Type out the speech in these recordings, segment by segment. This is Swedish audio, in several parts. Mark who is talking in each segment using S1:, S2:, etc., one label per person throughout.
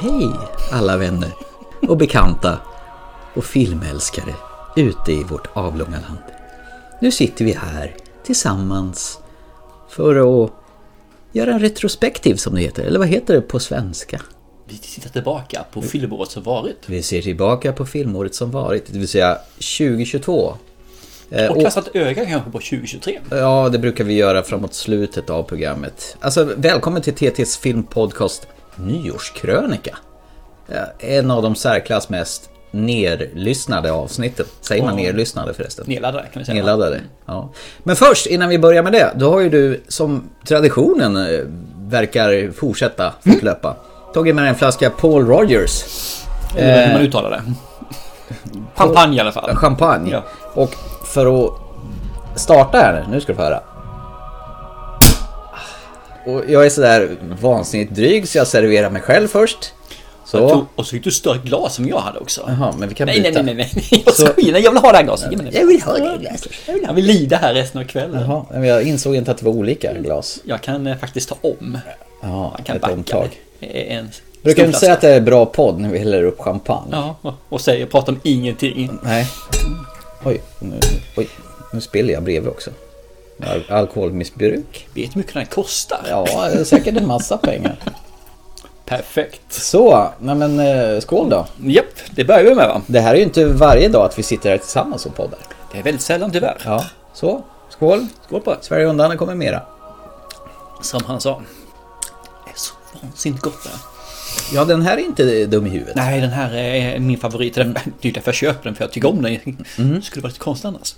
S1: Hej alla vänner och bekanta och filmälskare ute i vårt avlånga land. Nu sitter vi här tillsammans för att göra en retrospektiv som det heter, eller vad heter det på svenska?
S2: Vi tittar tillbaka
S1: Mm.
S2: på filmåret som varit.
S1: Vi ser tillbaka på filmåret som varit, det vill säga 2022. Eh,
S2: Och kastat öga kanske på 2023.
S1: Ja, det brukar vi göra framåt slutet av programmet. Alltså, välkommen till TTs filmpodcast Nyårskrönika. Eh, En av de särklass mest nerlyssnade avsnitten. Säger man
S2: Ja.
S1: nerlyssnade förresten?
S2: Nedladdare kan vi säga.
S1: Nedladdade. Ja. Men först, innan vi börjar med det, då har ju du som traditionen eh, verkar fortsätta fortlöpa. Tagit med en flaska Paul Rogers
S2: Eller hur man uttalar det. Champagne i alla fall.
S1: Eh. champagne.
S2: Ja.
S1: Och för att starta här nu, nu ska du få höra. Och jag är sådär vansinnigt dryg så jag serverar mig själv först.
S2: Jag
S1: Så.
S2: tog- Och så fick du ett större glas som jag hade också.
S1: Jaha, men vi kan
S2: Nej, nej,
S1: byta.
S2: nej, nej, nej. Jag skojar. Nej, Jag vill ha det här glaset. Ge mig det.
S1: Jag vill ha det glaset.
S2: Jag vill ha- Jag vill lida här resten av kvällen.
S1: Jaha, men jag insåg inte att det var olika glas.
S2: Jag kan eh, faktiskt ta om.
S1: Ja,
S2: Mm. Man kan
S1: ett
S2: backa.
S1: omtag.
S2: det. Eh, En
S1: Brukar du inte
S2: stor
S1: säga att
S2: flaska.
S1: det är bra podd när vi häller upp champagne?
S2: Ja, och- och säger, pratar om ingenting.
S1: Nej. Oj, nu, oj, nu spiller jag bredvid också. Al- Alkoholmissbruk?
S2: Vet du hur mycket den här kostar?
S1: Ja, säkert en massa pengar.
S2: Perfekt.
S1: Så, nej men eh, skål då.
S2: Japp, det börjar vi med va?
S1: Det här är ju inte varje dag att vi sitter här tillsammans och poddar.
S2: Det är väldigt sällan tyvärr.
S1: Ja, så. Skål.
S2: Skål på det.
S1: Sverige undan, det kommer mera.
S2: Som han sa. Det är så vansinnigt gott det här.
S1: Ja, den här är inte dum i huvudet.
S2: Nej, den här är min favorit. Det är därför jag köper den, för jag tycker om den.
S1: Mm.
S2: Det skulle vara lite konstigt annars.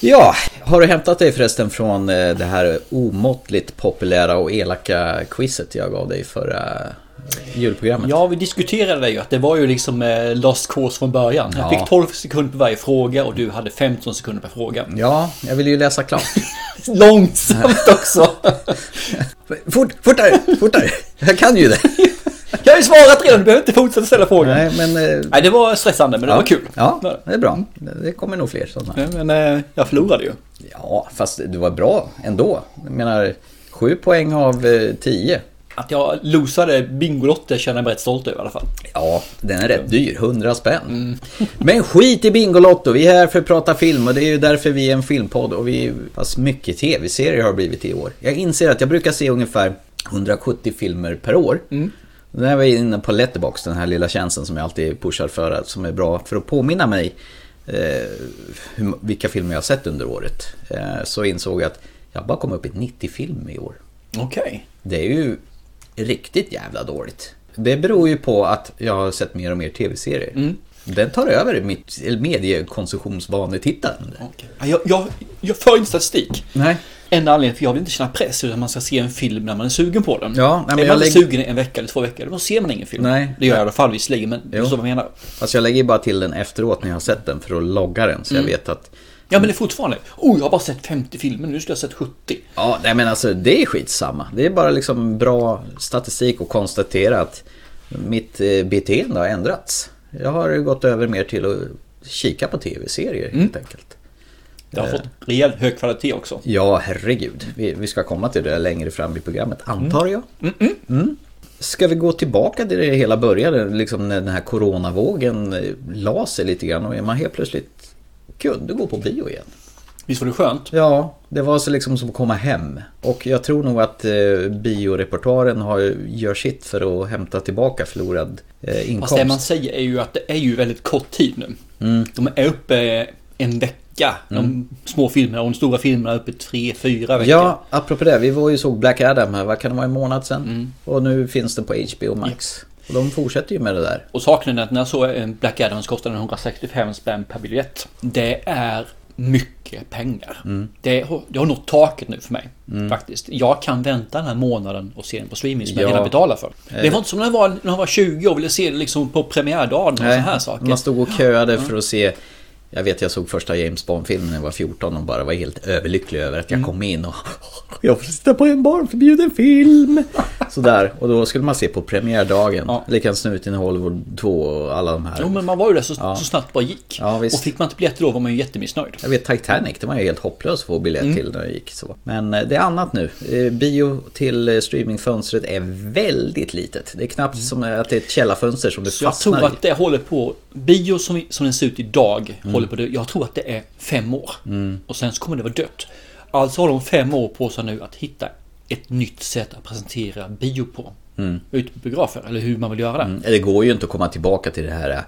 S1: Ja, har du hämtat dig förresten från eh, det här omåttligt populära och elaka quizet jag gav dig förra eh, julprogrammet?
S2: Ja, vi diskuterade det ju att det var ju liksom eh, lost cause från början. Jag
S1: Ja.
S2: fick 12 sekunder på varje fråga och du hade 15 sekunder per fråga.
S1: Ja, jag vill ju läsa klart.
S2: Långsamt också!
S1: Fort, fortare, fortare! Jag kan ju det.
S2: Jag har ju svarat redan, du behöver inte fortsätta ställa frågan. Nej,
S1: Nej, men... eh,
S2: det var stressande, men det
S1: ja.
S2: var kul.
S1: Ja, det är bra. Det kommer nog fler sådana.
S2: Nej, Men eh, jag förlorade ju.
S1: Ja, fast du var bra ändå. Jag menar, sju poäng av eh, tio.
S2: Att jag losade Bingolotter känner jag mig rätt stolt över i alla fall.
S1: Ja, den är rätt dyr. 100 spänn. Men skit i Bingolotto. Vi är här för att prata film och det är ju därför vi är en filmpodd. Och vi, fast mycket tv-serier har det blivit i år. Jag inser att jag brukar se ungefär 170 filmer per år. När jag var inne på Letterbox, den här lilla tjänsten som jag alltid pushar för, att- som är bra för att påminna mig eh, hur, vilka filmer jag har sett under året. Eh, så insåg jag att jag bara kom upp i 90 filmer i år.
S2: Okej.
S1: Det är ju riktigt jävla dåligt. Det beror ju på att jag har sett mer och mer tv-serier. Den tar över mitt mediekonsumtionsvanetittande.
S2: Okej. Ja, Jag, jag, jag för inte statistik.
S1: Nej.
S2: Enda anledningen, för jag vill inte känna press, utan man ska se en film när man är sugen på den.
S1: Ja, nej, men
S2: är
S1: jag
S2: man inte
S1: lägger-
S2: sugen en vecka eller två veckor, då ser man ingen film.
S1: Nej.
S2: Det gör jag i alla fall visserligen, men du
S1: Jo.
S2: förstår vad jag menar.
S1: Fast Alltså, jag lägger ju bara till den efteråt när jag har sett den för att logga den så jag vet att...
S2: Ja, men det är fortfarande, oh, jag har bara sett 50 filmer, nu ska jag ha sett 70.
S1: Ja, nej men alltså det är skitsamma. Det är bara liksom bra statistik att konstatera att mitt eh, beteende har ändrats. Jag har gått över mer till att kika på tv-serier helt enkelt.
S2: Det
S1: Eh.
S2: har fått rejäl hög kvalitet också.
S1: Ja, herregud. Vi, vi ska komma till det längre fram i programmet, antar jag. Mm. Ska vi gå tillbaka till det hela började, liksom när den här coronavågen eh, la sig lite grann och man helt plötsligt kunde gå på bio igen.
S2: Visst var det skönt?
S1: Ja, det var så liksom som att komma hem. Och jag tror nog att eh, bioreportaren har, gör sitt för att hämta tillbaka förlorad eh,
S2: Fast det man
S1: inkomst.
S2: säger är ju att det är ju väldigt kort tid nu.
S1: Mm.
S2: De är uppe en vecka, de små filmerna och de stora filmerna är uppe tre, fyra veckor.
S1: Ja, apropå det. Vi var ju såg Black Adam här, vad kan det vara, en månad sedan? Och nu finns den på HBO Max. Och de fortsätter ju med det där.
S2: Och saken är att när jag såg en Black Adam så kostade den 165 spänn per biljett. Det är mycket pengar.
S1: Mm.
S2: Det, har- det har nått taket nu för mig. Faktiskt. Jag kan vänta den här månaden och se den på streaming som
S1: Ja. Eh.
S2: jag redan betalar för. Det var inte som när jag var, när jag var 20 och ville se det liksom på premiärdagen och sådana här saker.
S1: Man stod och köade för att se jag vet jag såg första James Bond-filmen när jag var 14 och bara var
S2: Mm.
S1: helt överlycklig över att jag kom in och jag får sitta på en barnförbjuden film. Sådär, och då skulle man se på premiärdagen.
S2: Ja.
S1: Likadant Snuten i Hollywood 2 och alla de här.
S2: Jo men man var ju där så,
S1: Ja.
S2: så snabbt bara gick.
S1: Ja, visst.
S2: och fick man inte biljetter då var man ju jättemissnöjd.
S1: Jag vet Titanic, det var ju helt hopplöst att få biljett
S2: Mm.
S1: till när jag gick så. Men eh, det är annat nu. Eh, Bio till eh, streamingfönstret är väldigt litet. Det är knappt som att det är ett källarfönster som du
S2: Så Mm. jag tror
S1: fastnar i. Mm.
S2: att det håller på, bio som, vi- som den ser ut idag, håller på det. Jag tror att det är fem år. Och sen så kommer det vara dött. Alltså har de fem år på sig nu att hitta ett nytt sätt att presentera bio på.
S1: Mm.
S2: Ute på biografer, eller hur man vill göra det.
S1: Det går ju inte att komma tillbaka till det här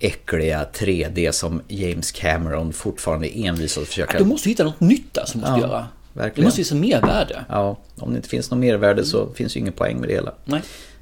S1: äckliga 3D som James Cameron fortfarande är envis att försöka...
S2: Du måste hitta något nytt där som måste
S1: Ja,
S2: göra. Det
S1: verkligen.
S2: måste finnas mervärde.
S1: Ja, om det inte finns något mervärde så finns ju ingen poäng med det hela.
S2: Nej.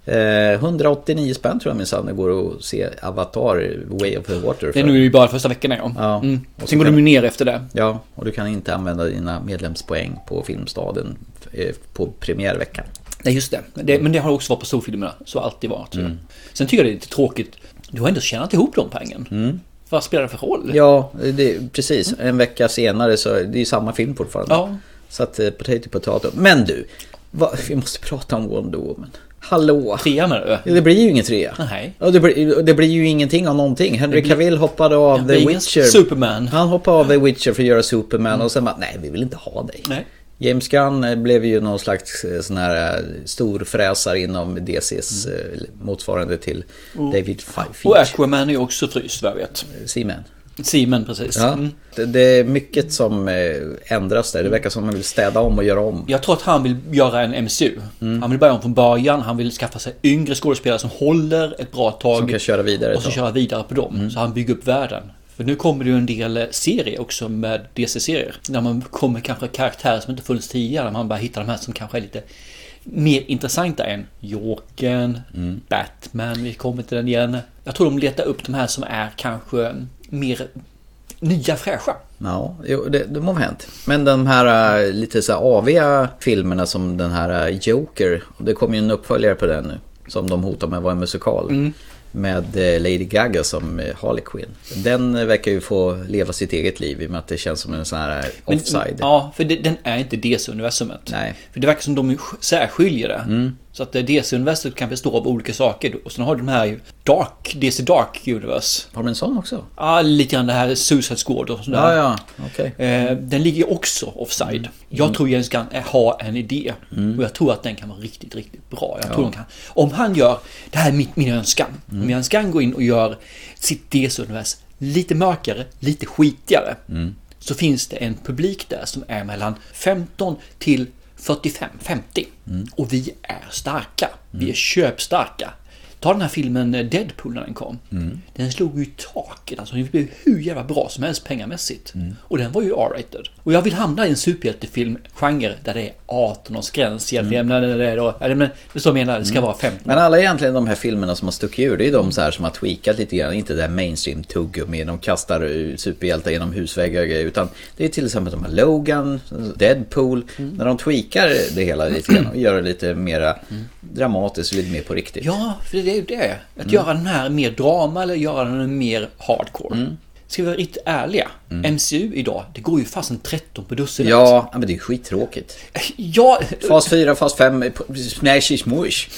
S1: Eh, 189 spänn tror jag minsann det går att se Avatar Way of the Water
S2: Det
S1: för.
S2: är nu ju bara första veckan är om.
S1: Ja.
S2: Mm.
S1: Och så
S2: Sen går
S1: kan-
S2: de ju ner efter det.
S1: Ja, och du kan inte använda dina medlemspoäng på Filmstaden eh, på premiärveckan.
S2: Nej just det. det. Men det har också varit på storfilmerna. Så har det alltid varit.
S1: Mm.
S2: Sen tycker jag det är lite tråkigt. Du har ändå tjänat ihop de pengen.
S1: Mm.
S2: Vad spelar det för roll?
S1: Ja, det, precis. En vecka senare så det är det ju samma film fortfarande.
S2: Ja.
S1: Så att eh, potato potato. Men du, vad- vi måste prata om Wonder Woman. Hallå!
S2: Trea menar du?
S1: Det blir ju ingen trea.
S2: Nej.
S1: Och det, blir, och det blir ju ingenting av någonting. Henry Cavill hoppade av
S2: Det är
S1: The
S2: ingen
S1: Witcher.
S2: Superman.
S1: Han hoppade av The Witcher för att göra Superman och sen bara, nej vi vill inte ha dig.
S2: Nej.
S1: James Gunn eh, blev ju någon slags eh, sån här eh, storfräsare inom DCs eh, motsvarande till David Fi-
S2: Mm. Och
S1: Finch.
S2: Aquaman är ju också fryst vad jag vet.
S1: Seaman.
S2: Simon precis.
S1: Ja.
S2: Mm.
S1: Det, det är mycket som eh, ändras där. Det verkar som man vill städa om och göra om.
S2: Jag tror att han vill göra en MCU.
S1: Mm.
S2: Han vill börja om från början. Han vill skaffa sig yngre skådespelare som håller ett bra tag.
S1: Som kan köra vidare ett
S2: Och så
S1: tag.
S2: köra vidare på dem.
S1: Mm.
S2: Så han bygger upp världen. För nu kommer det ju en del eh, serier också med DC-serier. Där man kommer kanske karaktärer som inte funnits tidigare. Man bara hittar de här som kanske är lite mer intressanta än Jokern,
S1: Mm.
S2: Batman. Vi kommer till den igen. Jag tror de letar upp de här som är kanske mer nya fräscha.
S1: Ja, jo, det, det må ha hänt. Men de här eh, lite så här aviga filmerna som den här eh, Joker. Det kommer ju en uppföljare på den nu. Som de hotar med var en musikal.
S2: Mm.
S1: Med eh, Lady Gaga som eh, Harley Quinn. Den eh, verkar ju få leva sitt eget liv i och med att det känns som en sån här eh,
S2: Men-
S1: offside.
S2: Ja, för det, den är inte DC-universumet.
S1: Nej. Mm.
S2: För det verkar som de särskiljer det. Så att eh, DC-universumet kan bestå av olika saker. Och sen har du de här ju Dark, DC Dark Universe.
S1: Har de en sån också?
S2: Ja, lite grann det här Suicide Squad och sådär.
S1: Ja, Mm. ja, okej.
S2: Eh, den ligger ju också offside. Jag tror James Gunn är- har en idé.
S1: Mm.
S2: Och jag tror att den kan vara riktigt, riktigt bra. Jag tror de kan. Om han gör, det här är mitt, min önskan.
S1: Mm.
S2: Om James Gunn går in och gör sitt DC-univers lite mörkare, lite skitigare.
S1: Mm.
S2: Så finns det en publik där som är mellan 15 till 45, 50.
S1: Mm.
S2: Och vi är starka. Vi är köpstarka. Ta den här filmen eh, Deadpool när den kom. Den slog ju i taket. Alltså, den blev hur jävla bra som helst pengamässigt. Och den var ju R-rated. Och jag vill hamna i en superhjältefilmgenre där det är 18-årsgräns egentligen. Mm. När det är då, eller men det är så jag menar, det ska vara 15.
S1: Men alla egentligen de här filmerna som har stuckit ur, det är ju de så här som har tweakat lite grann. Inte det här mainstream tuggummi, de kastar eh, superhjältar genom husväggar och grejer. Utan det är till exempel de här Logan, Deadpool.
S2: Mm.
S1: När de tweakar det hela lite grann och gör det lite mera dramatiskt och lite mer på riktigt.
S2: Mm. Ja, för det är ju det. Att göra den här mer drama eller göra den mer hardcore. Ska vi vara riktigt ärliga. MCU idag, det går ju fasen 13 på dussinet.
S1: Ja, men det är ju skittråkigt.
S2: Jag,
S1: Fas 4, fas 5, smash is mush.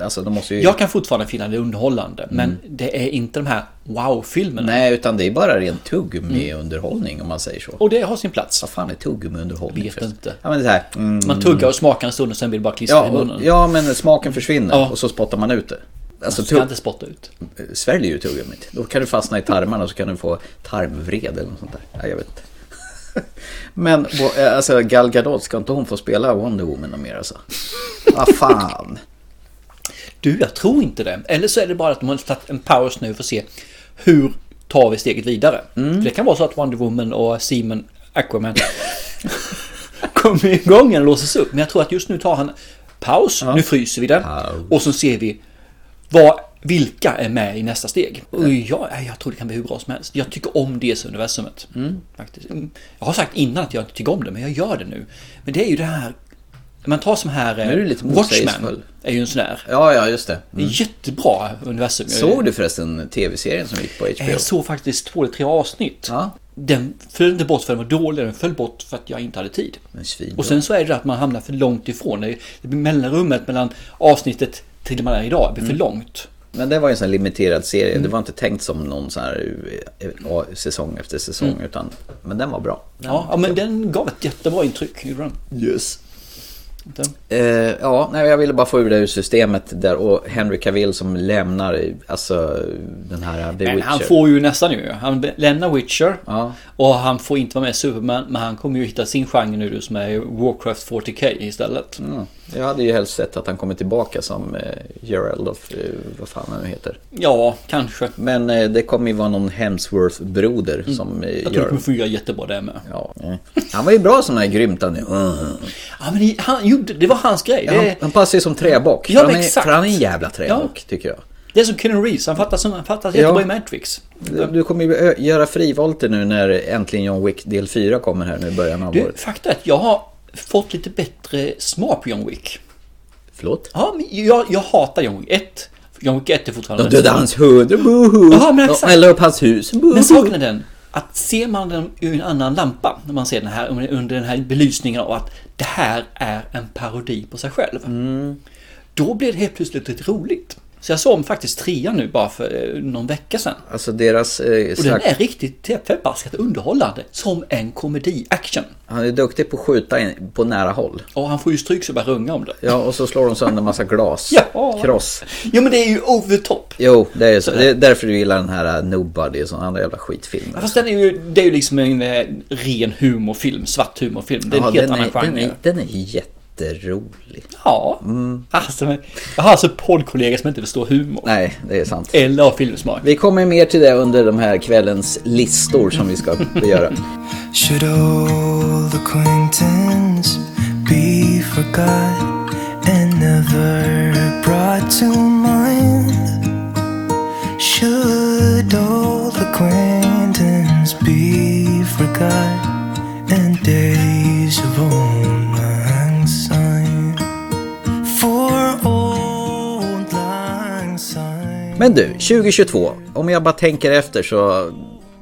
S1: Alltså de måste ju...
S2: jag kan fortfarande finna det underhållande. Men det är inte de här wow-filmerna.
S1: Nej, utan det är bara ren tuggummi-underhållning om man säger så.
S2: Och det har sin plats.
S1: Vad fan är tuggummi-underhållning?
S2: Mm. Vet
S1: förresten?
S2: inte.
S1: Ja, men det här... Mm.
S2: Man tuggar och smakar en stund och sen blir det bara klistra
S1: Ja,
S2: i
S1: och,
S2: munnen.
S1: ja, men smaken försvinner
S2: Ja.
S1: och så spottar man ut det. Alltså,
S2: Ska
S1: tugg,
S2: inte spotta ut.
S1: sväljer ju tuggummit. Då kan du fastna i tarmarna och så kan du få tarmvred eller något sånt där. Ja, jag vet inte. Men vå- eh, alltså, Gal Gadot, ska inte hon få spela Wonder Woman och mer alltså? Vad fan.
S2: Du, jag tror inte det. Eller så är det bara att de har tagit en paus nu för att se hur tar vi steget vidare.
S1: Mm.
S2: För det kan vara så att Wonder Woman och Seaman Aquaman kommer igång och låses upp. Men jag tror att just nu tar han paus, nu fryser vi den.
S1: Paus.
S2: Och så ser vi vad, vilka är med i nästa steg. Och jag, nej, jag tror det kan bli hur bra som helst. Jag tycker om DC-universumet. Faktiskt. Mm. Jag har sagt innan att jag inte tycker om det, men jag gör det nu. Men det är ju det här... Man tar som här... eh,
S1: är du lite motsägelsefull.
S2: Watchmen är ju en sån där.
S1: Ja, ja, just det. Mm.
S2: Mm. Jättebra universum. Eh,
S1: Såg du förresten tv-serien som gick på HBO?
S2: Jag såg faktiskt två eller tre avsnitt.
S1: Ja.
S2: Den föll inte bort för att den var dålig, den föll bort för att jag inte hade tid.
S1: Men svinbra.
S2: Och sen så är det att man hamnar för långt ifrån. Det det blir mellanrummet mellan avsnittet till det man är idag, det
S1: Mm.
S2: blir för långt.
S1: Men det var ju en sån här limiterad serie.
S2: Mm.
S1: Det var inte tänkt som någon sån här eh, eh, säsong efter säsong. Utan, men den var bra.
S2: Mm. Ja, ja, men den gav ett jättebra intryck. gjorde den.
S1: Yes.
S2: Den-
S1: Eh, ja, nej, jag ville bara få ur det ur systemet där och Henry Cavill som lämnar alltså den här The
S2: Men
S1: Witcher.
S2: han får ju nästan nu. Han lämnar Witcher.
S1: Ja.
S2: Och han får inte vara med i Superman. Men han kommer ju hitta sin genre nu som är Warcraft 40K istället.
S1: Mm. Jag hade ju helst sett att han kommer tillbaka som eh, Gerald of, eh, vad fan han nu heter.
S2: Ja, kanske.
S1: Men eh, det kommer ju vara någon Hemsworth-broder som eh,
S2: Mm. Jag tror det
S1: gör...
S2: kommer fungera jättebra det med.
S1: Ja. eh. Han var ju bra som den här grymtan nu. Mm.
S2: Ja, men det- han gjorde, det var hans grej.
S1: Han,
S2: Det,
S1: han passar ju som träbock.
S2: Eh. Ja,
S1: för, han är,
S2: exakt.
S1: för han är en jävla träbock, tycker jag.
S2: det är som Keanu Reeves. Han fattas, som- han fattas jättebra i Matrix.
S1: Du- Du kommer ju ö- göra frivolter nu när äntligen John Wick del 4 kommer här nu i början av
S2: Du,
S1: året.
S2: fakta är att jag har fått lite bättre smak på John Wick.
S1: Förlåt?
S2: Ja, men jag, jag hatar John Wick 1. John Wick 1 är fortfarande...
S1: De dödade hans hund, boho!
S2: Alltså- Ja, men
S1: De
S2: exakt.
S1: eldade upp hans hus, boho!
S2: Men saken är den att ser man den ur en annan lampa när man ser den här under den här belysningen och att det här är en parodi på sig själv. Då blir det helt plötsligt lite roligt. Så jag såg om faktiskt trean nu bara för eh, någon vecka sedan.
S1: Alltså deras... Eh,
S2: Och den
S1: slags-
S2: är riktigt förbaskat underhållande som en komedi-action.
S1: Han är duktig på att skjuta in, på nära håll.
S2: Och han får ju stryk så bara runga om det.
S1: Ja, och så slår de sönder en massa glas.
S2: Ja.
S1: Kross.
S2: Ja men det är ju over the top.
S1: Jo, det är, så. det är därför du gillar den här eh, Nobody och sådana andra jävla skitfilmer.
S2: Ja, Fast den är ju, det är ju liksom en eh, ren humorfilm, svart humorfilm. Det är
S1: Ja,
S2: en helt
S1: den,
S2: annan
S1: är, den,
S2: genre.
S1: är, Mm. den är jätterolig.
S2: Ja. Alltså, men, jag har alltså poddkollegor som inte förstår humor.
S1: Nej, det är sant.
S2: Eller har filmsmak.
S1: Vi kommer mer till det under de här kvällens listor som vi ska göra.
S3: Should old acquaintance be forgot and never brought to mind? Should old acquaintance be forgot and days of old lang syne? For old lang syne.
S1: Men du, 2022. Om jag bara tänker efter så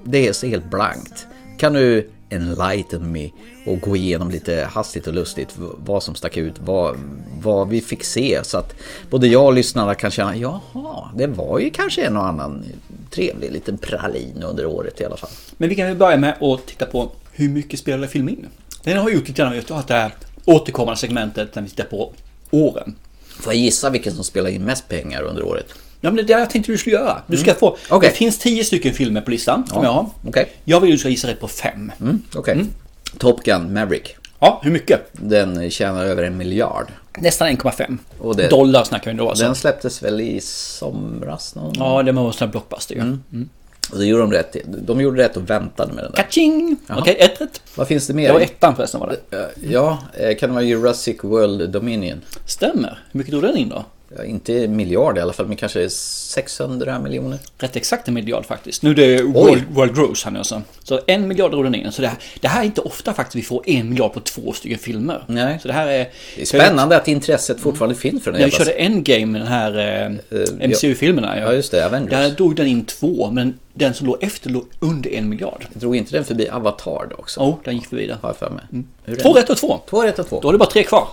S1: det är så helt blankt. Kan du enlighten me och gå igenom lite hastigt och lustigt v- vad som stack ut, vad, vad vi fick se så att både jag och lyssnarna kan känna jaha, det var ju kanske en och annan trevlig liten pralin under året i alla fall.
S2: Men vi kan väl börja med att titta på hur mycket spelade film in? Den har gjort lite grann just att det här återkommande segmentet när vi tittar på åren.
S1: Får jag gissa vilken som spelar in mest pengar under året?
S2: Ja men det är det jag tänkte du skulle göra. Du ska få...
S1: Mm. Okej.
S2: Det finns tio stycken filmer på listan som jag har.
S1: Okej,
S2: Jag vill ju ska gissa rätt på fem.
S1: okej. Top Gun Maverick.
S2: Ja, hur mycket?
S1: Den tjänar över en miljard.
S2: Nästan 1,5.
S1: Och det-
S2: Dollar snackar vi då alltså.
S1: Den släpptes väl i somras någon
S2: Ja, det var en sån här blockbuster ju.
S1: Mm. Och det gjorde de rätt i. De gjorde rätt och väntade med den där.
S2: Kaching! Okej, ett rätt.
S1: Vad finns det mer?
S2: Det var ettan förresten var det.
S1: Eh, Ja, eh, kan det vara Jurassic World Dominion?
S2: Stämmer. Hur mycket drog den in då?
S1: Ja, inte miljard i alla fall, men kanske 600 miljoner.
S2: Rätt exakt en miljard faktiskt. Nu är det World, World Gross här nu alltså. Så en miljard drog den in. Så det här, det här är inte ofta faktiskt vi får en miljard på två stycken filmer.
S1: Nej.
S2: Så det här är...
S1: Det är spännande att intresset fortfarande finns för den
S2: När vi
S1: jävla...
S2: Mm. körde Endgame, den här
S1: ja.
S2: eh, MCU-filmerna.
S1: Ja, just det, Avengers.
S2: Där drog den in två, men den som låg efter låg under en miljard.
S1: Drog inte den förbi Avatar då också?
S2: Jo, Oh, den gick förbi där.
S1: Har jag för mig. Hur är
S2: Två
S1: det?
S2: rätt och två.
S1: Två rätt och
S2: Då
S1: två.
S2: har du bara tre kvar.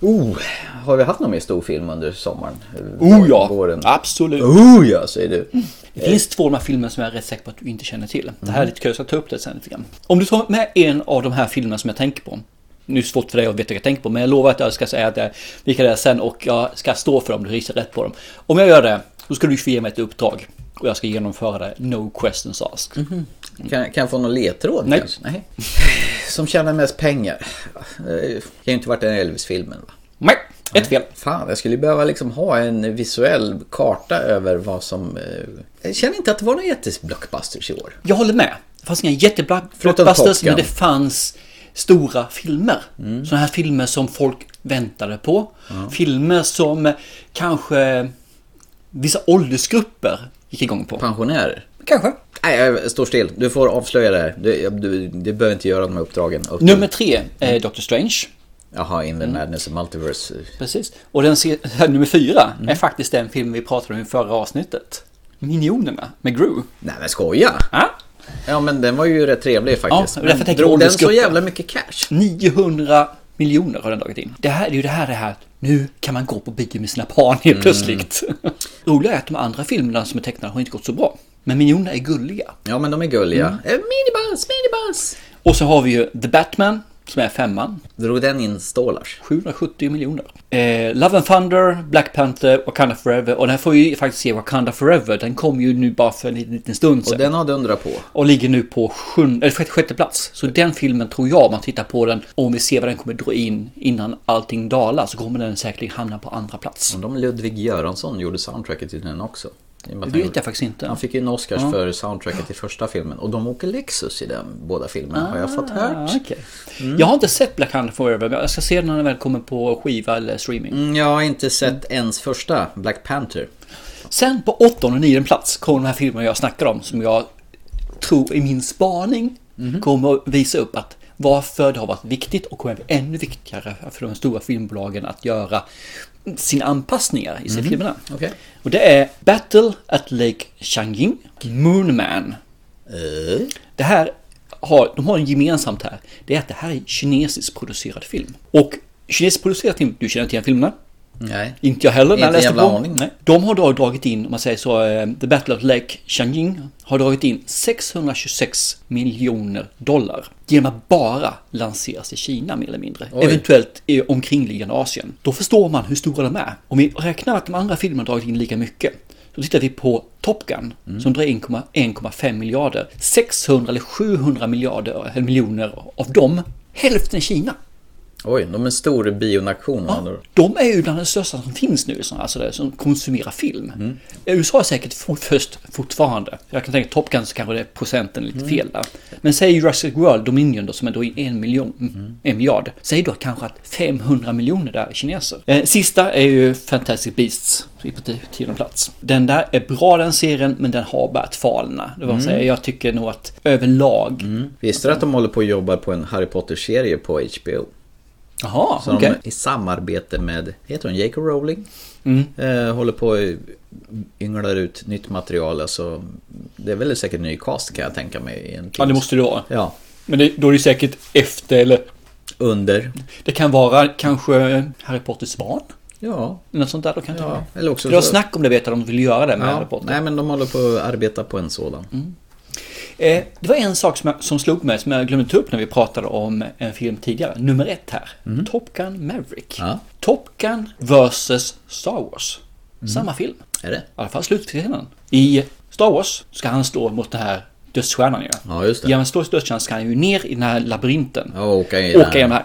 S1: Oh, har vi haft någon mer stor film under sommaren?
S2: Oh ja, Mm.
S1: Våren?
S2: absolut.
S1: Oh ja, säger du.
S2: Det finns två av de här filmerna som jag är rätt säker på att du inte känner till. Det
S1: Mm.
S2: här är lite kul, jag ska ta upp det sen lite grann. Om du tar med en av de här filmerna som jag tänker på. Nu är det svårt för dig att veta vad jag tänker på, men jag lovar att jag ska säga att det, vilka det är sen och jag ska stå för dem, du gissar rätt på dem. Om jag gör det, då ska du få ge mig ett uppdrag. Och jag ska genomföra det, no questions asked.
S1: Mhm. Kan, kan jag få någon ledtråd
S2: Nej.
S1: kanske? Nej. Som tjänar mest pengar? Eh, Det kan ju inte varit den Elvis-filmen va?
S2: Nej, ett fel.
S1: Fan, jag skulle ju behöva liksom ha en visuell karta över vad som... Eh, jag känner inte att det var några jätteblockbusters i år.
S2: Jag håller med. Det fanns inga
S1: Förutom Top
S2: jätteblockbusters,
S1: Gun. Mm.
S2: men det fanns stora filmer. Sådana här filmer som folk väntade på. Filmer som kanske vissa åldersgrupper gick igång på.
S1: Pensionärer?
S2: Kanske.
S1: Nej, jag står still. Du får avslöja det här. Du, jag- du, du behöver inte göra de här uppdragen. Upp till-
S2: Nummer tre
S1: Mm.
S2: är Doctor Strange.
S1: Jaha, In the Madness of Multiverse.
S2: Precis. Och den se- nummer fyra
S1: Mm.
S2: är faktiskt den film vi pratade om i förra avsnittet. Minionerna med Gru.
S1: Nej men skoja!
S2: Ja.
S1: Ja men den var ju rätt trevlig faktiskt.
S2: Ja,
S1: men
S2: därför tänker
S1: drog
S2: jag
S1: den så
S2: åldersgruppen.
S1: jävla mycket cash?
S2: 900 miljoner har den dragit in. Det, här, det är ju det här det här, nu kan man gå på bio med sina barn helt plötsligt. Roliga är att de andra filmerna som är tecknade har inte gått så bra. Men miljonerna är gulliga.
S1: Ja men de är gulliga. Mm. Minibuss, minibuss!
S2: Och så har vi ju The Batman, som är femman.
S1: Drog den in stålars?
S2: 770 miljoner. Eh, Love and Thunder, Black Panther, Wakanda Forever. Och den här får ju faktiskt se Wakanda Forever. Den kom ju nu bara för en liten, liten stund
S1: Och
S2: sedan.
S1: den har dundrat på.
S2: Och ligger nu på sjunde, eller 36 plats. Så den filmen tror jag, om man tittar på den, om vi ser vad den kommer dra in innan allting dalar, så kommer den säkert hamna på andra plats.
S1: Undrar om Ludvig Göransson gjorde soundtracket till den också. I och
S2: Det
S1: med att han
S2: vet
S1: gjorde-
S2: jag faktiskt inte.
S1: Han fick ju en Oscars för soundtracket till första filmen och de åker Lexus i den båda filmerna har jag fått hört.
S2: Ah, okej.
S1: Mm.
S2: Jag har inte sett Black Panther Forever, men jag ska se den när den väl kommer på skiva eller streaming.
S1: Mm, Jag har inte sett ens första Black Panther.
S2: Sen på åttonde och nionde plats kommer de här filmerna jag snackar om som jag tror i min spaning kommer att visa upp att varför det har varit viktigt och kommer att bli ännu viktigare för de stora filmbolagen att göra sina anpassningar i sina filmerna.
S1: Okej.
S2: Och det är Battle at Lake Changjing, Moonman.
S1: Eh,
S2: Det här har, de har en gemensamt här. Det är att det här är kinesiskt producerad film. Och kinesiskt producerad film, du känner till den filmen?
S1: Nej.
S2: Inte jag heller. när
S1: Inte
S2: jag läste
S1: jävla
S2: på.
S1: aning.
S2: Nej. De har då dragit in, om man säger så, eh, The Battle of Lake Changjing har dragit in 626 miljoner dollar genom att bara lanseras i Kina mer eller mindre. Eventuellt i omkringliggande Asien. Då förstår man hur stora de är. Om vi räknar att de andra filmerna har dragit in lika mycket. Så tittar vi på Top Gun
S1: Mm.
S2: som drar in 1,5 miljarder. 600 eller 700 miljarder, eller miljoner av dem, hälften Kina.
S1: Oj, de är en stor bionation.
S2: Ah.
S1: Ja.
S2: De är ju bland de största som finns nu, liksom, alltså det, som konsumerar film.
S1: Mm.
S2: Eh, USA är säkert for, först fortfarande. Jag kan tänka Top Gun så kanske det är procenten
S1: Mm.
S2: lite fel där. Men säg Jurassic World Dominion då, som är då i en, miljon,
S1: Mm.
S2: en miljard. Säg då kanske att 500 miljoner där är kineser. Eh, sista är ju Fantastic Beasts i på ti- tionde plats. Den där är bra den serien, men den har börjat falna. Det var
S1: Mm.
S2: säga, jag tycker nog att överlag...
S1: Visste du att de håller på och jobbar på en Harry Potter-serie på HBO?
S2: Jaha,
S1: Så
S2: okej.
S1: de i samarbete med, heter hon J.K. Rowling?
S2: Mm.
S1: Eh, håller på och ynglar ut nytt material. Alltså, det är väl säkert ny cast kan jag tänka mig. i en
S2: Ja, det
S1: film.
S2: måste det vara.
S1: Ja,
S2: Men det, då är det säkert efter eller
S1: under.
S2: Det kan vara kanske Harry Potters barn?
S1: Ja,
S2: Något sånt där då kan jag
S1: ja.
S2: tänka mig.
S1: eller också...
S2: Det var
S1: så-
S2: snack om det vet jag, de vill göra det med Harry
S1: ja,
S2: Potter.
S1: Nej, men de håller på att arbeta på en sådan.
S2: Mm. Eh, det var en sak som, jag, som slog mig, som jag glömde ta upp när vi pratade om en film tidigare. Nummer ett här. Top Gun Maverick.
S1: Mm. Ja.
S2: Top Gun vs Star Wars.
S1: Mm.
S2: Samma film.
S1: Är det?
S2: I alla fall slutscenen. I Star Wars ska han stå mot den här dödsstjärnan ju.
S1: Ja, just det.
S2: Genom att stå i dödsstjärnan ska han ju ner i den här labyrinten.
S1: Ja, åka i
S2: Åka
S1: den.
S2: genom den här...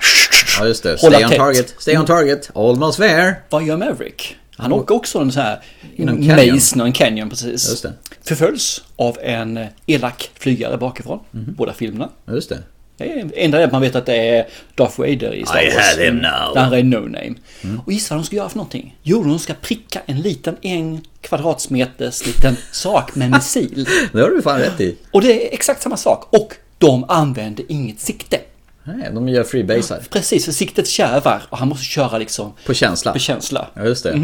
S1: Ja, just det.
S2: Hålla
S1: Stay on
S2: tätt. Mm.
S1: target. Stay on target. Almost there.
S2: Vad gör Maverick? Han åker också en sån här
S1: Inom canyon.
S2: maze, någon canyon precis.
S1: Just det.
S2: Förföljs av en elak flygare bakifrån,
S1: Mhm.
S2: båda filmerna.
S1: Ja, Just det.
S2: Det är enda är att man vet att det är Darth Vader i Star
S1: I
S2: Wars. Mm.
S1: had him now.
S2: Där han är no name.
S1: Mm.
S2: Och gissa vad de ska göra för någonting? Jo, de ska pricka en liten en kvadratmeters liten sak med missil.
S1: Det har du fan rätt i.
S2: Och det är exakt samma sak. Och de använder inget sikte.
S1: Nej, de gör freebasar.
S2: Precis, för siktet kärvar och han måste köra liksom
S1: På känsla.
S2: på känsla. Mm.
S1: Ja, just det.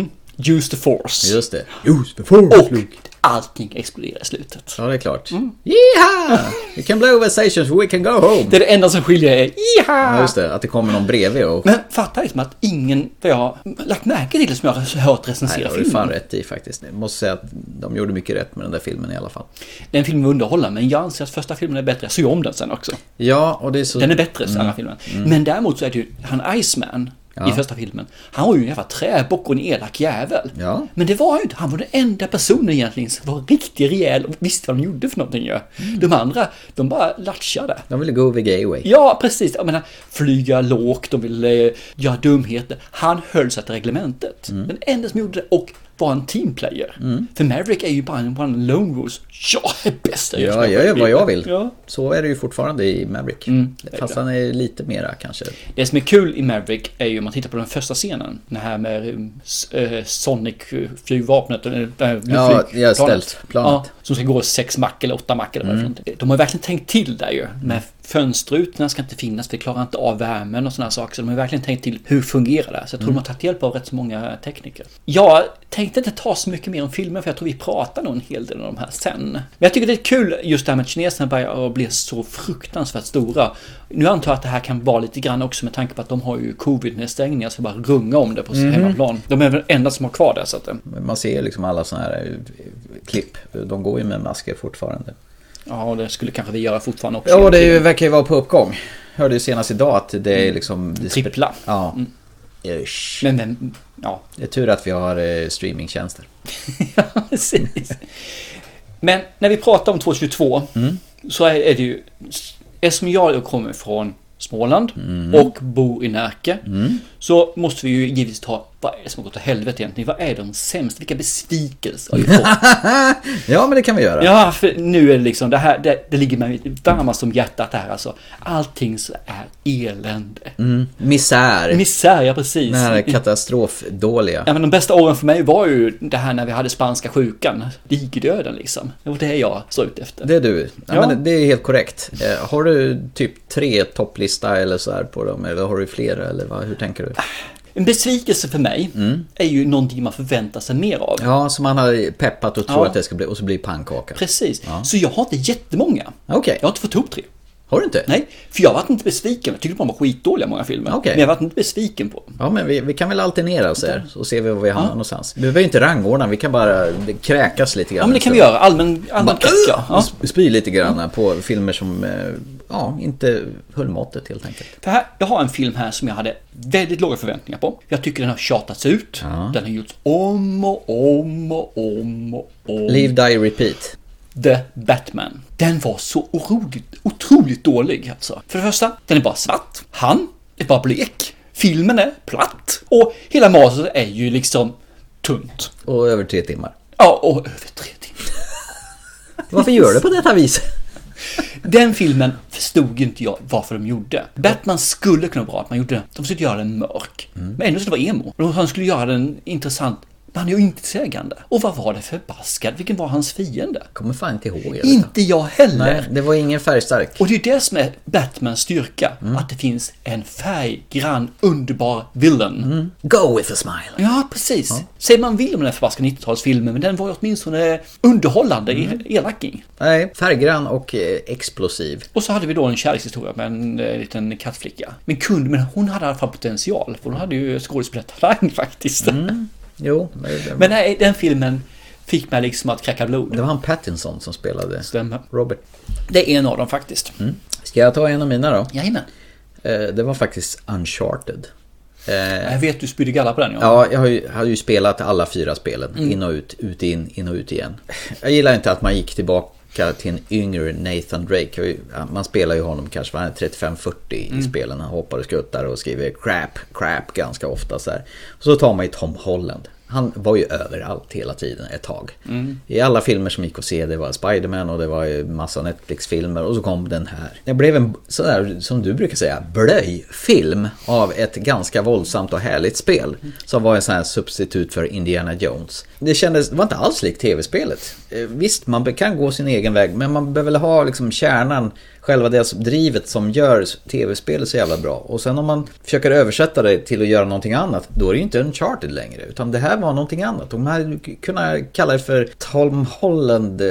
S2: Use the force.
S1: Just det. Use the force,
S2: Och
S1: Luke.
S2: allting exploderar i slutet.
S1: Ja, det är klart. Yeeha! You can blow over stations, we can go home.
S2: Det är det enda som skiljer är
S1: Ja,
S2: Jaha!
S1: just det. Att det kommer någon bredvid och...
S2: Men fatta liksom att ingen, vad jag har lagt märke till som jag har hört
S1: Nej, det
S2: recensera
S1: har du fan
S2: filmen.
S1: rätt i faktiskt. Jag måste säga att de gjorde mycket rätt med den där filmen i alla fall.
S2: Den filmen var underhållande men jag anser att första filmen är bättre. Jag såg ju om den sen också.
S1: Ja, och det är så...
S2: Den är bättre, mm. andra filmen. Men däremot så är det ju han Iceman i första filmen. Han var ju en jävla träbock och en elak jävel.
S1: Ja.
S2: Men det var han ju inte. Han var den enda personen egentligen som var riktigt rejäl och visste vad de gjorde för någonting ju.
S1: Mm.
S2: De andra, de bara latchade.
S1: De ville go the gay way.
S2: Ja, precis. Jag menar, flyga lågt, de ville eh, göra dumheter. Han höll sig till reglementet.
S1: Mm.
S2: Den enda som gjorde det och var en teamplayer. För Maverick är ju bara en one lone wolf. Jag är bäst jag
S1: Ja,
S2: som
S1: jag gör vad jag vill.
S2: Ja.
S1: Så är det ju fortfarande i Maverick. Fast han är lite mera kanske.
S2: Det som är kul i Maverick är ju om man tittar på den första scenen. Den här med eh, Sonic-flygvapnet. eller, eh,
S1: Ja,
S2: flygplanet.
S1: ja, ställt. Planet. Mm.
S2: Ja, som ska gå sex mack eller åtta mack eller vad det är för någonting. De har verkligen tänkt till där ju. Med Fönsterrutorna ska inte finnas, vi klarar inte av värmen och sådana saker. Så de har verkligen tänkt till hur fungerar det? Så jag tror
S1: Mm.
S2: de har tagit hjälp av rätt så många tekniker. Jag tänkte inte ta så mycket mer om filmen för jag tror vi pratar nog en hel del om de här sen. Men jag tycker det är kul just det här med att kineserna börjar bli så fruktansvärt stora. Nu antar jag att det här kan vara lite grann också med tanke på att de har ju covid-nedstängningar så bara runga om det på
S1: Mm-hmm.
S2: sin hemmaplan. De är väl enda som har kvar det. Så att, eh,
S1: Man ser liksom alla sådana här eh, klipp. De går ju med masker fortfarande.
S2: ja, och det skulle kanske vi göra fortfarande också.
S1: Ja, det är ju, verkar ju vara på uppgång. Hörde ju senast idag att det är liksom... det-
S2: Trippla.
S1: Ja. Usch.
S2: Men, men, ja,
S1: Det är tur att vi har eh, streamingtjänster.
S2: Ja, precis. Men när vi pratar om 2022 så är, är det ju... Eftersom jag då kommer från Småland och bor i Närke så måste vi ju givetvis ta vad är det som har gått åt helvete egentligen? Vad är de sämsta? Vilka besvikelser har vi fått?
S1: Ja, men det kan vi göra.
S2: Ja, för nu är det liksom det här, det, det ligger mig varmast om hjärtat här alltså. Allting så är elände.
S1: Mm. Misär.
S2: Misär, ja precis.
S1: Den här katastrofdåliga.
S2: Ja, men de bästa åren för mig var ju det här när vi hade spanska sjukan, digerdöden liksom. Och det är jag så ute efter.
S1: Det är du. Ja,
S2: Ja.
S1: Men det är helt korrekt. Eh, Har du typ tre topplista eller så här på dem? Eller har du flera? Eller vad, hur tänker du?
S2: En besvikelse för mig är ju någonting man förväntar sig mer av.
S1: Mm. Ja, som man har peppat och tror
S2: Ja.
S1: att det ska bli... Och så blir det pannkaka.
S2: Precis. Så jag har inte jättemånga.
S1: Okej.
S2: Jag har inte fått ihop tre.
S1: Har du inte?
S2: Nej, för jag varit inte besviken. Jag tyckte de var skitdåliga många filmer.
S1: Okej.
S2: Men jag varit inte besviken på dem.
S1: Ja, men vi, vi kan väl alternera oss här så ser vi var vi hamnar någonstans. Vi behöver inte rangordna, vi kan bara kräkas lite grann.
S2: Ja, men det kan vi göra. Allmän, allmän kräck, ja.
S1: Och
S2: ja.
S1: sp- Spy lite grann på filmer som eh, ja, inte höll måttet helt enkelt.
S2: För här, jag har en film här som jag hade väldigt låga förväntningar på. Jag tycker den har tjatats ut. Den har gjorts om och om och om och om.
S1: Leave, die, repeat.
S2: The Batman. Den var så otroligt, otroligt dålig alltså. För det första, den är bara svart. Han är bara blek. Filmen är platt. Och hela manuset är ju liksom tunt.
S1: Och över tre timmar.
S2: Ja, och över tre timmar.
S1: Varför gör du på detta vis?
S2: Den filmen förstod inte jag varför de gjorde. Batman skulle kunna vara bra att man gjorde. De försökte göra den mörk.
S1: Mm.
S2: Men ändå skulle det vara emo. Och han skulle göra den intressant. Men han är ju inte sägande. Och vad var det förbaskad? Vilken var hans fiende?
S1: Kommer fan inte ihåg. Jag
S2: Inte jag heller.
S1: Nej, det var ingen färgstark.
S2: Och det är det som är Batmans styrka. Att det finns en färggrann, underbar villain.
S1: Go with a smile.
S2: Mm. Ja, precis. Säger man vill om den här förbaskade 90-talsfilmen, men den var ju åtminstone underhållande, mm. elaking.
S1: Nej, färggrann och eh, explosiv.
S2: Och så hade vi då en kärlekshistoria med en eh, liten kattflicka. Men kund, men hon hade i alla fall potential, för hon hade ju skådespelartalang faktiskt.
S1: Jo, det,
S2: Men nej, den filmen fick mig liksom att kräka blod.
S1: det var han Pattinson som spelade
S2: Stämmer.
S1: Robert.
S2: Det är en av dem faktiskt.
S1: Ska jag ta en av mina då?
S2: Jajamän.
S1: Eh, det var faktiskt Uncharted. Eh,
S2: Jag vet du spydde galla på den, Eh. ja.
S1: Ja, jag har ju, har ju spelat alla fyra spelen. In och ut, ut in, in och ut igen. Jag gillar inte att man gick tillbaka till en yngre Nathan Drake. Jag har ju- Man spelar ju honom kanske, han är 35-40 i spelen. Han hoppar och skuttar och skriver crap, crap ganska ofta så här. Och så tar man ju Tom Holland. Han var ju överallt hela tiden ett tag. I alla filmer som gick att se, det var Spiderman och det var ju massa Netflix-filmer och så kom den här. Det blev en sån där, som du brukar säga, blöjfilm av ett ganska våldsamt och härligt spel. Som var en sån här substitut för Indiana Jones. Det kändes, det var inte alls likt tv-spelet. Eh, Visst, man be- kan gå sin egen väg, men man behöver väl ha liksom kärnan, själva det som- drivet som gör tv-spelet så jävla bra. Och sen om man försöker översätta det till att göra någonting annat, då är det ju inte Uncharted längre. Utan det här var någonting annat. De hade k- kunnat kalla det för Tom Holland eh,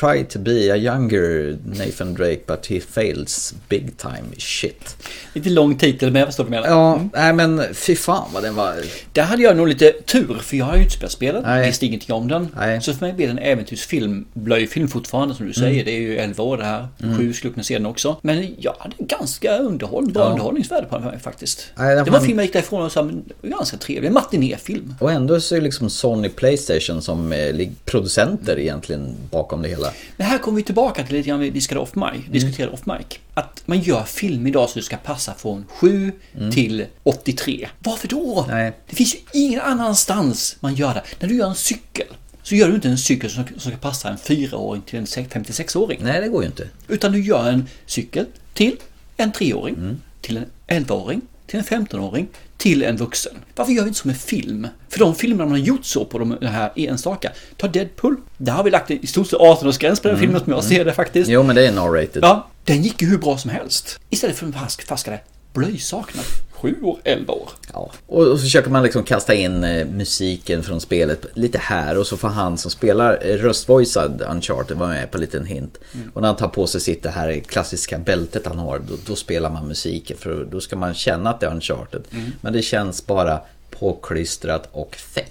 S1: Try to be a younger Nathan Drake but he fails big time shit.
S2: Lite lång titel, men jag förstår vad du menar.
S1: Ja, nej men fy fan vad den var...
S2: Där hade jag nog lite tur, för jag har ju inte spelat spelet,
S1: Nej.
S2: visste ingenting om den.
S1: Nej.
S2: Så för mig blir det en äventyrsfilm, blöjfilm fortfarande som du säger.
S1: Mm.
S2: Det är ju 11 år det här, sju skulle kunna se den också. Men jag hade ganska underhåll, bra underhållningsvärde på den för mig faktiskt.
S1: Nej, den
S2: det
S1: får
S2: var en
S1: man-
S2: film jag gick därifrån och sa, men det var ganska trevlig, en matinéfilm.
S1: Och ändå så är liksom Sony Playstation som eh, lig- producenter egentligen bakom det hela.
S2: Men här kommer vi tillbaka till lite grann vi diskuterade off mic, diskuterade off mic. Att man gör film idag så det ska passa från 7 till 83. Varför då?
S1: Nej.
S2: Det finns ju ingen annanstans man gör det. När du gör en cykel så gör du inte en cykel som, som ska passa en 4-åring till en 56-åring.
S1: Nej, det går ju inte.
S2: Utan du gör en cykel till en 3-åring,
S1: Mm.
S2: till en 11-åring, till en 15-åring, till en vuxen. Varför gör vi inte som en film? För de filmer man har gjort så på de här enstaka.
S1: Mm.
S2: Ta Deadpool. Där har vi lagt i stort sett 18-årsgräns på den filmen som jag ser det faktiskt.
S1: Jo, men det är narrated.
S2: Ja, Den gick ju hur bra som helst. Istället för en fast, flaska blöjsaknad. Sju år, elva år.
S1: Ja. Och, och så försöker man liksom kasta in eh, musiken från spelet lite här och så får han som spelar eh, röstvoicad Uncharted vara med på en liten hint. Och när han tar på sig sitt det här klassiska bältet han har då, då spelar man musiken för då ska man känna att det är Uncharted. Men det känns bara påklistrat och fake.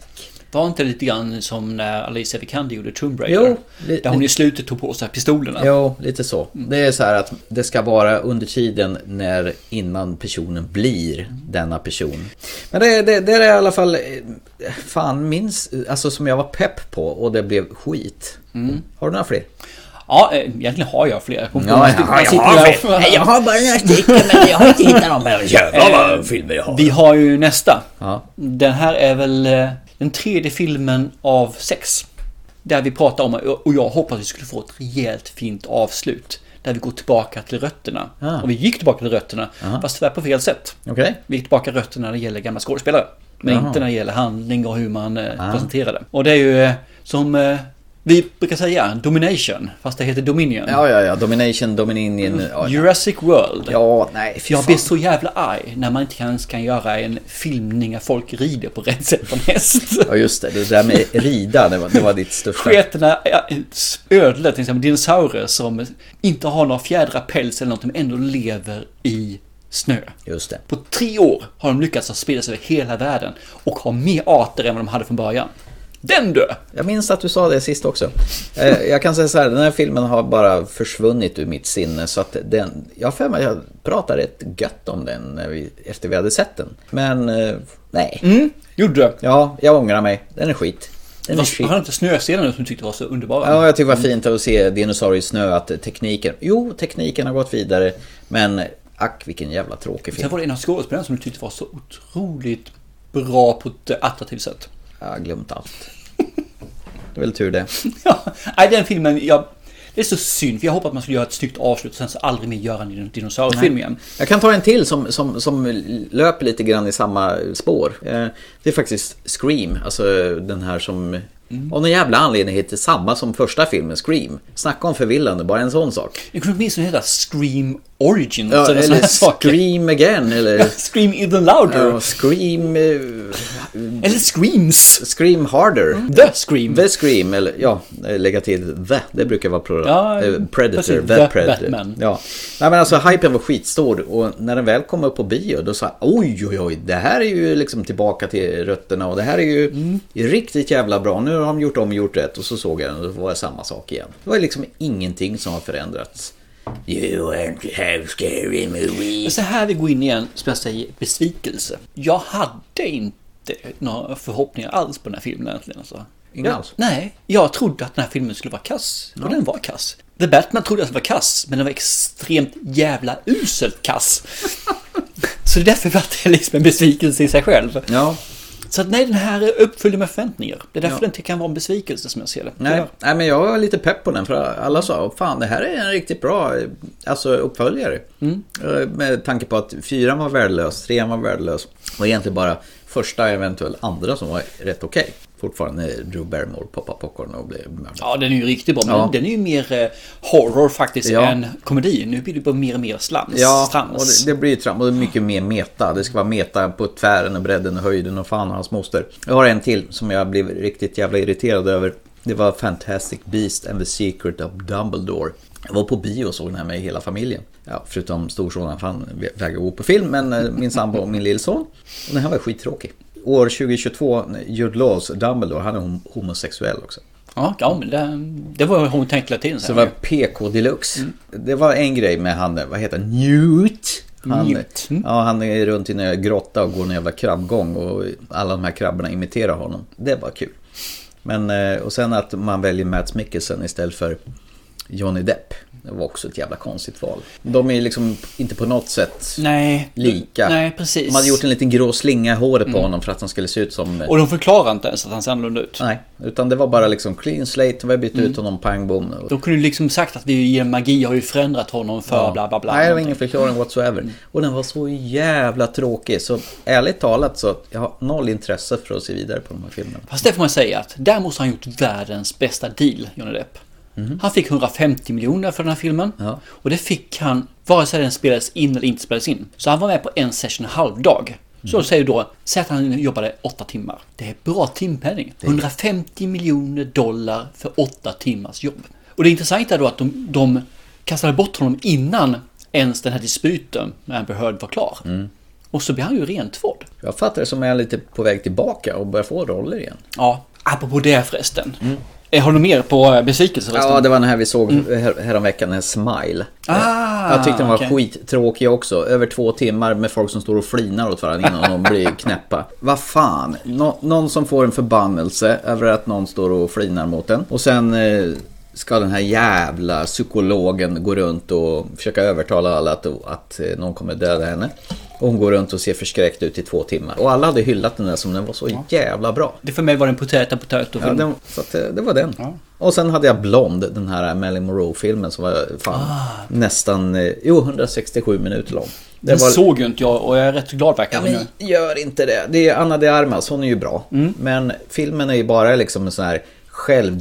S2: Var inte det lite grann som när Alicia Vikander gjorde Tomb
S1: Jo,
S2: Raider?
S1: li-
S2: där hon i slutet tog på sig pistolerna.
S1: Jo, lite så. Det är så här att det ska vara under tiden när innan personen blir denna person. Men det, det, det är i alla fall, eh, fan minns, alltså som jag var pepp på och det blev skit.
S2: Mm.
S1: Har du några fler?
S2: Ja, eh, egentligen har jag fler. Hon-
S1: Ja,
S2: hon-
S1: jag
S2: hon-
S1: har- jag
S2: sitter
S1: har
S2: där-
S1: fler. Nej, jag har bara några stycken men jag har inte hittat dem. Men Jävlar vad filmer jag har.
S2: Vi har ju nästa.
S1: Ja.
S2: Den här är väl eh, den tredje filmen av sex. Där vi pratar om, och jag hoppas vi skulle få ett rejält fint avslut. Där vi går tillbaka till rötterna.
S1: Ah.
S2: Och vi gick tillbaka till rötterna, fast tyvärr på fel sätt.
S1: Okej.
S2: Vi gick tillbaka till rötterna när det gäller gamla skådespelare. Men
S1: Jaha. Ah.
S2: inte när det gäller handling och hur man eh, presenterar det. Och det är ju eh, som eh, vi brukar säga, domination. Fast det heter dominion.
S1: Ja, ja, ja. Domination, Dominion. Ja, ja.
S2: Jurassic World.
S1: ja nej, fy
S2: Mm. Jag
S1: fan.
S2: blir så jävla arg när man inte ens kan göra en filmning när folk rider på rätt sätt på en häst.
S1: Ja, just det. Det där med rida, det var, det var ditt största.
S2: Sketna ja, ödlor, till exempel dinosaurer som inte har några fjädrar, päls eller något, men ändå lever i snö.
S1: Just det.
S2: På tre år har de lyckats att sprida sig över hela världen och har mer arter än vad de hade från början. Den du!
S1: Jag minns att du sa det sist också. Eh, Jag kan säga så här, den här filmen har bara försvunnit ur mitt sinne så att den... Jag har för mig att jag pratade rätt gött om den när vi, efter vi hade sett den. Men eh, nej.
S2: Mm, gjorde du?
S1: Ja, jag ångrar mig. Den är skit. Den är
S2: Fast
S1: skit.
S2: Har du inte snöscenen som du tyckte var så underbara?
S1: Ja, jag tycker det var fint att se dinosaurier i snö, att tekniken... Jo, tekniken har gått vidare, men ack vilken jävla tråkig
S2: Sen
S1: film.
S2: var det en av skådespelarna som du tyckte var så otroligt bra på ett attraktivt sätt.
S1: Jag har glömt allt. Det är väl tur det.
S2: Ja, nej, den filmen, jag, det är så synd. För jag hoppade att man skulle göra ett snyggt avslut och sen så aldrig mer göra en dinosauriefilm igen.
S1: Jag kan ta en till som, som, som löper lite grann i samma spår. Eh, Det är faktiskt Scream, alltså den här som av någon jävla anledning heter samma som första filmen, Scream. Snacka om förvillande, bara en sån sak.
S2: Det kunde åtminstone heta Scream Origins
S1: Ja,
S2: eller såna
S1: eller
S2: här saker.
S1: Scream again, eller
S2: Scream Even Louder.
S1: ja, Scream... eh,
S2: Eller Screams.
S1: Scream harder.
S2: The Scream.
S1: The Scream, eller ja, eh, lägga till The, det brukar vara pro-
S2: Ja,
S1: eh, Predator,
S2: precis,
S1: The,
S2: The
S1: Predator.
S2: Batman.
S1: Ja. Nej men alltså hypen var skitstor och när den väl kom upp på bio då sa jag oj oj oj, det här är ju liksom tillbaka till rötterna och det här är ju
S2: Mm.
S1: riktigt jävla bra, nu har de gjort om och gjort rätt och så såg jag den och då var det samma sak igen. Det var liksom ingenting som har förändrats. You won't have scary
S2: Det är
S1: movies.
S2: så här vi går in i en, som jag säger, besvikelse. Jag hade inte några förhoppningar alls på den här filmen egentligen. Alltså.
S1: Inga
S2: jag,
S1: alls?
S2: Nej, jag trodde att den här filmen skulle vara kass. Och den var kass. The Batman trodde jag skulle vara kass, men den var extremt jävla uselt kass. så det är därför vart det liksom en besvikelse i sig själv.
S1: Ja,
S2: Så att nej, den här uppfyller med förväntningar. Det är därför
S1: Ja.
S2: den inte kan vara en besvikelse som jag ser det.
S1: Nej,
S2: Tyvärr.
S1: nej, men jag var lite pepp på den för alla sa fan det här är en riktigt bra eh, alltså, uppföljare. Eh, Med tanke på att fyran var värdelös, trean var värdelös och egentligen bara första eventuellt andra som var rätt okej. Fortfarande Drew Barrymore poppar popcorn och blir mördad.
S2: Ja, den är ju riktigt bra, men
S1: Ja.
S2: den är ju mer eh, horror faktiskt
S1: Ja.
S2: än komedi. Nu blir det bara mer och mer slams.
S1: Ja,
S2: trams.
S1: och det, det blir ju trams. Och det är mycket mer meta. Det ska vara meta på tvären och bredden och höjden och fan och hans moster. Jag har en till som jag blev riktigt jävla irriterad över. Det var Fantastic Beast and the Secret of Dumbledore. Jag var på bio och såg den här med hela familjen. Ja, förutom storsonen, för han vä- vägrar gå på film. Men eh, min sambo och min lillson. Och den här var skittråkig. År 2022, Jude Laws Dumbledore, han är hom- homosexuell också.
S2: Ja, ja men det, det var hon tänkte hela tiden.
S1: Så det var PK deluxe. Det var en grej med han, vad heter han, Newt? Han,
S2: Newt. Mm.
S1: Ja, han är runt i en grotta och går en jävla krabbgång och alla de här krabborna imiterar honom. Det var kul. Men, eh, och sen att man väljer Mats Mikkelsen istället för Johnny Depp. Det var också ett jävla konstigt val. De är liksom inte på något sätt
S2: Nej.
S1: lika.
S2: Nej, precis.
S1: De hade gjort en liten grå slinga i håret på honom för att han skulle se ut som...
S2: Mm. Och de förklarar inte ens att han ser annorlunda ut.
S1: Nej, utan det var bara liksom clean slate, vi har bytt ut honom, pang bom. Och-
S2: Mm. De kunde ju liksom sagt att vi genom magi har ju förändrat honom för
S1: Ja.
S2: bla bla bla.
S1: Nej, det var ingen förklaring whatsoever. Och den var så jävla tråkig. Så ärligt talat så jag har noll intresse för att se vidare på de här filmerna.
S2: Fast det får man säga att där måste han gjort världens bästa deal, Johnny Depp. Han fick 150 miljoner för den här filmen.
S1: Ja.
S2: Och det fick han vare sig den spelades in eller inte spelades in. Så han var med på en session halvdag. Så säger då, säg att han jobbade 8 timmar. Det är bra timpenning. 150 miljoner dollar för 8 timmars jobb. Och det intressanta är då att de, de kastade bort honom innan ens den här disputen med Amber Heard var klar. Och så blir han ju rentvådd.
S1: Jag fattar det som att jag är lite på väg tillbaka och börjar få roller igen.
S2: Ja, apropå det förresten. Eh, Har du mer på eh, besvikelse förresten?
S1: Mm. Ja, det var den här vi såg här, häromveckan, en smile.
S2: Mm. Ah,
S1: jag tyckte den var
S2: okej.
S1: skittråkig också. Över två timmar med folk som står och flinar åt varandra innan de blir knäppa. Vad fan, Nå- någon som får en förbannelse över att någon står och flinar mot en. Och sen eh, ska den här jävla psykologen gå runt och försöka övertala alla att, att eh, någon kommer döda henne. Och hon går runt och ser förskräckt ut i två timmar. Och alla hade hyllat den där som den var så jävla bra.
S2: Det för mig var det en potäta potäta
S1: Ja,
S2: film.
S1: den, så att, eh, det var den. Och sen hade jag Blond, den här Marilyn Monroe-filmen som var fan, nästan eh, jo, 167 minuter lång. Det
S2: Den
S1: var,
S2: såg ju inte jag och jag är rätt glad
S1: ja,
S2: verkligen nu.
S1: men gör inte det. Det är Anna de Armas, hon är ju bra. Men filmen är ju bara liksom en sån här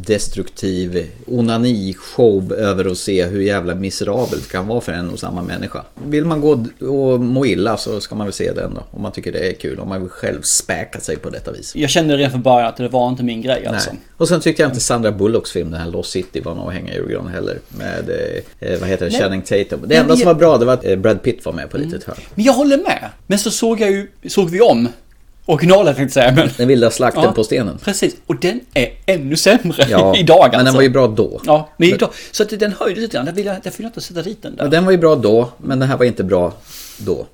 S1: självdestruktiv onanishow över att se hur jävla miserabelt det kan vara för en och samma människa. Vill man gå d- och må illa så ska man väl se den då. Om man tycker det är kul. Om man vill själv späka sig på detta vis.
S2: Jag kände redan från början att det var inte min grej alltså.
S1: Nej. Liksom. Och sen tyckte jag inte Sandra Bullocks film, den här Lost City, var någon att hänga i julgran heller. Med, eh, vad heter det, Channing Tatum. Det enda
S2: men
S1: som var
S2: jag-
S1: bra det var att eh, Brad Pitt var med
S2: Mm.
S1: på ett litet hörn.
S2: Men jag håller med. Men så såg jag ju, såg vi om originalet tänkte jag säga. Men,
S1: Den vilda slakten
S2: Ja.
S1: på stenen.
S2: precis, och den är ännu sämre idag alltså.
S1: men den var ju bra då.
S2: Ja, men idag. Så att den höjdes lite grann. Där vill jag, därför vill jag inte sätta dit den där.
S1: Ja, Den var ju bra då, men den här var inte bra då.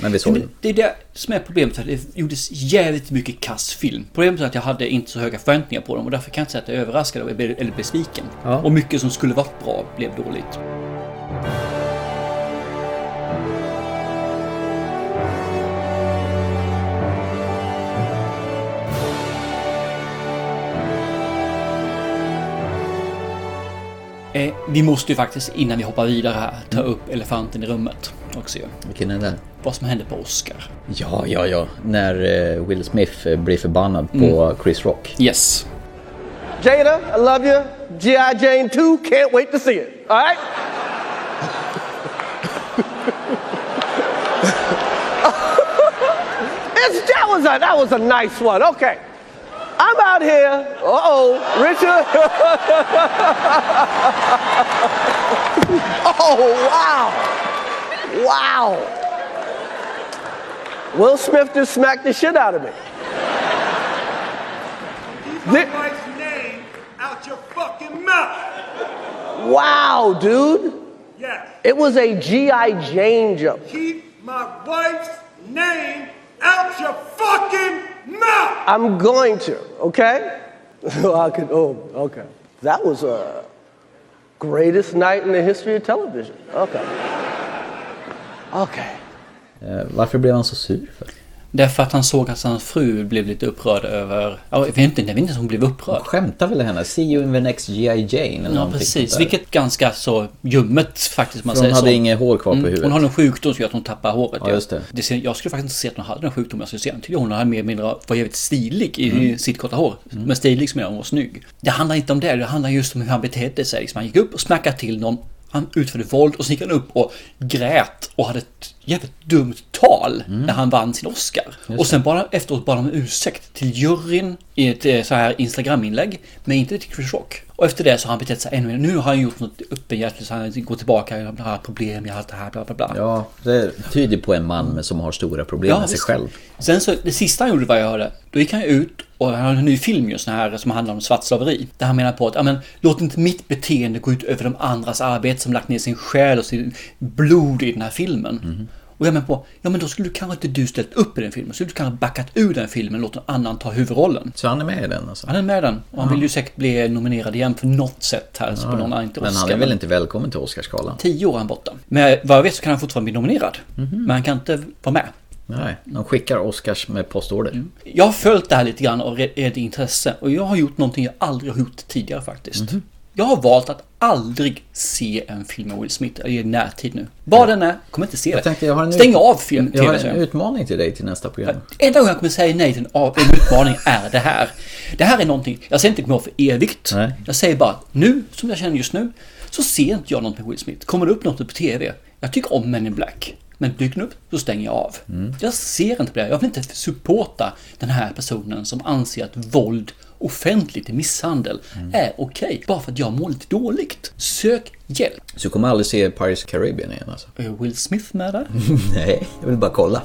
S1: Men vi såg
S2: Mm. Men
S1: den.
S2: det är det som är problemet. För det gjordes jävligt mycket kass film. Problemet är att jag hade inte så höga förväntningar på dem och därför kan jag inte säga att jag är överraskad och- eller besviken.
S1: Ja.
S2: Och mycket som skulle varit bra blev dåligt. Eh, Vi måste ju faktiskt innan vi hoppar vidare här ta upp elefanten i rummet också ju.
S1: Vilken är den?
S2: Vad som hände på Oscar.
S1: Ja, ja, ja. När eh, Will Smith eh, blir förbannad
S2: Mm.
S1: på Chris Rock.
S2: Yes.
S4: Jada, I love you. G.I. Jane 2, can't wait to see it. All right? it's, that, was a, that was a nice one. Okay. I'm out here. Uh oh, Richard. oh, wow. Wow. Will Smith just smacked the shit out of me. Thi-
S5: wife's name out your fucking mouth.
S4: Wow, dude.
S5: Yes.
S4: It was a G.I. Jane jump.
S5: Keep my wife's name out your fucking mouth.
S4: I'm going to, okay? Oh, I could, oh, okay. That was a greatest night in the history of television. Okay. Okay.
S1: Eh, varför blev han så sur för?
S2: Därför att han såg att hans fru blev lite upprörd över... Ja, jag vet inte, jag vet inte ens om hon blev upprörd.
S1: Skämtar väl henne? See you in the next G.I. Jane eller
S2: Ja,
S1: någonting sånt
S2: precis.
S1: där.
S2: Vilket ganska så ljummet faktiskt, om man
S1: För
S2: säger
S1: hon hade
S2: så. Mm.
S1: inget hår kvar på huvudet.
S2: Hon har en sjukdom som gör att hon tappar håret.
S1: Ja, just det.
S2: ser, jag skulle faktiskt inte se att hon hade den sjukdomen. Jag skulle se att hon hade mer eller mindre var jävligt stilig i sitt korta hår. Men stilig som jag, hon var snygg. Det handlar inte om det. Det handlar just om hur han betedde sig. Liksom, han gick upp och smackade till någon. Han utförde våld och sen gick han upp och grät och hade ett jävligt dumt tal när han vann sin Oscar. Och sen bara efteråt bad han om ursäkt till juryn i ett eh, så här Instagram-inlägg. Men inte till Chris Rock. Och efter det så har han betett sig ännu mer. Nu har han gjort något öppenhjärtligt så han går tillbaka. Jag har problem, jag har allt det här, bla bla bla.
S1: Ja, det tyder på en man med- som har stora problem med sig
S2: visst.
S1: själv.
S2: Sen så, det sista han gjorde var jag hörde, då gick han ju ut och han har en ny film just nu här som handlar om svartslaveri. Där han menar på att, ja men låt inte mitt beteende gå ut över de andras arbete som lagt ner sin själ och sin blod i den här filmen.
S1: Mhm.
S2: Och jag menar på, ja men då skulle du kanske inte du ställt upp i den filmen, så skulle du kanske backat ur den filmen och låtit någon annan ta huvudrollen.
S1: Så han är med i den alltså?
S2: Han är med i den och han vill ju säkert bli nominerad igen på något sätt här, så på någon annan, inte
S1: Men han
S2: Oscar,
S1: är väl inte välkommen till Oscarsgalan?
S2: Tio år är han borta. Men vad jag vet så kan han fortfarande bli nominerad.
S1: Mhm.
S2: Men han kan inte vara med.
S1: Nej, de skickar Oscars med postorder.
S2: Jag
S1: Mhm.
S2: har följt det här lite grann av red intresse och jag har gjort någonting jag aldrig har gjort tidigare faktiskt. Jag har valt att aldrig se en film med Will Smith i närtid nu. Vad den är, kommer inte se
S1: Jag tänkte, jag har
S2: det.
S1: en
S2: Stäng
S1: ut-
S2: av film,
S1: Jag har
S2: tv
S1: en
S2: serien
S1: utmaning till dig till nästa program.
S2: Enda gången jag kommer säga nej till en, av, en utmaning är det här. Det här är någonting, jag säger inte kommer för evigt.
S1: Nej.
S2: Jag säger bara att nu, som jag känner just nu, så ser inte jag något med Will Smith. Kommer det upp något på TV, jag tycker om Men in Black. Men dyker den upp, så stänger jag av. Jag ser inte på det. Jag vill inte supporta den här personen som anser att våld offentligt i misshandel är okej. bara för att jag mår lite dåligt. Sök hjälp.
S1: Så du kommer aldrig se Paris Caribbean igen alltså?
S2: Är Will Smith med där?
S1: Nej, jag vill bara kolla.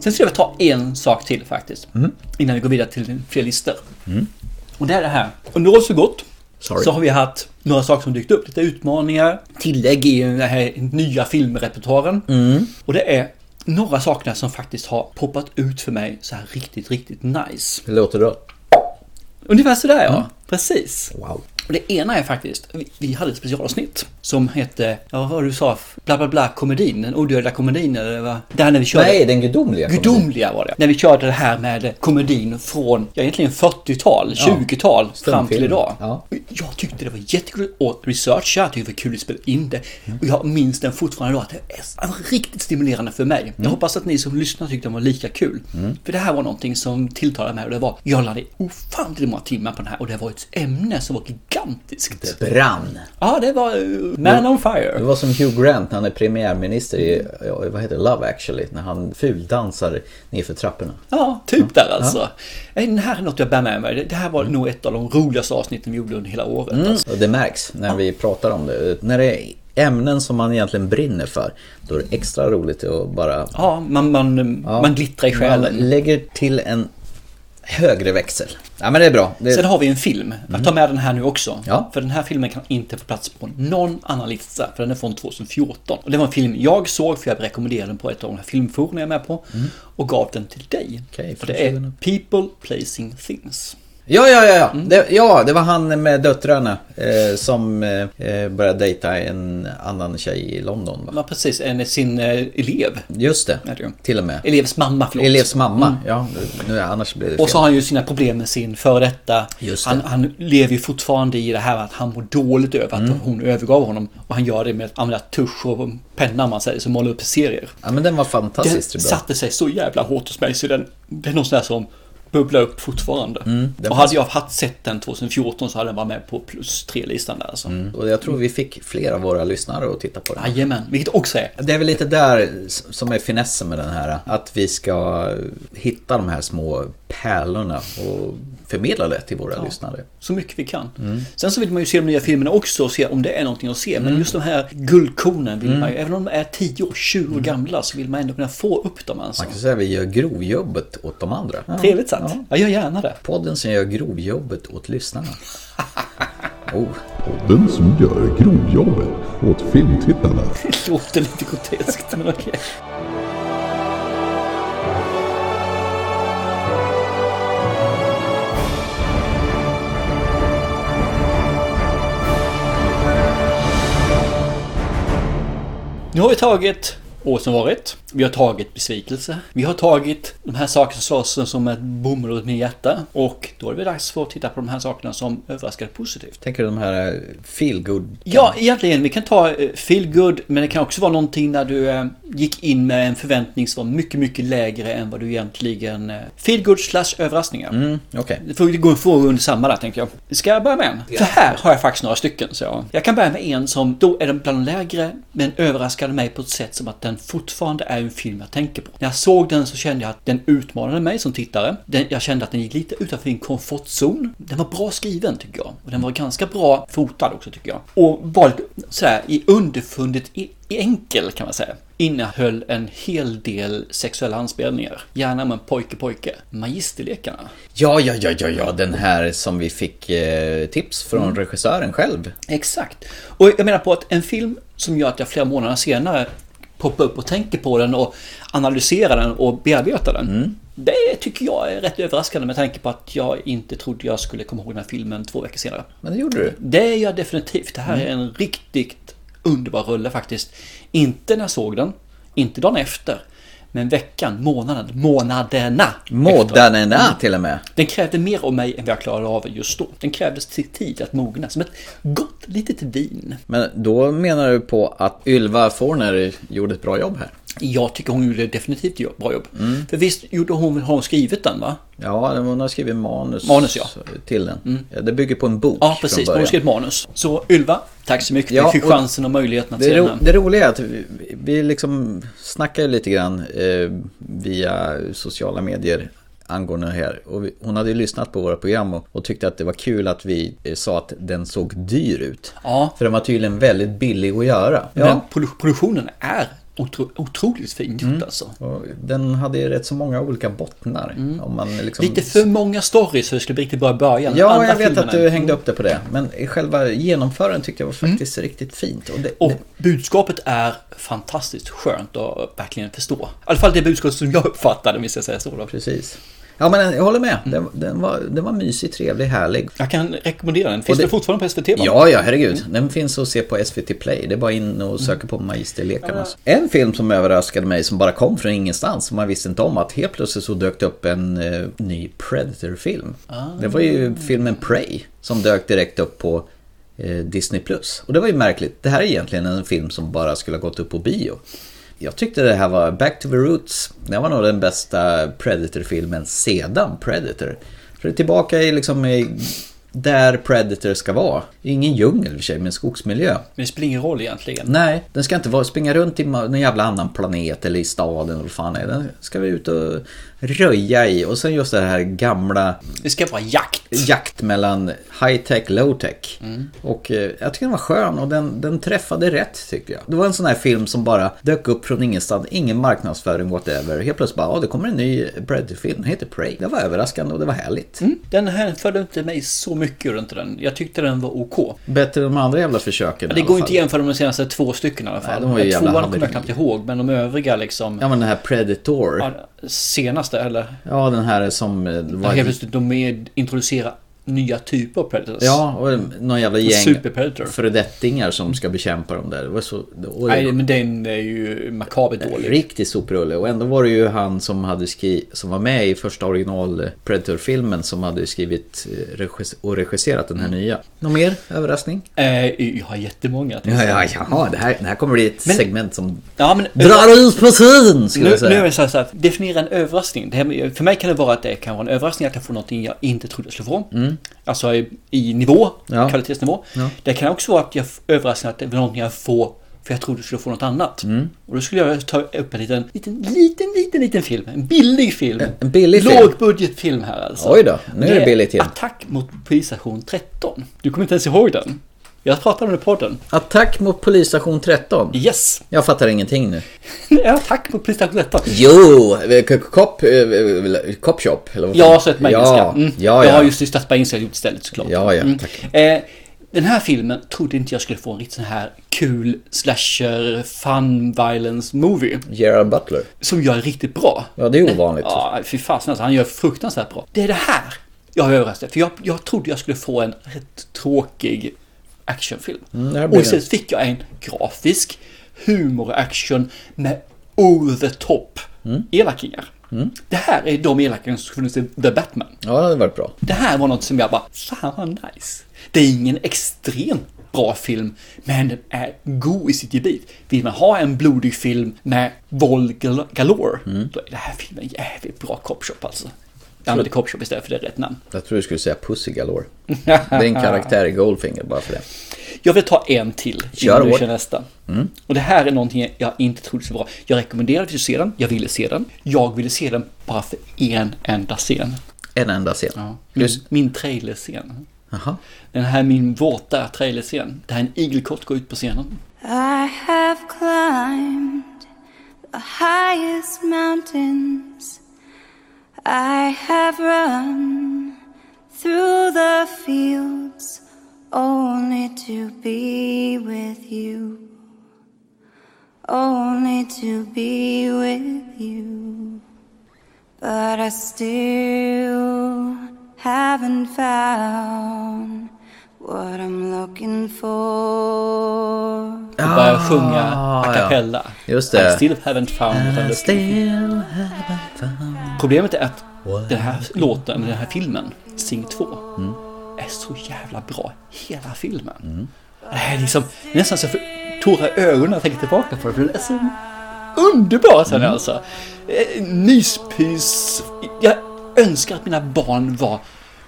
S2: Sen skulle jag ta en sak till faktiskt.
S1: Mm.
S2: Innan vi går vidare till fler listor. Och det är det här. Under året så gått
S1: Sorry.
S2: så har vi haft några saker som dykt upp. Lite utmaningar, tillägg i den här nya filmrepertoaren.
S1: Mm.
S2: Och det är några saker som faktiskt har poppat ut för mig så här riktigt, riktigt nice.
S1: Hur låter det då?
S2: Ungefär sådär ja. Precis.
S1: Mm. Wow.
S2: Och det ena är faktiskt, vi, vi hade ett specialavsnitt som hette, ja vad var det du sa, bla bla bla komedin, den odödliga komedin eller vad? Där när vi körde...
S1: Nej, den gudomliga. kommer dit.
S2: Gudomliga var det. När vi körde det här med komedin från, ja egentligen 40-tal, 20-tal fram till
S1: Stumfilm.
S2: idag.
S1: Ja.
S2: Jag tyckte det var jättekul att researcha, jag tyckte det var kul att spela in det. Och jag minns den fortfarande idag, att det är riktigt stimulerande för mig. Jag hoppas att ni som lyssnar tyckte den var lika kul. För det här var någonting som tilltalade mig och det var, jag lade ofantligt många timmar på den här och det var ett ämne som var gigantiskt.
S1: Det brann.
S2: Ja, det var eh, Man on Fire.
S1: Det var som Hugh Grant när han är premiärminister i, ja, vad heter det, Love actually, när han fuldansar nerför trapporna.
S2: Ja, typ där alltså. Nej, Det här är något jag bär med mig. Det- Det här var
S1: Mm.
S2: nog ett av de roligaste avsnitten vi gjorde under hela året. Alltså.
S1: Och det märks när vi pratar om det. När det är ämnen som man egentligen brinner för, då är det extra roligt att bara...
S2: Ja, man, man, man glittrar i själen.
S1: Man lägger till en högre växel. Ja men det är bra. Det
S2: Sen har vi en film. Jag tar med den här nu också.
S1: Mm. Ja.
S2: För den här filmen kan inte få plats på någon annan lista. För den är från 2014. Och det var en film jag såg för jag rekommenderade den på ett av de här filmforum jag är med på. Och gav den till dig.
S1: Mm. Okej,
S2: för
S1: får
S2: det
S1: se
S2: är
S1: den.
S2: People Placing Things.
S1: Ja, ja, ja, ja.
S2: Mm.
S1: Det, ja, det var han med döttrarna eh, som eh, eh, började dejta en annan tjej i London. Va?
S2: Ja, precis. En, sin eh, elev.
S1: Just det,
S2: Ja, det är.
S1: till och med.
S2: Elevs mamma, förlåt.
S1: Elevs mamma. Ja, nu, annars blir det fel.
S2: Mm. Och så har han ju sina problem med sin före detta.
S1: Just det.
S2: Han, han lever ju fortfarande i det här att han mår dåligt över
S1: Mm.
S2: att hon övergav honom. Och han gör det med att använda tusch och penna, om man säger, som målar upp serier.
S1: Ja, men den var
S2: Den
S1: fantastiskt bra.
S2: satte sig så jävla hårt hos mig så den, det är någon sån här som bubblar upp fortfarande.
S1: Mm, den
S2: och
S1: fanns-
S2: hade jag haft sett den 2014 så hade den varit med på plus tre-listan där alltså.
S1: Och jag tror vi fick flera av våra lyssnare att titta på den.
S2: Jajamän, vilket också är
S1: Det är väl lite där s- som är finessen med den här. Att vi ska hitta de här små pärlorna och förmedla det till våra lyssnare.
S2: så mycket vi kan. Sen så vill man ju se de nya filmerna också och se om det är någonting att se. Men just de här guldkornen vill man ju, även om de är 10 år, 20 år gamla så vill man ändå kunna få upp dem alltså.
S1: Man kan säga att vi gör grovjobbet åt de andra. Ja.
S2: Trevligt sagt.
S1: Ja.
S2: Jag gör gärna det.
S1: Podden som gör grovjobbet åt lyssnarna. Oh.
S6: Den som gör grovjobbet åt filmtittarna.
S2: Det låter lite groteskt men okej. Nu har vi tagit år som varit. Vi har tagit besvikelse. Vi har tagit de här sakerna som slåss som ett bomull i mitt hjärta. Och då är det dags för att titta på de här sakerna som överraskar positivt.
S1: Tänker du de här eh, feel good
S2: Ja, egentligen. Vi kan ta eh, feel good, men det kan också vara någonting när du eh, gick in med en förväntning som var mycket, mycket lägre än vad du egentligen... eh, Feel good slash överraskningar.
S1: Mm, Okej.
S2: Det får gå frågor under samma där, tänker jag. Ska jag börja med en? För här har jag faktiskt några stycken, så jag. Jag kan börja med en som, då är den bland de lägre, men överraskade mig på ett sätt som att den fortfarande är en film jag tänker på. När jag såg den så kände jag att den utmanade mig som tittare. Den, jag kände att den gick lite utanför min komfortzon. Den var bra skriven, tycker jag. Och den var ganska bra fotad också, tycker jag. Och var lite sådär i underfundet i, i enkel kan man säga innehöll en hel del sexuella anspelningar. Gärna med pojke-pojke. Magisterlekarna.
S1: Ja, ja, ja, ja, ja, den här som vi fick eh, tips från
S2: Mm.
S1: regissören själv.
S2: Exakt. Och jag menar på att en film som gör att jag flera månader senare poppar upp och tänker på den och analyserar den och bearbetar den. Det tycker jag är rätt överraskande med tanke på att jag inte trodde jag skulle komma ihåg den här filmen två veckor senare.
S1: Men det gjorde du.
S2: Det är jag definitivt. Det här är en riktigt underbar rulle faktiskt. Inte när jag såg den, inte dagen efter, men veckan, månaden, månaderna. efter.
S1: Mådanerna till och med.
S2: Den krävde mer av mig än vad jag klarade av just då. Den krävdes till tid att mogna, som ett gott litet vin.
S1: Men då menar du på att Ylva Forner gjorde ett bra jobb här?
S2: Jag tycker hon gjorde definitivt jo- bra jobb.
S1: Mm.
S2: För visst gjorde hon, har hon skrivit den va?
S1: Ja, hon har skrivit manus,
S2: Manus, ja.
S1: till den. Ja, Det bygger på en bok
S2: Ja,
S1: från
S2: precis. Hon
S1: början.
S2: har skrivit manus. Så Ylva, tack så mycket.
S1: Ja,
S2: vi fick
S1: och-
S2: chansen och möjligheten att
S1: Det,
S2: se
S1: ro,
S2: den.
S1: det roliga är att vi, vi liksom snackar lite grann eh, via sociala medier angående det här. Och vi, hon hade ju lyssnat på våra program och, och tyckte att det var kul att vi eh, sa att den såg dyr ut.
S2: Ja.
S1: För den var tydligen väldigt billig att göra.
S2: Men
S1: Ja.
S2: produ- produktionen är otro, otroligt fint gjort
S1: Mm.
S2: alltså.
S1: Och den hade ju rätt så många olika bottnar. Om man liksom...
S2: Lite för många stories för det skulle bli riktigt bra i början.
S1: Ja,
S2: Andra
S1: jag vet
S2: filmerna- Mm.
S1: att du hängde upp det på det. Men själva genomförandet tyckte jag var faktiskt riktigt fint. Och det,
S2: Och budskapet är fantastiskt skönt att verkligen förstå. I alla fall det budskap som jag uppfattade, om vi ska säga så. Då.
S1: Precis. Ja, men jag håller med.
S2: Mm.
S1: Den, den, var, den var mysig, trevlig, härlig.
S2: Jag kan rekommendera den. Finns
S1: Och det-
S2: det, fortfarande på SVT? va?
S1: Ja, ja, herregud. Den finns att se på SVT Play. Det är bara in och söka på Magisterlekarna. En film som överraskade mig, som bara kom från ingenstans, som man visste inte om, att helt plötsligt så dök det upp en eh, ny Predator-film. Det var ju filmen Prey, som dök direkt upp på eh, Disney+. Plus. Och det var ju märkligt. Det här är egentligen en film som bara skulle ha gått upp på bio. Jag tyckte det här var Back to the Roots. Det var nog den bästa Predator-filmen sedan Predator. För det är tillbaka i liksom i där Predator ska vara. Ingen djungel i och för sig, men skogsmiljö.
S2: Men det spelar ingen roll egentligen.
S1: Nej, den ska inte vara, springa runt i ma- någon jävla annan planet eller i staden eller vad fan är. Den ska vi ut och röja i. Och sen just det här gamla
S2: Det ska vara jakt.
S1: jakt mellan high-tech, low-tech.
S2: Mm.
S1: Och eh, jag tycker den var skön och den, den träffade rätt tycker jag. Det var en sån här film som bara dök upp från ingenstans, ingen marknadsföring whatever. Helt plötsligt bara, ja det kommer en ny Predator-film, den heter Prey. Det var överraskande och det var härligt.
S2: Mm. Den här följde inte mig så mycket runt den. Jag tyckte den var OK.
S1: Bättre än de andra jävla försöken i
S2: Det
S1: alla
S2: går
S1: fall.
S2: inte att jämföra med de senaste två stycken i alla fall.
S1: de var ju jävla
S2: Tvåan kommer
S1: haveri.
S2: jag knappt ihåg, men de övriga liksom.
S1: Ja men den här Predator.
S2: Ja, senaste eller?
S1: Ja, den här som... eh, Var...
S2: Helt plötsligt, de är- introducerar nya typer av predators.
S1: Ja, och någon jävla gäng
S2: Super Predator.
S1: föredettingar som ska bekämpa dem där. Det var så... Och det...
S2: Nej, men den är ju makabert dålig.
S1: Riktig soprulle. Och ändå var det ju han som, hade skri... som var med i första original eh, Predator-filmen som hade skrivit eh, regis- och regisserat den här
S2: Mm.
S1: nya. Någon mer överraskning?
S2: Eh, jag har jättemånga.
S1: Ja, ja, jaha, det här, det här kommer bli ett
S2: Men-
S1: segment som
S2: ja men...
S1: drar ut på tiden skulle
S2: Nu,
S1: jag
S2: nu är
S1: säga.
S2: det så här, så här, definiera en överraskning. Det här, för mig kan det vara att det kan vara en överraskning, jag kan få någonting jag inte trodde jag skulle få. Alltså i, i nivå,
S1: Mm. Ja.
S2: kvalitetsnivå. Det kan också vara att jag f- överraskning att det var någonting jag får för jag trodde jag skulle få något annat.
S1: Mm.
S2: Och då skulle jag ta upp en liten, liten, liten, liten, liten film. En billig film.
S1: en billig film.
S2: Lågbudgetfilm här alltså.
S1: Oj då, nu är det billigt till.
S2: Attack mot polisstation 13. Du kommer inte ens ihåg den. Jag pratade om den i podden.
S1: Attack mot polisstation 13.
S2: Yes!
S1: Jag fattar ingenting nu.
S2: Attack mot polisstation 13.
S1: Jo, eh, k- cop, eh, cop shop eller vad fan?
S2: Jag har sett med engelska.
S1: Ja,
S2: Mm.
S1: ja,
S2: Jag har
S1: ja.
S2: just lyssnat på engelska gjort istället såklart.
S1: Ja, ja,
S2: Mm.
S1: tack.
S2: Eh, den här filmen trodde inte jag skulle få en riktigt sån här kul slasher fun violence movie.
S1: Gerard Butler.
S2: Som gör riktigt bra.
S1: Ja, det är ovanligt.
S2: Ja, fy fasen alltså. Han gör fruktansvärt bra. Det är det här jag är överraskad. För jag, jag trodde jag skulle få en rätt tråkig actionfilm.
S1: Mm, det här blir
S2: och istället fick jag en grafisk humoraction med over the top
S1: Mm.
S2: elakingar. Det här är de elakingar som funnits i The Batman.
S1: Ja, det hade varit bra.
S2: Det här var något som jag bara, fan vad nice. Det är ingen extremt bra film, men den är god i sitt gebit. Vill man ha en blodig film med våld gal- galore,
S1: Mm.
S2: då är det här filmen jävligt bra copshop alltså. Jag använder copshop istället för det är rätt namn.
S1: Jag tror du skulle säga Pussy Galore. Det är en karaktär i Goldfinger bara för det.
S2: Jag vill ta en till
S1: Kör
S2: innan du
S1: hårt. Mm.
S2: kör nästa. Och det här är någonting jag inte trodde skulle vara. Jag rekommenderar att du ser den, jag ville se den. Jag ville se den bara för en enda scen.
S1: En enda scen.
S2: Min, min trailerscen.
S1: Jaha.
S2: Den här min våta trailerscen, där en igelkott går ut på scenen.
S7: I have climbed the highest mountains. I have run through the fields only to be with you. Only to be with you. But I still haven't found what I'm looking for.
S2: Och börjar sjunga a cappella.
S1: Just Ah, det.
S2: I still haven't found what I'm looking for.
S1: Still.
S2: Problemet är att den här låten, den här filmen, Sing 2, är så jävla bra hela filmen. Det här är liksom det är nästan så jag får tårar i ögonen när jag tänker tillbaka på det, för den är så underbar sen alltså. Eh, Myspys. Jag önskar att mina barn var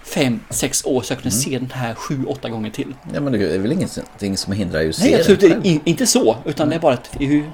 S2: fem, sex år så jag kunde se den här sju, åtta gånger till.
S1: Ja, men det är väl ingenting som hindrar ju att se
S2: Nej, absolut
S1: den själv. Mm.
S2: in, inte så, utan det är bara att i hur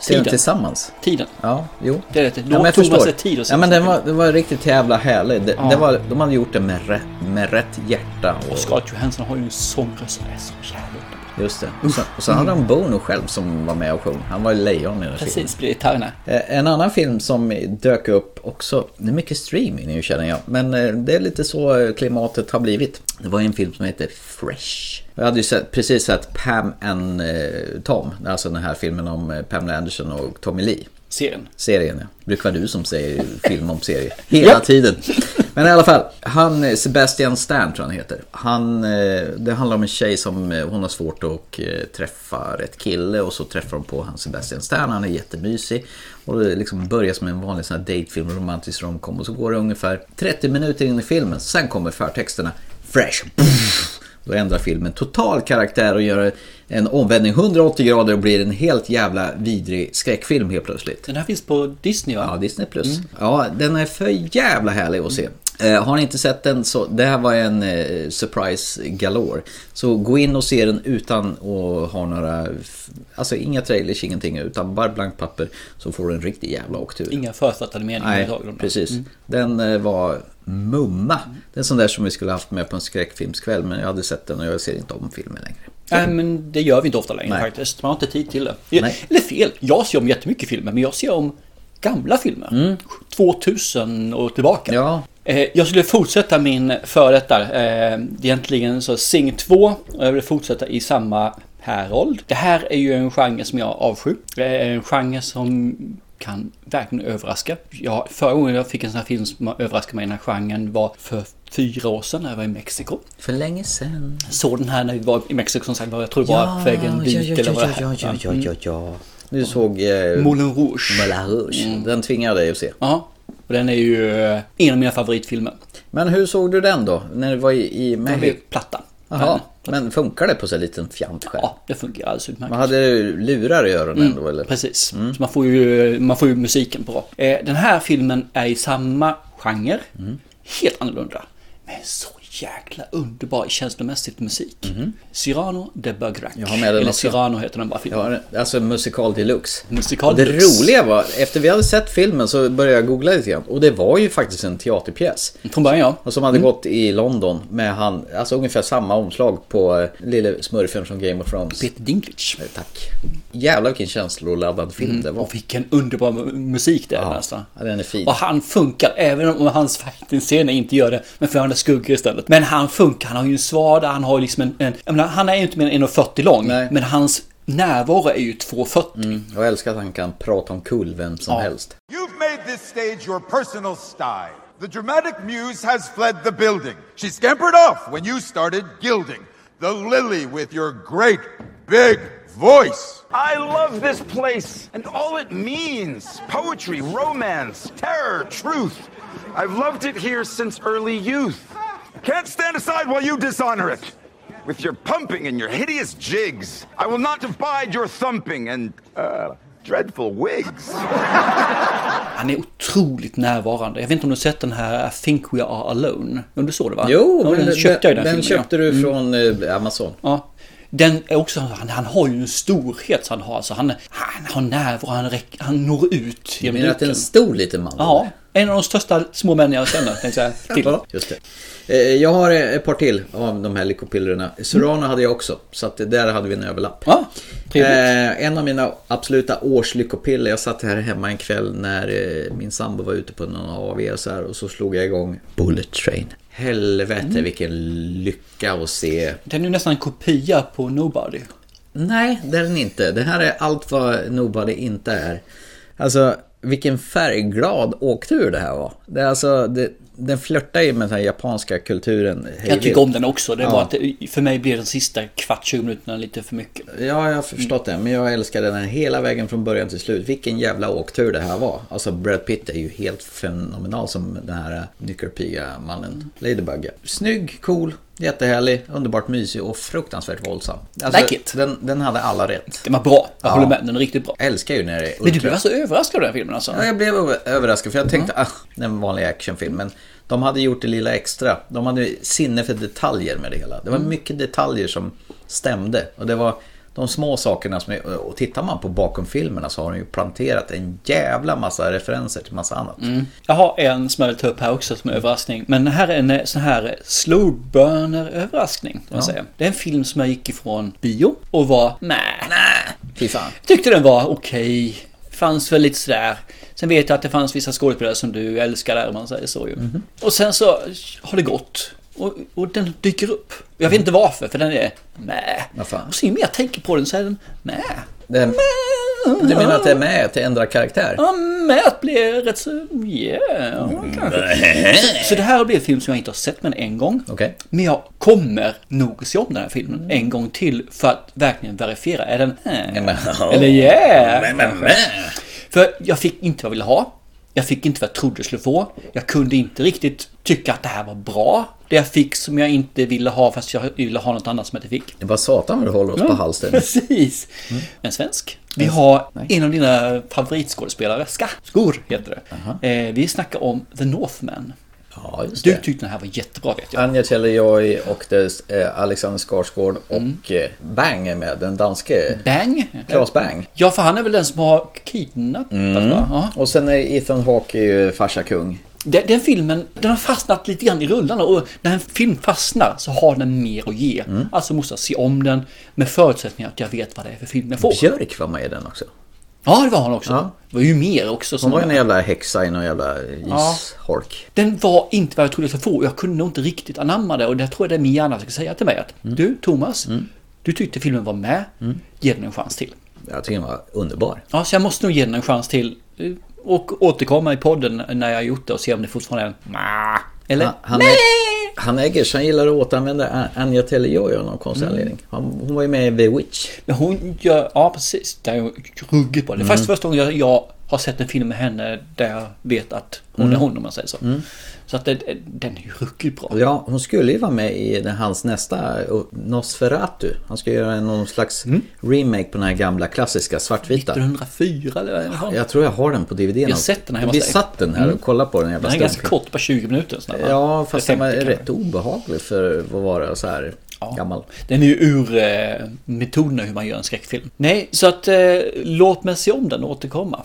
S1: Se
S2: tiden.
S1: den tillsammans.
S2: tiden.
S1: Ja, jo.
S2: Det är rätt. Då
S1: Ja, men jag
S2: tog man
S1: förstår.
S2: sig tid att se
S1: Ja, men
S2: den.
S1: den var, den var riktigt jävla härlig. Det, det var, de hade gjort det med rätt, med rätt hjärta. Och,
S2: Och Scarlett Johansson har ju en sångröst som är så jävla underbar.
S1: just det. Och sen, och sen hade de Bono själv som var med och sjöng. Han var ju lejon i den filmen.
S2: Precis, blir gitarrerna.
S1: Eh, En annan film som dök upp också, det är mycket streaming nu känner jag, men eh, det är lite så eh, klimatet har blivit. Det var ju en film som heter Fresh. Jag hade ju sett, precis sett Pam and eh, Tom, alltså den här filmen om eh, Pamela Anderson och Tommy Lee.
S2: Serien.
S1: Serien ja. Det brukar vara du som säger film om serie. Hela tiden. Men i alla fall. Han, eh, Sebastian Stan tror jag han heter. Han, eh, det handlar om en tjej som eh, hon har svårt att eh, träffa rätt kille och så träffar hon på han Sebastian Stan. Han är jättemysig. Och det liksom börjar som en vanlig sån här datefilm, romantisk romcom. Och så går det ungefär 30 minuter in i filmen. Sen kommer förtexterna. Fresh! Pff. Då ändrar filmen total karaktär och gör en omvändning 180 grader och blir en helt jävla vidrig skräckfilm helt plötsligt.
S2: Den här finns på Disney va?
S1: Ja, Disney Plus.
S2: Mm.
S1: Ja, den är för jävla härlig att se. Eh, har ni inte sett den så, det här var en eh, surprise galore. Så gå in och se den utan att ha några, f- alltså inga trailers, ingenting, utan bara blankt papper så får du en riktig jävla åktur.
S2: Inga förutfattade meningar
S1: Nej,
S2: överhuvudtaget.
S1: precis. Den eh, var mumma. Det är en sån där som vi skulle haft med på en skräckfilmskväll, men jag hade sett den och jag ser inte om filmen längre.
S2: Nej men det gör vi inte ofta längre
S1: Nej.
S2: faktiskt. Man har inte tid till det. Jag,
S1: Nej.
S2: Eller fel, jag ser om jättemycket filmer men jag ser om gamla filmer. 2000 och tillbaka.
S1: Mm. Ja.
S2: Eh, Jag skulle fortsätta min före detta, eh, egentligen så Sing 2, och jag vill fortsätta i samma härold. Det här är ju en genre som jag avskyr. Det är en genre som kan verkligen överraska. Jag, förra gången jag fick en sån här film som överraskade mig i den här genren var för fyra år sedan när jag var i Mexiko.
S1: För länge sen.
S2: Såg den här när vi var i Mexiko som sagt var, jag tror det var på vägen dit eller vad det här Mm.
S1: ja, ja,
S2: var.
S1: ja, ja, ja. Du såg... Eh,
S2: Moulin Rouge.
S1: Moulin Rouge.
S2: Mm.
S1: Den tvingade jag dig att se.
S2: Ja, och den är ju eh, en av mina favoritfilmer.
S1: Men hur såg du den då? När du var i, i
S2: Den är ju
S1: Mexiko?
S2: platta.
S1: Jaha,
S2: Men-
S1: men funkar det på så här liten fjantskärm?
S2: Ja, Mm. det fungerar alldeles utmärkt.
S1: Man hade du lurar i öronen då eller?
S2: Precis,
S1: Mm.
S2: så man får, ju, man får ju musiken bra. Eh, den här filmen är i samma genre,
S1: Mm.
S2: helt annorlunda. Men så jäkla underbar känslomässigt musik. Cyrano de Bergerac.
S1: Mm-hmm. Jag har med den
S2: Eller
S1: också.
S2: Cyrano heter den bara filmen.
S1: Ja, alltså musikal deluxe.
S2: Musikal
S1: och det
S2: deluxe.
S1: roliga var, efter vi hade sett filmen så började jag googla lite grann. Och det var ju faktiskt en teaterpjäs.
S2: Från början ja.
S1: Och som hade gått i London med han, alltså ungefär samma omslag på eh, lille smurfen från Game of Thrones.
S2: Peter Dinklage.
S1: Eh, Tack. Jävlar vilken känsloladdad film det var.
S2: Mm. Och vilken underbar mu- musik det är
S1: Ja,
S2: nästan.
S1: ja, den är fin.
S2: Och han funkar, även om hans fighting-scener inte gör det. Men för han är skuggor istället. Men han funkar, han har ju en svada, han har ju liksom en... en jag menar, han är ju inte mer än 1,40 lång.
S1: Nej. Mm.
S2: Men hans närvaro är ju 2,40.
S1: Jag älskar att han kan prata om kul vem som
S2: Ja.
S1: helst.
S8: You've made this stage your personal sty. The dramatic muse has fled the building. She scampered off when you started gilding the lily with your great big voice.
S9: I love this place and all it means poetry, romance, terror, truth. I've loved it here since early youth.
S8: Can't stand aside while you dishonor it.
S9: With your pumping and your hideous jigs, I will not abide your thumping and, uh, dreadful wigs.
S2: Han är otroligt närvarande. Jag vet inte om du har sett den här I think we are alone. Om du såg det va?
S1: Jo,
S2: ja,
S1: men
S2: den köpte jag ju den, filmen,
S1: köpte
S2: ja. Mm.
S1: du från eh, Amazon.
S2: Ja. Den är också, han, han har ju en storhet som han har. Alltså han, han har närvaro, han, räck, han når ut
S1: Du
S2: genom
S1: menar att det är en
S2: duken.
S1: stor liten man?
S2: Ja,
S1: eller?
S2: En av de största små män jag känner, tänkte jag säga. Till.
S1: Ja, just det. Eh, Jag har eh, ett par till av de här lyckopillerna. Surano hade jag också, så att där hade vi en överlapp.
S2: Mm. Ja, trevligt.
S1: Eh, en av mina absoluta årslyckopiller, jag satt här hemma en kväll när eh, min sambo var ute på någon AV och så här och så slog jag igång Bullet Train. Helvete
S2: Mm.
S1: vilken lycka att se.
S2: Den är ju nästan en kopia på Nobody.
S1: Nej, det är den inte. Det här är allt vad Nobody inte är. Alltså, vilken färgglad åktur det här var. Det är alltså, det, den flörtar ju med den här japanska kulturen. hej
S2: Jag tycker
S1: vilt.
S2: om den också. Det var att det, för mig blev den sista kvart, 20 minuterna lite för mycket.
S1: Ja, jag har förstått det. Men jag älskar den här hela vägen från början till slut. Vilken jävla åktur det här var. Alltså Brad Pitt är ju helt fenomenal som den här nyckelpiga-mannen. Ladybug. Snygg, cool, jättehärlig, underbart mysig och fruktansvärt våldsam. Alltså,
S2: Like it.
S1: Den, den hade alla rätt.
S2: Den var bra. Jag
S1: Ja.
S2: håller med. Den är riktigt bra.
S1: Jag älskar ju när det är
S2: Men du
S1: ultra-
S2: blev alltså överraskad av den här filmen alltså?
S1: Ja, jag blev över- överraskad för jag tänkte,
S2: Mm.
S1: ah, det är en vanlig actionfilm. Men de hade gjort det lilla extra. De hade sinne för detaljer med det hela. Det var
S2: Mm.
S1: mycket detaljer som stämde. Och det var de små sakerna som... är- Och tittar man på bakom filmerna så har de ju planterat en jävla massa referenser till massa annat.
S2: Jag har en som jag vill ta upp här också som överraskning. Men det här är en eh, sån här slow burner överraskning. kan man säga. Det är en film som jag gick ifrån bio och var nej.
S1: Fy fan.
S2: Tyckte den var okej. Fanns väl lite sådär. Sen vet jag att det fanns vissa skådespelare som du älskar om man säger så ju.
S1: Mhm.
S2: Och sen så har det gått. Och, och den dyker upp. Jag vet inte varför, för den är nej.
S1: Vad fan?
S2: Och så ju mer jag tänker på den så är den nej.
S1: Det, du menar att det är med till ändra karaktär?
S2: Ja, Matt blir rätt så... Yeah,
S1: Mm,
S2: kanske. Så, så det här har blivit en film som jag inte har sett men en gång.
S1: Okej. Mm.
S2: Men jag kommer nog se om den här filmen en gång till för att verkligen verifiera. Är den...
S1: men-
S2: Eller yeah!
S1: Men, men, men.
S2: För jag fick inte vad jag ville ha. Jag fick inte vad jag trodde jag skulle få. Jag kunde inte riktigt tycka att det här var bra. Det jag fick som jag inte ville ha fast jag ville ha något annat som jag inte fick.
S1: Det var satan vad du håller oss på halsen. Mm.
S2: Precis. En svensk. Vi har en av dina favoritskådespelare, Ska. Skor heter det. Eh, vi snackar om The Northman.
S1: Ja, just
S2: Du
S1: det.
S2: tyckte den här var jättebra vet jag.
S1: Anja Chellijoy och det, eh, Alexander Skarsgård och eh, Bang är med, den
S2: Mm.
S1: danske
S2: Bang.
S1: Claes Bang.
S2: Ja, för han är väl den som har kidnappat
S1: Mm.
S2: va? Ja.
S1: Och sen är Ethan Hawke är ju farsa kung.
S2: Den, den filmen, den har fastnat lite grann i rullarna och när en film fastnar så har den mer att ge.
S1: Mm.
S2: Alltså måste jag se om den med förutsättningar att jag vet vad det är för film jag får.
S1: Björk var med i den också.
S2: Ja, det var han också.
S1: Ja.
S2: Det var ju mer också. Som
S1: Hon var ju en jävla häxa i någon jävla ishork.
S2: Den var inte vad jag trodde jag skulle få och jag kunde nog inte riktigt anamma det och det tror jag det är min hjärna ska säga till mig att
S1: Mm.
S2: du Thomas, du tyckte filmen var med, ge den en chans till.
S1: Jag tycker den var underbar.
S2: Ja, så jag måste nog ge den en chans till eh, och återkomma i podden när jag har gjort det och se om det fortfarande är en "Nja." Eller?
S1: Han, han, är, han äger sig, han gillar att återanvända An- Anja Telejoy av någon konstig anledning. Hon, hon var ju med i The Witch.
S2: Men hon gör, ja precis, det är ju ruggigt
S1: Mm.
S2: bra. Det är faktiskt första gången jag, jag har sett en film med henne där jag vet att hon
S1: Mm.
S2: är hon om man säger så. Så att det, den är ju ruggigt bra.
S1: Ja, hon skulle ju vara med i den, hans nästa eh, Nosferatu. Han ska göra någon slags remake på den här gamla klassiska svartvita.
S2: 104 eller vad är det?
S1: Jag tror jag har den på DVD. Jag
S2: har sett den här hemma
S1: Vi
S2: hos dig.
S1: satt den här och kollade på den jävla
S2: Den är ganska
S1: stumfilmen.
S2: kort, bara 20 minuter. Sådär, va?
S1: Ja, fast den var
S2: 50 kanske.
S1: rätt obehaglig för att vara så här gammal.
S2: Den är ju ur eh, metoderna hur man gör en skräckfilm. Nej, så att eh, låt mig se om den och återkomma.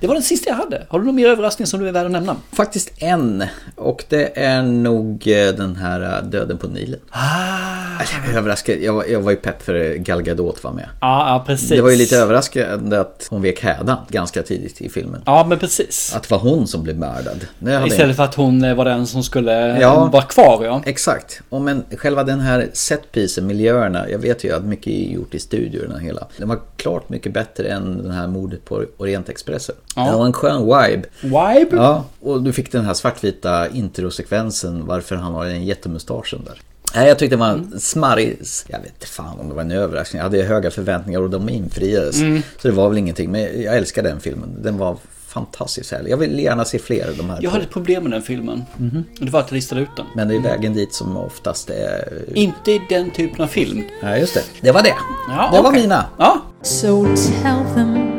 S2: Det var den sista jag hade. Har du någon mer överraskning som du är värd att nämna?
S1: Faktiskt en. Och det är nog eh, den här eh, Döden på Nilen. Äh,
S2: Ah,
S1: Jag var överraskad. Jag var, jag var ju pepp för eh, Gal Gadot var med.
S2: ja, ja, precis.
S1: Det var ju lite överraskande att hon vek hädan ganska tidigt i filmen.
S2: Ja, men precis.
S1: Att det var hon som blev mördad. Det hade jag
S2: Istället för att hon eh, var den som skulle
S1: Ja.
S2: ja. vara kvar, ja.
S1: Exakt. Och men själva den här setpiecen, miljöerna. Jag vet ju att mycket är gjort i studion och hela. Den var klart mycket bättre än den här mordet på Orientexpressen.
S2: Ja.
S1: Den var en skön vibe.
S2: Vibe?
S1: Ja, och du fick den här svartvita introsekvensen varför han har den jättemustaschen där. Nej, jag tyckte det var
S2: Mm.
S1: en smarrig... Jag vet inte fan om det var en överraskning. Jag hade ju höga förväntningar och de infriades.
S2: Mm.
S1: Så det var väl ingenting. Men jag älskar den filmen. Den var fantastiskt härlig. Jag vill gärna se fler av de här.
S2: Jag
S1: på-
S2: hade ett problem med den filmen.
S1: Mhm.
S2: Och det var att jag listade ut den.
S1: Men det är vägen dit som oftast är...
S2: Inte i den typen av film.
S1: Ja, just det. Det var det.
S2: Ja,
S1: det var
S2: okej.
S1: mina.
S2: Ja,
S10: So tell them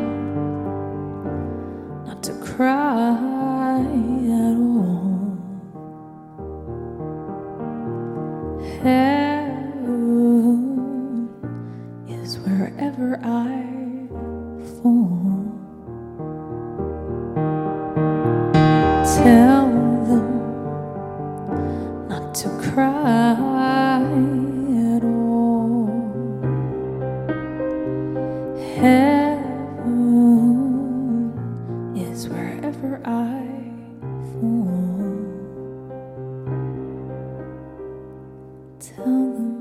S10: not to cry at all. Heaven is wherever I fall. Tell tell them not to cry at all. Heaven is wherever I fall. Tell them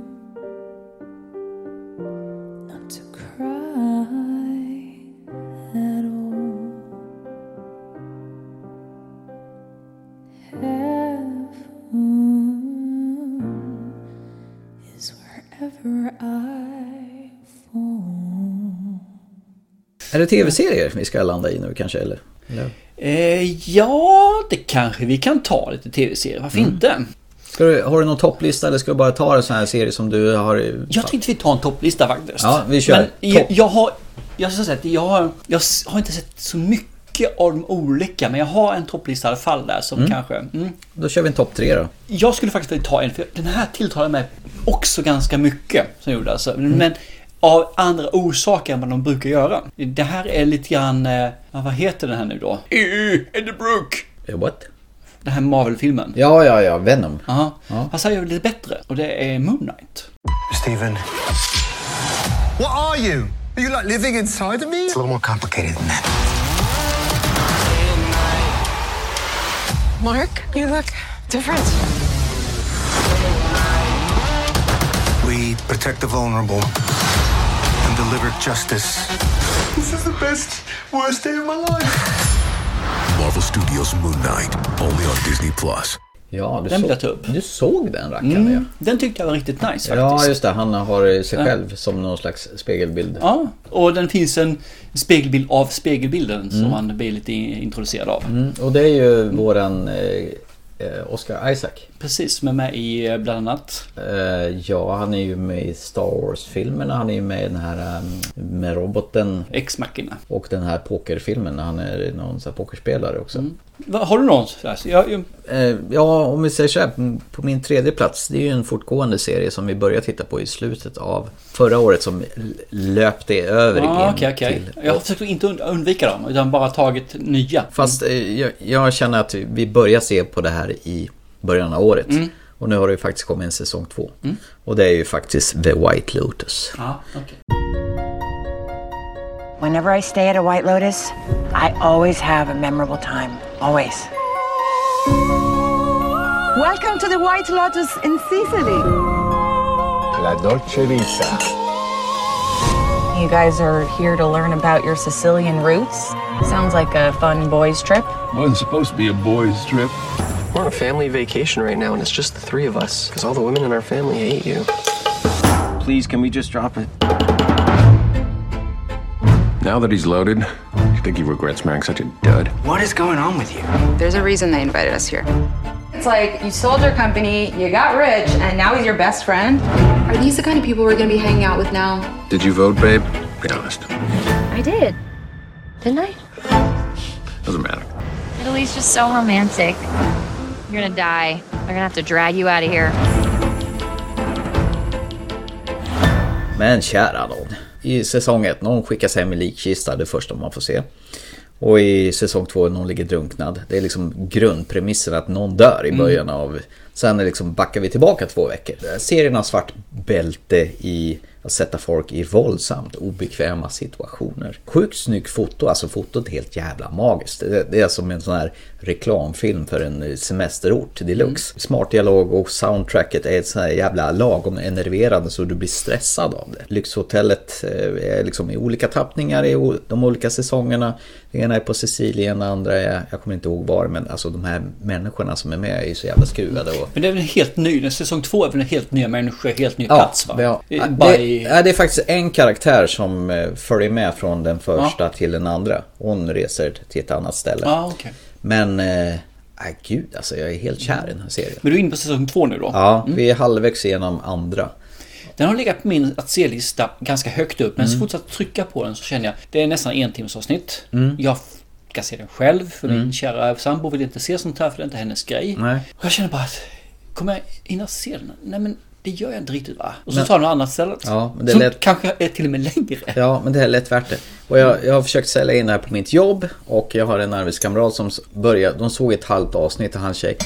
S10: not to cry at all. Heaven is wherever I fall.
S1: Är det tv-serier vi ska landa i nu kanske? Eller?
S2: Eh, ja, det kanske vi kan ta lite tv-serier. Varför
S1: Mm.
S2: inte?
S1: Ska du, har du någon topplista eller ska du bara ta en sån här serie som du har...
S2: Jag tänkte vi tar en topplista faktiskt.
S1: Ja, vi kör.
S2: Men jag,
S1: Topp.
S2: jag har... Jag ska säga att jag har, jag s- har inte sett så mycket av de olika, men jag har en topplista i alla fall där som kanske... Mm.
S1: Då kör vi en topp tre då.
S2: Jag skulle faktiskt vilja ta en, för den här tilltalar mig också ganska mycket. Som jag gjorde alltså.
S1: Mm.
S2: Men av andra orsaker än vad de brukar göra. Det här är lite grann... eh, Vad heter den här nu då?
S1: E
S2: EU, Eddie Brooke!
S1: Eh, What?
S2: Den här Marvel-filmen.
S1: Ja, ja, ja. Venom.
S2: Aha. Han säger ju lite bättre och det är Moon Knight.
S11: Stephen. What are you? Are you like living inside of me? It's a little more complicated than that.
S12: Mark, you look different.
S11: We protect the vulnerable and deliver justice.
S13: This is the best, worst day of my life. Marvel Studios Moon Knight, only on Disney Plus.
S1: Ja, du
S2: Den vill
S1: såg,
S2: jag ta upp.
S1: du såg den rackaren ja.
S2: Mm. Den tyckte jag var riktigt nice faktiskt.
S1: Ja, just det. Han har sig
S2: Ja.
S1: själv som någon slags spegelbild.
S2: Ja, och den finns en spegelbild av spegelbilden som
S1: Mm.
S2: man blir lite introducerad av.
S1: Mm, och det är ju våran eh, eh, Oscar Isaac.
S2: Precis, som är med i eh, bland annat...
S1: Eh, ja, han är ju med i Star Wars-filmerna. Han är ju med i den här eh, med roboten.
S2: X-Machina.
S1: Och den här pokerfilmen när han är någon sån här pokerspelare också.
S2: Va, Har du någon? så här? Så Jag, jag,
S1: Mm. Eh, Ja, om vi säger så här, på min tredje plats, det är ju en fortgående serie som vi började titta på i slutet av förra året som l- löpte över
S2: ah,
S1: igen
S2: okay, okay.
S1: till.
S2: jag har försökt att inte und- undvika dem, utan bara tagit nya.
S1: Fast eh, jag, jag känner att vi- vi börjar se på det här i början av året.
S2: Mm.
S1: Och nu har det ju faktiskt kommit en säsong två.
S2: Mm.
S1: Och det är ju faktiskt The White Lotus.
S2: Ja, okej.
S14: Whenever I stay at a White Lotus, I always have a memorable time. Always.
S12: Welcome to the White Lotus in Sicily.
S11: La dolce vita.
S12: You guys are here to learn about your Sicilian roots. Sounds like a fun boys' trip.
S15: Wasn't supposed to be a boys' trip. We're on a family vacation right now, and it's just the three of us, because all the women in our family hate you. Please, can we just drop it?
S16: Now that he's loaded, I think he regrets marrying such a dud.
S14: What is going on with you?
S17: There's a reason they invited us here.
S18: It's like you sold your company, you got rich, and now he's your best friend.
S17: Are these the kind of people we're gonna be hanging out with now?
S16: Did you vote, babe? Be honest.
S19: I did. Didn't I?
S16: Doesn't matter.
S19: Italy's just so romantic. You're gonna die. They're gonna have to drag you out of here.
S1: Men kära nån. I säsong 1, någon skickas hem i likkista, det första man får se. Och i säsong 2, någon ligger drunknad. Det är liksom grundpremissen att någon dör i
S2: Mm.
S1: början av... Sen är liksom backar vi tillbaka två veckor. Serien har svart bälte i att sätta folk i våldsamt obekväma situationer. Sjukt snygg foto, alltså fotot är helt jävla magiskt. Det det är som en sån här reklamfilm för en semesterort deluxe. Smart dialog och soundtracket är ett sån här jävla lagom enerverande så du blir stressad av det. Lyxhotellet eh, är liksom i olika tappningar i o- de olika säsongerna. Det ena är på Sicilien, det andra är, jag kommer inte ihåg var, men alltså de här människorna som är med är ju så jävla skruvade. Och...
S2: Men det är väl en helt ny, den säsong två är väl en helt nya människor, helt ny
S1: Ja,
S2: plats va?
S1: ja.
S2: Eh, Bara
S1: Det,
S2: i,
S1: ja, det är faktiskt en karaktär som eh, följer med från den första till den andra. Hon reser till ett annat ställe.
S2: Ja, okej.
S1: Men, äh, gud alltså jag är helt kär i den här serien.
S2: men du är inne på säsong två nu då?
S1: Ja, vi är halvvägs igenom andra.
S2: Den har legat på min att se-lista ganska högt upp, men så
S1: Mm.
S2: fort jag trycker på den så känner jag det är nästan en timmes avsnitt.
S1: Mm.
S2: Jag ska se den själv, för
S1: Mm.
S2: min kära sambo vill inte se sånt här, för det är inte hennes grej.
S1: Nej.
S2: Och jag känner bara att, kommer jag hinna se den? Nej men det gör jag inte riktigt va? Och så
S1: Men-
S2: tar jag något annat ställe.
S1: Ja, men det
S2: som
S1: lät-
S2: kanske är till och med längre.
S1: Ja, men det här är lätt värt det. Och jag, jag har försökt sälja in det här på mitt jobb och jag har en arbetskamrat som s- började, de såg ett halvt avsnitt och hans tjej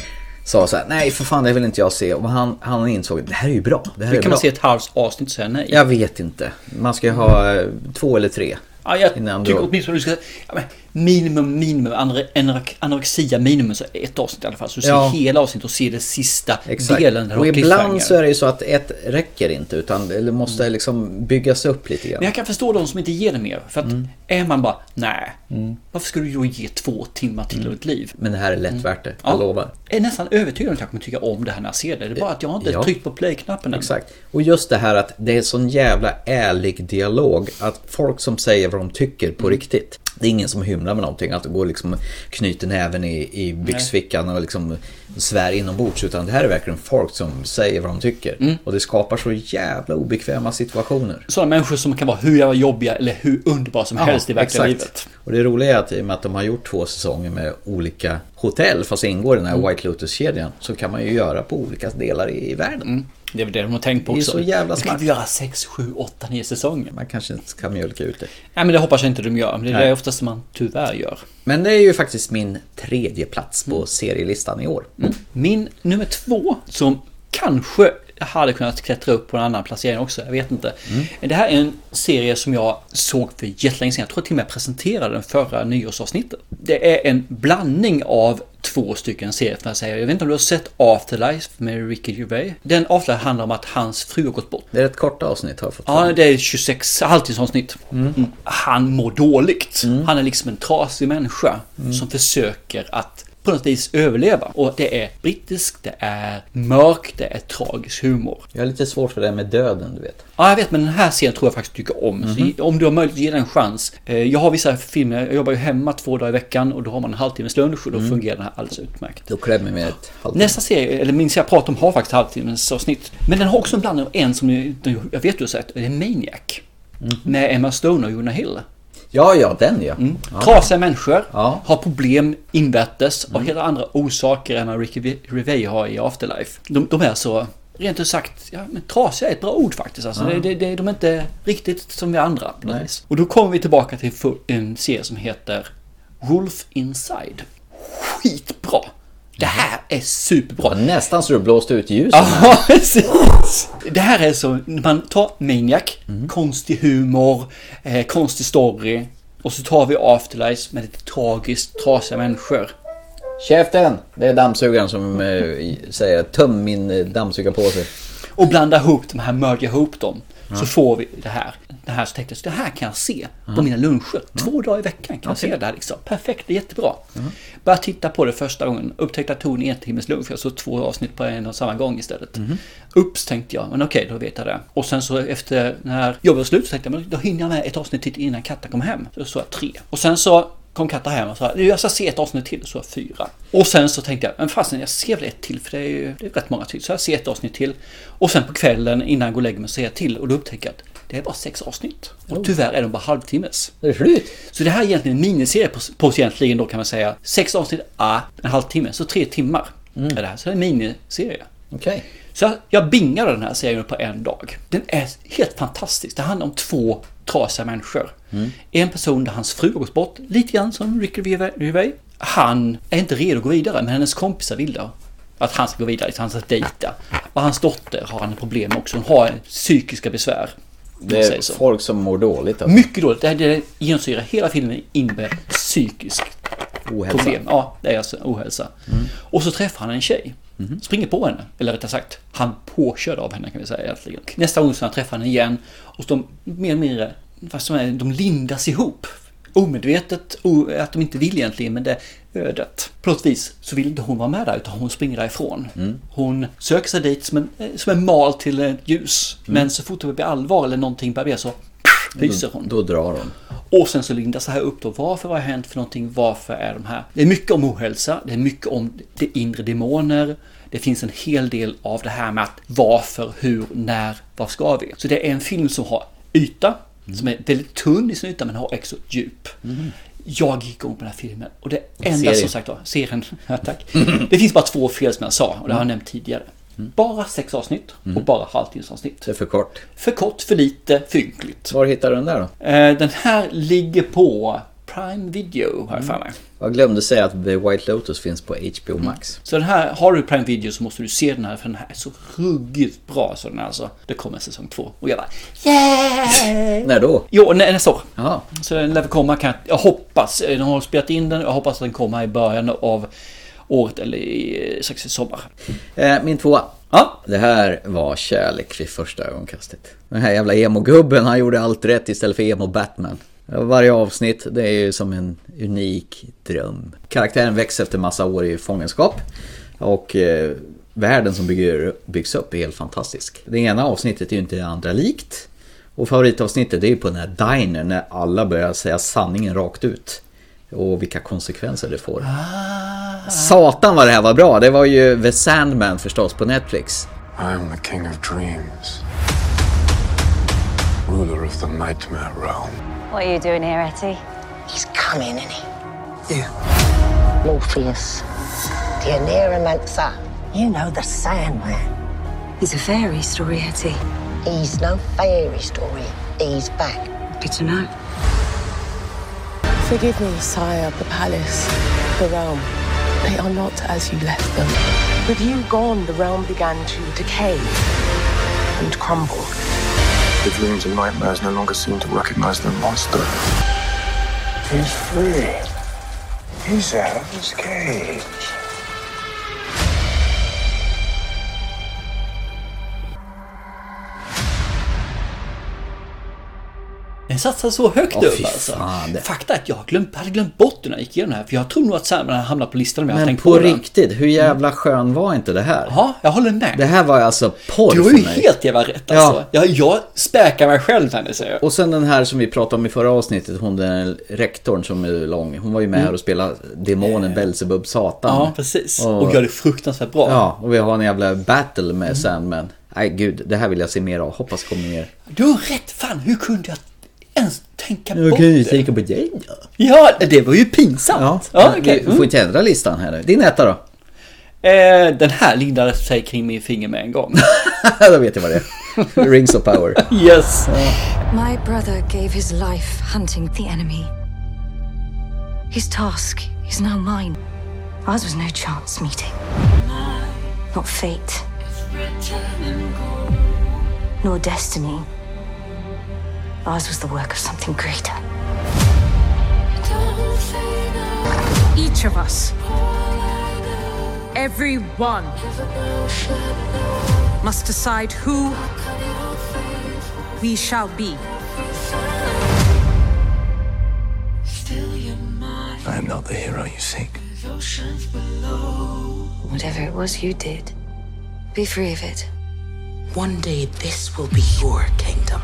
S1: sa så här, nej för fan det vill inte jag se. Och han, han insåg, det här är ju bra. Det här
S2: Hur
S1: är
S2: kan
S1: bra.
S2: man se ett halvt avsnitt och säga nej?
S1: Jag vet inte. Man ska ju ha eh, två eller tre.
S2: Ja, jag
S1: Innan
S2: tycker
S1: du-
S2: åtminstone du ska... Ja, men minimum, minimum, anore- anor- anorexia minimum, så ett avsnitt i alla fall. Så du
S1: Ja.
S2: ser hela avsnittet och ser den sista
S1: Exakt.
S2: delen. där
S1: och
S2: de har cliffhanger.
S1: ibland så är det ju så att ett räcker inte utan det måste liksom byggas upp lite grann.
S2: Mm. Men jag kan förstå de som inte ger det mer. För att är man bara, nej,
S1: Mm.
S2: varför skulle du då ge två timmar till av ditt liv?
S1: Men det här är lätt värt det, jag
S2: Mm. Ja.
S1: lovar.
S2: Jag är nästan övertygad om att jag kommer tycka om det här när jag ser det. Det är bara att jag har inte
S1: Ja.
S2: tryckt på play-knappen än.
S1: Exakt. Och just det här att det är sån jävla ärlig dialog. Att folk som säger vad de tycker på
S2: Mm.
S1: riktigt. Det är ingen som hymlar med någonting. Att det går liksom knyter näven i, i byxfickan och liksom svär inombords. Utan det här är verkligen folk som säger vad de tycker.
S2: Mm.
S1: Och det skapar så jävla obekväma situationer.
S2: Sådana människor som kan vara hur jävla jobbiga eller hur underbara som helst i verkliga
S1: exakt.
S2: livet.
S1: Och det roliga är att i och med att de har gjort två säsonger med olika hotell, fast det ingår i den här
S2: Mm.
S1: White Lotus-kedjan, så kan man ju göra på olika delar i, i världen.
S2: Det är väl det de har tänkt på
S1: Det är
S2: också.
S1: så jävla
S2: Nu kan
S1: smart.
S2: vi göra 6, 7, 8, 9 säsonger.
S1: Man kanske inte ska mjölka ut det.
S2: Nej men det hoppas jag inte de gör. Men det är
S1: Nej.
S2: det oftast man tyvärr gör.
S1: Men det är ju faktiskt min tredje plats
S2: Mm.
S1: på serielistan i år.
S2: Min nummer två som kanske hade kunnat klättra upp på en annan placering också. Jag vet inte. Det här är en serie som jag såg för jättelänge sedan. Jag tror till och med jag presenterade den förra nyårsavsnittet. Det är en blandning av två stycken serier. För att säga. Jag vet inte om du har sett Afterlife med Ricky Gervais? Den Afterlife handlar om att hans fru har gått bort.
S1: Det är ett korta avsnitt har jag fått
S2: Ja, det är 26 halvtidsavsnitt. Mm. Han mår dåligt. Han är liksom en trasig människa
S1: Mm.
S2: som försöker att på något vis överleva. Och det är brittiskt, det är mörkt, det är tragisk humor.
S1: Jag har lite svårt för det här med döden, du vet.
S2: Ja, jag vet, men den här serien tror jag faktiskt tycker om. Så
S1: Mhm.
S2: Om du har möjlighet, ge den en chans. Eh, Jag har vissa filmer, jag jobbar ju hemma två dagar i veckan och då har man en halvtimmes lunch och
S1: Mm.
S2: då fungerar den här alldeles utmärkt.
S1: Då klämmer vi med ett halvtimme.
S2: Nästa serie, eller min serie jag pratar om, har faktiskt halvtimmens avsnitt. Men den har också en blandning av en som ni- jag vet du har sett, det är Maniac.
S1: Mm.
S2: Med Emma Stone och Jonah Hill.
S1: Ja, ja, den ja.
S2: Mm.
S1: ja.
S2: Trasiga människor,
S1: Ja. Mm.
S2: har problem invärtes av helt andra orsaker än vad Ricky Rivey har i Afterlife. De, de är så, rent ut sagt, ja, men trasiga är ett bra ord faktiskt. Alltså,
S1: Ja.
S2: det, det, det, de är inte riktigt som vi andra. på något vis. Och då kommer vi tillbaka till fu- en serie som heter Wolf Inside. Skitbra! Det här är superbra.
S1: nästan så du blåste ut ljuset.
S2: Ja, precis. Mm. Det här är så, man tar Maniac, konstig humor, eh, konstig story. Och så tar vi Afterlife med lite tragiskt, trasiga människor.
S1: Käften! Det är dammsugaren som eh, i- säger töm min eh, dammsugarpåse.
S2: Och blanda ihop de här, mörda ihop dem.
S1: Ja.
S2: Så får vi det här. Det här så tänkte jag, det här kan jag se på
S1: Ja.
S2: mina luncher. Två dagar i veckan kan jag se det här liksom. Perfekt, det är jättebra. Började titta på det första gången. Upptäckte att det tog en timmes lunch. Jag såg två avsnitt på en och samma gång istället.
S1: Mhm.
S2: Ups, tänkte jag. Men okej, då vet jag det. Och sen så efter när jobbet var slut så tänkte jag, men då hinner jag med ett avsnitt till innan Katta kom hem. Så såg jag tre. Och sen så kom Katta hem och sa, "Nu, jag ska se ett avsnitt till. Så såg jag fyra. Och sen så tänkte jag, men fasen jag ser väl ett till för det är ju det är rätt många till. Så jag ser ett avsnitt till. Och sen på kvällen innan jag går och lägger mig så ser jag till och då upptäcker jag att det är bara sex avsnitt.
S1: Oh.
S2: Och tyvärr är de bara halvtimmes.
S1: Det är slut.
S2: Så det här är egentligen en miniserie på, på egentligen då kan man säga. Sex avsnitt, ah, en halvtimme. Så tre timmar är det här. Så det är en miniserie.
S1: Okej.
S2: Så jag, jag bingade den här serien på en dag. Den är helt fantastisk. Det handlar om två trasiga människor. Mm. En person där hans fru har gått bort, lite grann som Ricky Gervais. Han är inte redo att gå vidare, men hennes kompisar vill då att han ska gå vidare, att han ska dejta. Och hans dotter har han problem med också. Hon har psykiska besvär. om
S1: Det
S2: man säger
S1: är
S2: så.
S1: folk som mår dåligt. Alltså.
S2: Mycket dåligt. Det, här, det genomsyrar hela filmen in med psykisk
S1: Ohälsa.
S2: problem. Ja, det är alltså ohälsa.
S1: Mm.
S2: Och så träffar han en tjej. Springer på henne. Eller rättare sagt, han påkörd av henne kan vi säga egentligen. Nästa gång så han träffar henne igen. Och de mer eller mindre, fast de, är, de lindas ihop. Omedvetet, o, att de inte vill egentligen, men det är ödet. På något vis så vill inte hon vara med där, utan hon springer därifrån.
S1: Mm.
S2: Hon söker sig dit som en, eh, som en mal till eh, ljus.
S1: Mm.
S2: Men så fort det blir allvar eller någonting börjar bli så lyser hon.
S1: Då drar hon.
S2: Och sen så lindas det här upp då. Varför? Vad har hänt för någonting? Varför är de här? Det är mycket om ohälsa. Det är mycket om det inre demoner. Det finns en hel del av det här med att varför, hur, när, vad ska vi? Så det är en film som har yta, som är väldigt tunn i sin yta men har också djup. Jag gick igång på den här filmen och det enda
S1: Serien.
S2: som sagt var, serien, ja, tack. Det finns bara två fel som jag sa och det har jag nämnt tidigare. Bara sex avsnitt och bara halvtidsavsnitt.
S1: Det är för kort.
S2: För kort, för lite, för ynkligt.
S1: Var hittar du den där då?
S2: Eh, Den här ligger på Prime Video
S1: Mm.
S2: har jag för mig.
S1: Jag glömde säga att The White Lotus finns på HBO Max.
S2: Så den här, har du Prime Video så måste du se den här för den här är så ruggigt bra. Så den är alltså. Det kommer säsong två och jag bara Yeah!
S1: När då?
S2: Jo, nä, nästa år. Så den lär komma kan jag hoppas. eh, De har spelat in den och jag hoppas att den kommer i början av året eller i, eh, strax i sommar.
S1: Eh, min tvåa. Ja. Det här var kärlek vid första ögonkastet. Den här jävla emo-gubben, han gjorde allt rätt istället för emo-Batman. Varje avsnitt, det är ju som en unik dröm. Karaktären växer efter massa år i fångenskap. Och eh, världen som bygger, byggs upp är helt fantastisk. Det ena avsnittet är ju inte det andra likt. Och favoritavsnittet det är ju på den här dinern när alla börjar säga sanningen rakt ut. Och vilka konsekvenser det får. Satan vad det här var bra! Det var ju The Sandman förstås på Netflix.
S4: I'm the king of dreams, ruler of the nightmare realm.
S7: What are you doing here, Etty? He's coming, isn't he? You. Morpheus, the Oneromancer. You know the Sandman. He's a fairy story, Etty. He's no fairy story. He's back. Good to know.
S3: Forgive me, sire, the palace, the realm. They are not as you left them. With you gone, the realm began to decay and crumble.
S4: The dreams and nightmares no longer seem to recognize their monster. He's free. He's out of his cage.
S2: Den satsar så högt
S1: Åh,
S2: upp
S1: fy
S2: alltså.
S1: fan.
S2: Fakta är att jag har glömt, hade glömt bort den när jag gick igenom den här. För jag tror nog att Sandman har hamnat på listan om jag har
S1: Men
S2: tänkt
S1: på
S2: på Mm. den.
S1: riktigt, hur jävla skön var inte det här?
S2: Ja, jag håller med.
S1: Det här var alltså porr
S2: Du har
S1: för
S2: ju
S1: mig.
S2: helt jävla rätt
S1: Ja.
S2: alltså. Jag, jag späkar mig själv Hennes. säger jag.
S1: Och sen den här som vi pratade om i förra avsnittet, hon den rektorn som är lång. Hon var ju med
S2: Mm. Eh.
S1: här och spelade demonen Belzebub Satan.
S2: Ja, precis. Och gör det fruktansvärt bra.
S1: Ja, och vi har en jävla battle
S2: Mm.
S1: med Sandman. Nej gud, det här vill jag se mer av. Hoppas det kommer mer.
S2: Du har rätt, fan hur kunde jag ens tänka
S1: Jag
S2: bort
S1: kan ju
S2: det?
S1: tänka på dig då.
S2: Ja, det var ju pinsamt.
S1: Ja,
S2: Ja,
S1: vi-
S2: okej. Mm.
S1: Vi får inte ändra listan här nu. Din etta då?
S2: Eh, den här lindade sig kring min finger med en gång.
S1: då vet jag vad det är. Rings of power.
S2: Yes.
S10: My brother gave his life hunting the enemy. His task is now mine. Ours was no chance meeting, not fate, nor destiny. Ours was the work of something greater.
S20: Each of us, everyone, must decide who we shall be.
S4: I am not the hero you seek.
S10: Whatever it was you did, be free of it.
S21: One day this will be your kingdom.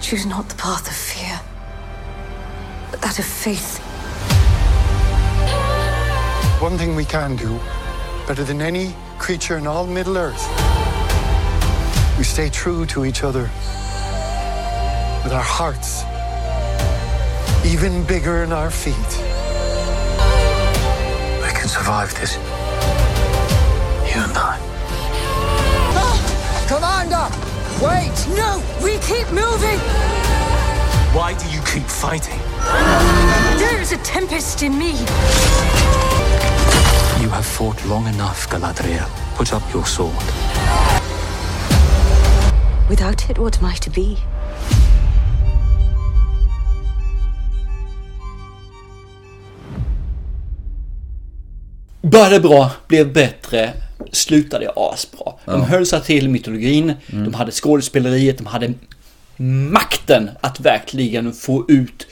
S10: Choose not the path of fear, but that of faith.
S13: One thing we can do, better than any creature in all Middle Earth, we stay true to each other with our hearts, even bigger in our feet.
S4: We can survive this. You and I.
S20: Ah! Commander! Wait! No! We keep moving!
S4: Why do you keep fighting?
S20: There is a tempest in me!
S4: You have fought long enough, Galadriel. Put up your sword.
S10: Without it, what am I to be?
S2: Började bra, blev bättre, slutade jag asbra. De
S1: Ja. Mm.
S2: höll sig till mytologin, de hade skådespeleriet, de hade makten att verkligen få ut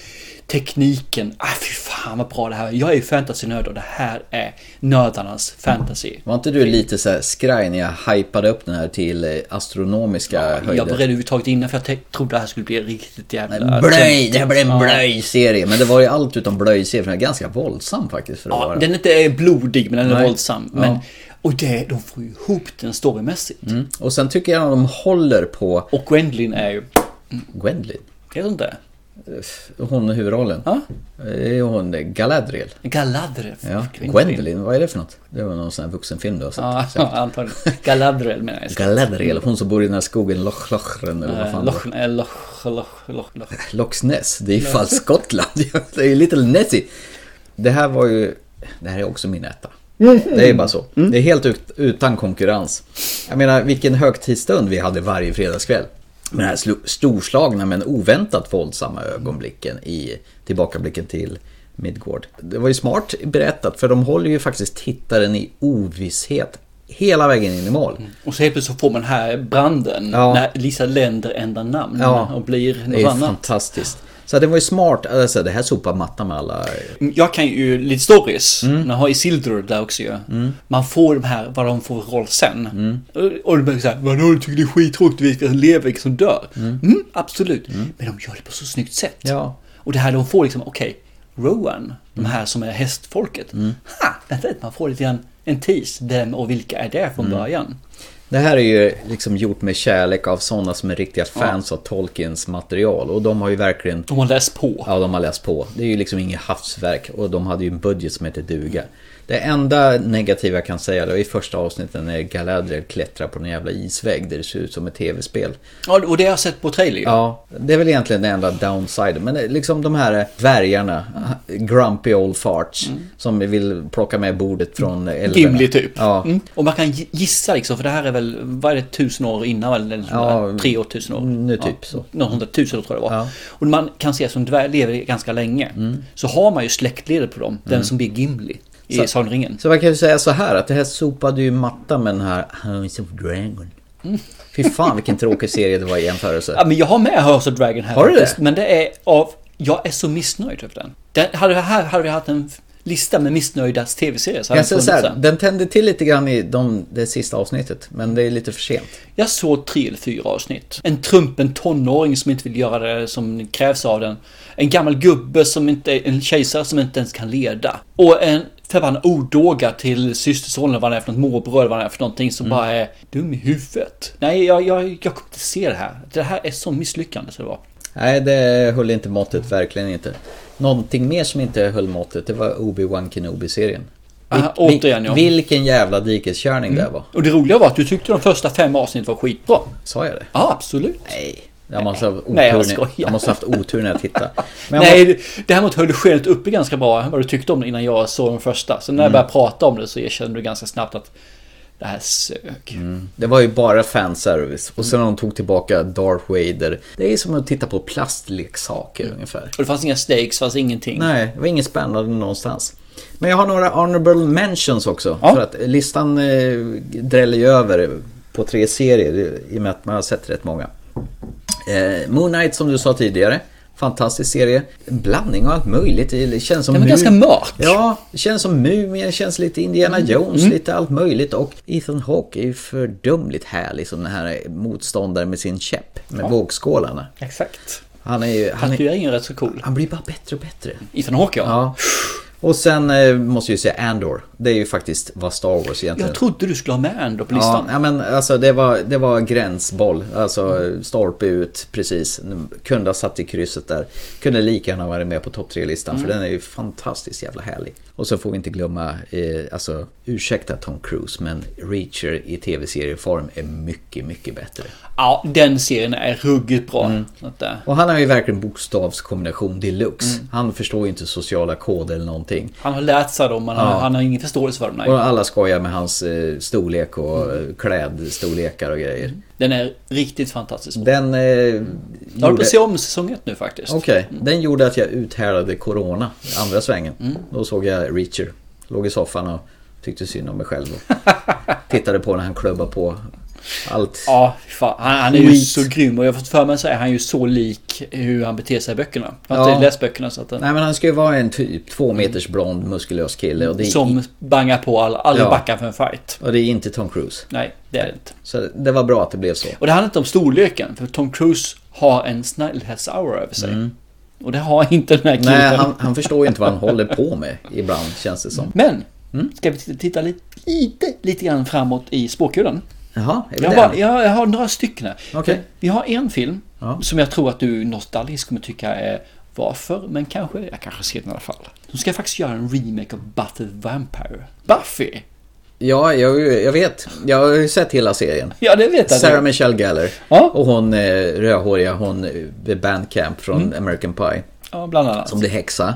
S2: tekniken. Ah, fy fan vad bra det här är. Jag är ju fantasynörd och det här är nördarnas fantasy.
S1: Var inte du lite så här skraj när jag hypade upp den här till eh, astronomiska höjder?
S2: Jag var rädd överhuvudtaget innan för jag te- trodde det här skulle bli riktigt jävla...
S1: Blöj, det här blir en
S2: Ja.
S1: blöjserie. Men det var ju allt utom blöjserie, för den är ganska våldsam faktiskt. För att
S2: Ja,
S1: vara.
S2: den är inte blodig men den är
S1: Nej.
S2: våldsam.
S1: Ja.
S2: Men, och det, de får ju ihop den storymässigt.
S1: Mm. Och sen tycker jag att de håller på...
S2: Och Gwendolyn är ju...
S1: Gwendolyn? Eh,
S2: Är hon det?
S1: Hon i huvudrollen. Ja. Det är hon Galadriel.
S2: Galadriel.
S1: Ja. Gwendolyn, vad är det för något? Det var någon sån här vuxenfilm du har sett.
S2: Ja,
S1: säkert.
S2: antagligen. Galadriel menar jag.
S1: Galadriel, hon som bor i den här skogen Loch Lochren eller vad
S2: Eh,
S1: fan det
S2: Loch, eh, Loch, Loch, Loch, Loch.
S1: var. Loch Ness, det är ju fall Skottland. Det är ju Little Nessie. Det här var ju... Det här är också min etta. Det är bara
S2: Mm.
S1: så. Det är helt ut, utan konkurrens. Jag menar vilken högtidsstund vi hade varje fredagskväll. Med de här slo- storslagna men oväntat våldsamma ögonblicken i tillbakablicken till Midgård. Det var ju smart berättat för de håller ju faktiskt tittaren i ovisshet hela vägen in i mål.
S2: Och så helt plötsligt så får man den här branden när Lisa Länder ändrar namn och blir
S1: det är
S2: något annat.
S1: fantastiskt. Så det var ju smart, alltså det här sopar mattan med alla...
S2: Jag kan ju lite stories.
S1: Mm.
S2: Man har Isildur där också ju. Man får de här, vad de får för roll sen.
S1: Mm.
S2: Och- Och de börjar såhär, vadå du tycker det är skittråkigt vilka som lever, vilka som dör. Mm, absolut. Men de gör det på så snyggt sätt.
S1: Mm. Ja. Mm.
S2: Och det här de får liksom, okej, Rowan, de här som är hästfolket. Ha, vänta lite, man får lite grann en tease. Vem och vilka är det
S1: Mm.
S2: från början?
S1: Det här är ju liksom gjort med kärlek av sådana som är riktiga fans av Tolkiens material och de har ju verkligen...
S2: De har läst på.
S1: Ja, de har läst på. Det är ju liksom inget hafsverk och de hade ju en budget som hette duga.
S2: Mm.
S1: Det enda negativa jag kan säga då i första avsnittet när Galadriel klättrar på en jävla isvägg där det ser ut som ett tv-spel.
S2: Ja, och det har jag sett på trailer ju.
S1: Ja, det är väl egentligen den enda downsiden. Men det är liksom de här dvärgarna, grumpy old farts, som vill plocka med bordet från älvarna.
S2: Mm. Gimli typ.
S1: Ja.
S2: Mm. Och man kan gi- gissa liksom, för det här är väl, vad är det, tusen år innan? Eller något sånt
S1: Ja,
S2: där? tre år, tusen år.
S1: nu typ
S2: ja.
S1: så.
S2: Något sånt där, tusen år tror jag det var. Och man kan se som dvärg lever ganska länge.
S1: Mm.
S2: Så har man ju släktledet på dem, den som blir Gimli i
S1: Så-
S2: Sagan om ringen.
S1: Så man kan ju säga så här att det här sopade ju matta med den här House of Dragon. Fy fan vilken tråkig serie det var i jämförelse.
S2: Ja, men jag har med House of Dragon här
S1: Har du det?
S2: faktiskt, Men det är av... Jag är så missnöjd över den. den hade, här hade vi haft en f- lista med missnöjda tv-serier så hade
S1: Jag
S2: den
S1: säger
S2: funnits
S1: så här,
S2: där.
S1: den tände till lite grann i de, det sista avsnittet, men det är lite för sent.
S2: Jag såg tre eller fyra avsnitt. En trumpen tonåring som inte vill göra det som krävs av den. En gammal gubbe som inte, en kejsare som inte ens kan leda. Och en förbannad odåga till systerson eller vad det är för något, morbror eller vad det är för någonting som bara är dum i huvudet. Nej, jag, jag, jag kommer inte se det här. Det här är så misslyckande så det var.
S1: Nej, det höll inte måttet, verkligen inte. Någonting mer som inte höll måttet, det var Obi-Wan Kenobi-serien.
S2: Aha,
S1: Vil-
S2: återigen, ja.
S1: Vilken jävla dikeskörning det
S2: Mm.
S1: var.
S2: Och det roliga var att du tyckte de första fem avsnitten var skitbra.
S1: Sa jag det?
S2: Ja, absolut.
S1: Nej. Jag måste ha haft otur,
S2: Nej, jag
S1: när,
S2: skojar.
S1: jag måste ha haft otur när jag tittade. Men jag
S2: Nej, det här mot höll du skenet uppe ganska bra vad du tyckte om det innan jag såg den första. Så när jag
S1: Mm.
S2: började prata om det så erkände du ganska snabbt att det här sög.
S1: Mm. Det var ju bara fanservice. Och sen när de tog tillbaka Darth Vader. Det är som att titta på plastleksaker ungefär.
S2: Och det fanns inga stakes, fanns ingenting.
S1: Nej, det var inget spännande någonstans. Men jag har några honorable mentions också. För att listan eh, dräller ju över på tre serier i och med att man har sett rätt många. Eh, Moon Knight som du sa tidigare. Fantastisk serie. En blandning av allt möjligt. Det känns som
S2: Den var
S1: Mu-
S2: ganska mörk.
S1: Ja, det känns som Mumien, det känns lite Indiana
S2: Mm.
S1: Jones,
S2: Mm.
S1: lite allt möjligt. Och Ethan Hawke är ju fördömligt härlig som den här motståndaren med sin käpp. Med
S2: Ja.
S1: vågskålarna.
S2: Exakt.
S1: Han är ju... Han är,
S2: Tatueringen är rätt så cool.
S1: Han blir bara bättre och bättre.
S2: Ethan Hawke ja.
S1: Ja. Och sen eh, måste jag ju säga Andor. Det är ju faktiskt vad Star Wars egentligen
S2: Jag trodde du skulle ha med ändå på listan.
S1: Ja, ja, men alltså det var, det var gränsboll. Alltså stolpe ut precis. Kunde ha satt i krysset där. Kunde lika gärna varit med på topp tre-listan för
S2: Mm.
S1: den är ju fantastiskt jävla härlig. Och så får vi inte glömma, eh, alltså ursäkta Tom Cruise men Reacher i tv-serieform är mycket, mycket bättre.
S2: Ja, den serien är ruggigt bra.
S1: Mm.
S2: Att eh, det-
S1: Och han har ju verkligen bokstavskombination deluxe.
S2: Mm.
S1: Han förstår ju inte sociala koder eller någonting.
S2: Han har lärt sig dem, men han,
S1: Ja.
S2: han har ingen förståelse för dem. Nej.
S1: Och alla skojar med hans eh, storlek och eh, klädstorlekar och grejer.
S2: Den är riktigt fantastisk.
S1: Den... Eh,
S2: Jag håller på
S1: gjorde-
S2: att se om säsong ett nu faktiskt.
S1: Okej, den gjorde att jag uthärdade corona i andra svängen.
S2: Mm.
S1: Då såg jag Reacher. Låg i soffan och tyckte synd om mig själv. Och tittade på när han klubbade på allt.
S2: Ja, fy fan. Han, han är ju
S1: Skit.
S2: så grym och jag har fått för mig så är han ju så lik hur han beter sig i böckerna. Jag har
S1: Ja.
S2: inte läst böckerna så att...
S1: Nej men han ska ju vara en typ två meters blond muskulös kille. Och det är,
S2: Som bangar på alla, alla
S1: Ja.
S2: backar för en fight.
S1: och det är inte Tom Cruise.
S2: Nej, det är det inte.
S1: Så det var bra att det blev så.
S2: Och det handlar inte om storleken, för Tom Cruise har en snällhetshour över sig. Och det har inte den här killen.
S1: Mm. Nej, han, han förstår ju inte vad han håller på med ibland känns det som. Mm.
S2: Men, ska vi titta, titta lite, lite, lite grann framåt i spåkulan?
S1: Jaha, är det
S2: jag,
S1: den?
S2: har, jag, jag har några stycken här. Eh,
S1: Okej.
S2: Vi har en film som jag tror att du nostalgiskt kommer tycka är varför, men kanske, jag kanske ser den i alla fall. De ska faktiskt göra en remake av Buffy the Vampire. Buffy!
S1: Ja, jag, jag vet. Jag har ju sett hela serien.
S2: Ja, det vet jag.
S1: Sarah Michelle Gellar. Och hon eh, rödhåriga, hon eh, Bandcamp från
S2: Mm.
S1: American Pie.
S2: Ja, bland annat.
S1: Som blir häxa.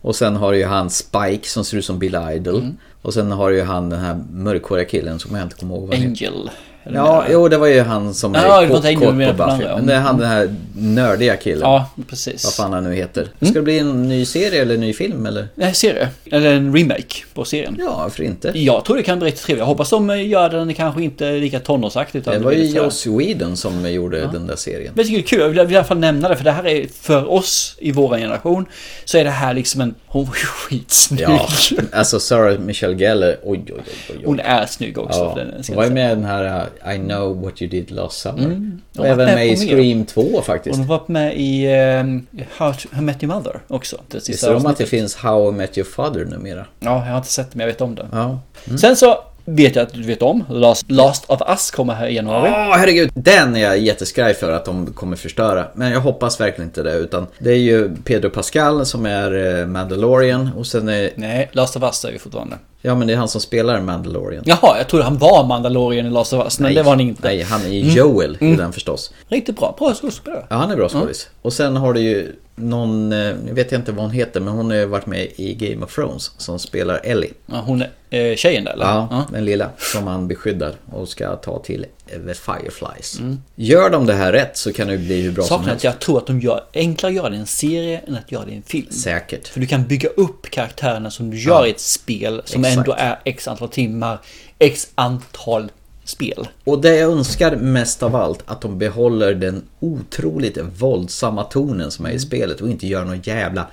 S1: Och sen har du ju han Spike som ser ut som Bill Idol.
S2: Mm.
S1: Och sen har du ju han den här mörkhåriga killen som jag inte kommer ihåg vad han heter.
S2: Angel. Eller
S1: Ja,
S2: mer.
S1: jo det var ju han som
S2: Ja,
S1: är
S2: det var
S1: kort,
S2: inte Angel,
S1: kort på
S2: men jag
S1: Buffy.
S2: blandar, ja.
S1: Men det är han den här nördiga killen.
S2: Ja, Mm. precis.
S1: Vad fan han nu heter. Ska det bli en ny serie eller en ny film eller?
S2: Nej, serie. Eller en remake på serien.
S1: Ja, varför inte?
S2: Jag tror det kan bli riktigt trevligt. Jag hoppas de eh, gör den kanske inte lika tonårsaktigt. utan
S1: Det var
S2: blir
S1: ju
S2: lite sådär.
S1: Joss Whedon som gjorde den där serien.
S2: Men jag tycker det är kul, jag vill, jag vill i alla fall nämna det för det här är för oss i vår generation så är det här liksom en... Hon var ju skitsnygg.
S1: Ja, alltså Sarah Michelle Gellar, oj oj oj. oj, oj.
S2: Hon är snygg också.
S1: Ja,
S2: För den, ska
S1: hon
S2: jag
S1: var ju
S2: säga.
S1: med i den här uh, I know what you did last summer.
S2: Mm.
S1: Och
S2: Hon var
S1: även
S2: med
S1: med i
S2: på mer.
S1: Scream 2 faktiskt.
S2: Hon var med i ehm, How to, How I Met Your Mother också. Det
S1: Visste du om att det finns How I Met Your Father numera?
S2: Ja, jag har inte sett det men jag vet om det.
S1: Mm.
S2: Sen så vet jag att du vet om Last, Last of Us kommer här i januari.
S1: Åh herregud, den är jag jätteskraj för att de kommer förstöra. Men jag hoppas verkligen inte det utan det är ju Pedro Pascal som är eh, Mandalorian och sen är...
S2: Nej, Last of Us är ju fortfarande.
S1: Ja men det är han som spelar Mandalorian.
S2: Jaha, jag trodde han var Mandalorian i Last of Us, men
S1: Nej,
S2: det var han inte.
S1: Nej, han är
S2: Mm.
S1: Joel i
S2: Mm.
S1: den förstås.
S2: Riktigt bra, bra skådespelare.
S1: Ja, han är bra skådis. Och sen har du ju någon, eh, nu vet jag inte vad hon heter, men hon har ju varit med i Game of Thrones som spelar Ellie.
S2: Ja, hon är eh, tjejen där eller?
S1: Ja, den lilla som han beskyddar och ska ta till The Fireflies. Gör de det här rätt så kan det ju bli hur bra som
S2: Saken är
S1: helst.
S2: att jag tror att de gör enklare att göra det i en serie än att göra det i en film.
S1: Säkert.
S2: För du kan bygga upp karaktärerna som du gör
S1: Ja.
S2: i ett spel som
S1: Exakt.
S2: ändå är x antal timmar, x antal spel.
S1: Och det jag önskar mest av allt att de behåller den otroligt våldsamma tonen som är i spelet och inte gör någon jävla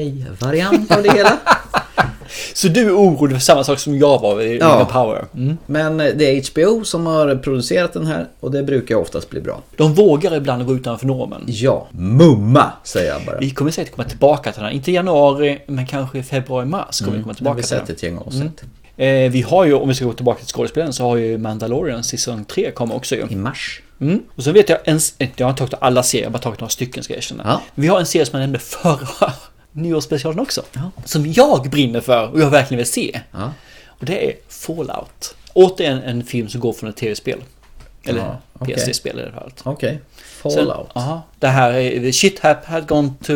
S1: blöj-variant av det hela.
S2: Så du är orolig för samma sak som jag var i
S1: Ja.
S2: ja. Power?
S1: Men eh, det är HBO som har producerat den här och det brukar oftast bli bra.
S2: De vågar ibland gå utanför normen.
S1: Ja, mumma säger jag bara.
S2: Vi kommer säkert komma tillbaka till den här. Inte i januari, men kanske i februari, mars kommer vi komma
S1: Mm, Det har
S2: tillbaka
S1: vi
S2: till
S1: sett
S2: den.
S1: ett gäng avsnitt.
S2: avsnitt. Eh, vi har ju, om vi ska gå tillbaka till skådespelaren, så har ju Mandalorian säsong 3 kommer också ju. I
S1: mars.
S2: Mm. Och så vet jag ens, jag har inte tagit alla serier, jag har bara tagit några stycken ska jag erkänna.
S1: Ja.
S2: Vi har en serie som jag nämnde förra nyårsspecialen också. Som jag brinner för och jag verkligen vill se. Och det är Fallout. Återigen en film som går från ett tv-spel. Eller
S1: Ja, okej.
S2: PC-spel i det här fallet.
S1: Okej,
S2: Sen,
S1: Fallout.
S2: aha, det här är, shit had, had gone to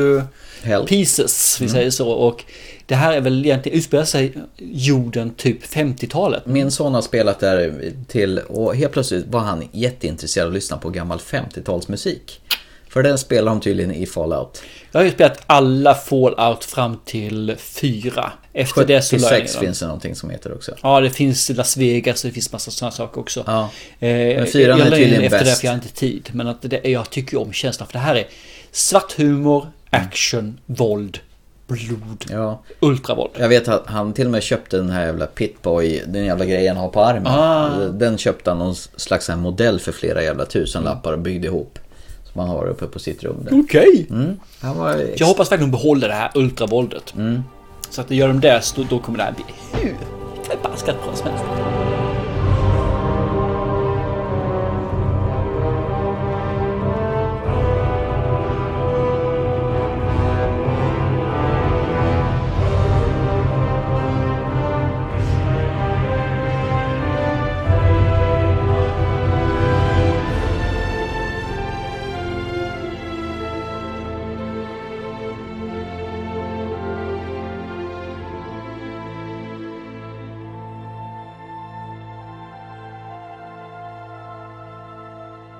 S1: Hell.
S2: pieces, vi
S1: Mm.
S2: säger så. Och det här är väl egentligen, utspelar sig jorden typ 50-talet.
S1: Min son har spelat där till och helt plötsligt var han jätteintresserad av att lyssna på gammal 50-talsmusik. För den spelar de tydligen i Fallout.
S2: Jag har ju spelat alla Fallout fram till 4. Efter det så la jag ner
S1: 76
S2: dem.
S1: finns det någonting som heter också.
S2: Ja, det finns Las Vegas och det finns massa sådana saker också.
S1: Ja.
S2: Eh,
S1: Men fyran
S2: jag
S1: är
S2: la in
S1: tydligen
S2: efter det
S1: bäst.
S2: för jag har inte tid. Men att det, jag tycker ju om känslan för det här är svart humor,
S1: Mm.
S2: action, våld, blod, ultravåld.
S1: Jag vet att han till och med köpte den här jävla Pitboy, den jävla grejen han har på armen.
S2: Ah.
S1: Den köpte han någon slags här modell för flera jävla tusenlappar och byggde ihop. Som han har uppe på sitt rum där.
S2: Okej!
S1: Mm. Han var ex-
S2: Jag hoppas verkligen de behåller det här ultravåldet.
S1: Mm.
S2: Så att gör de det, så då kommer det här bli hur förbaskat bra som helst.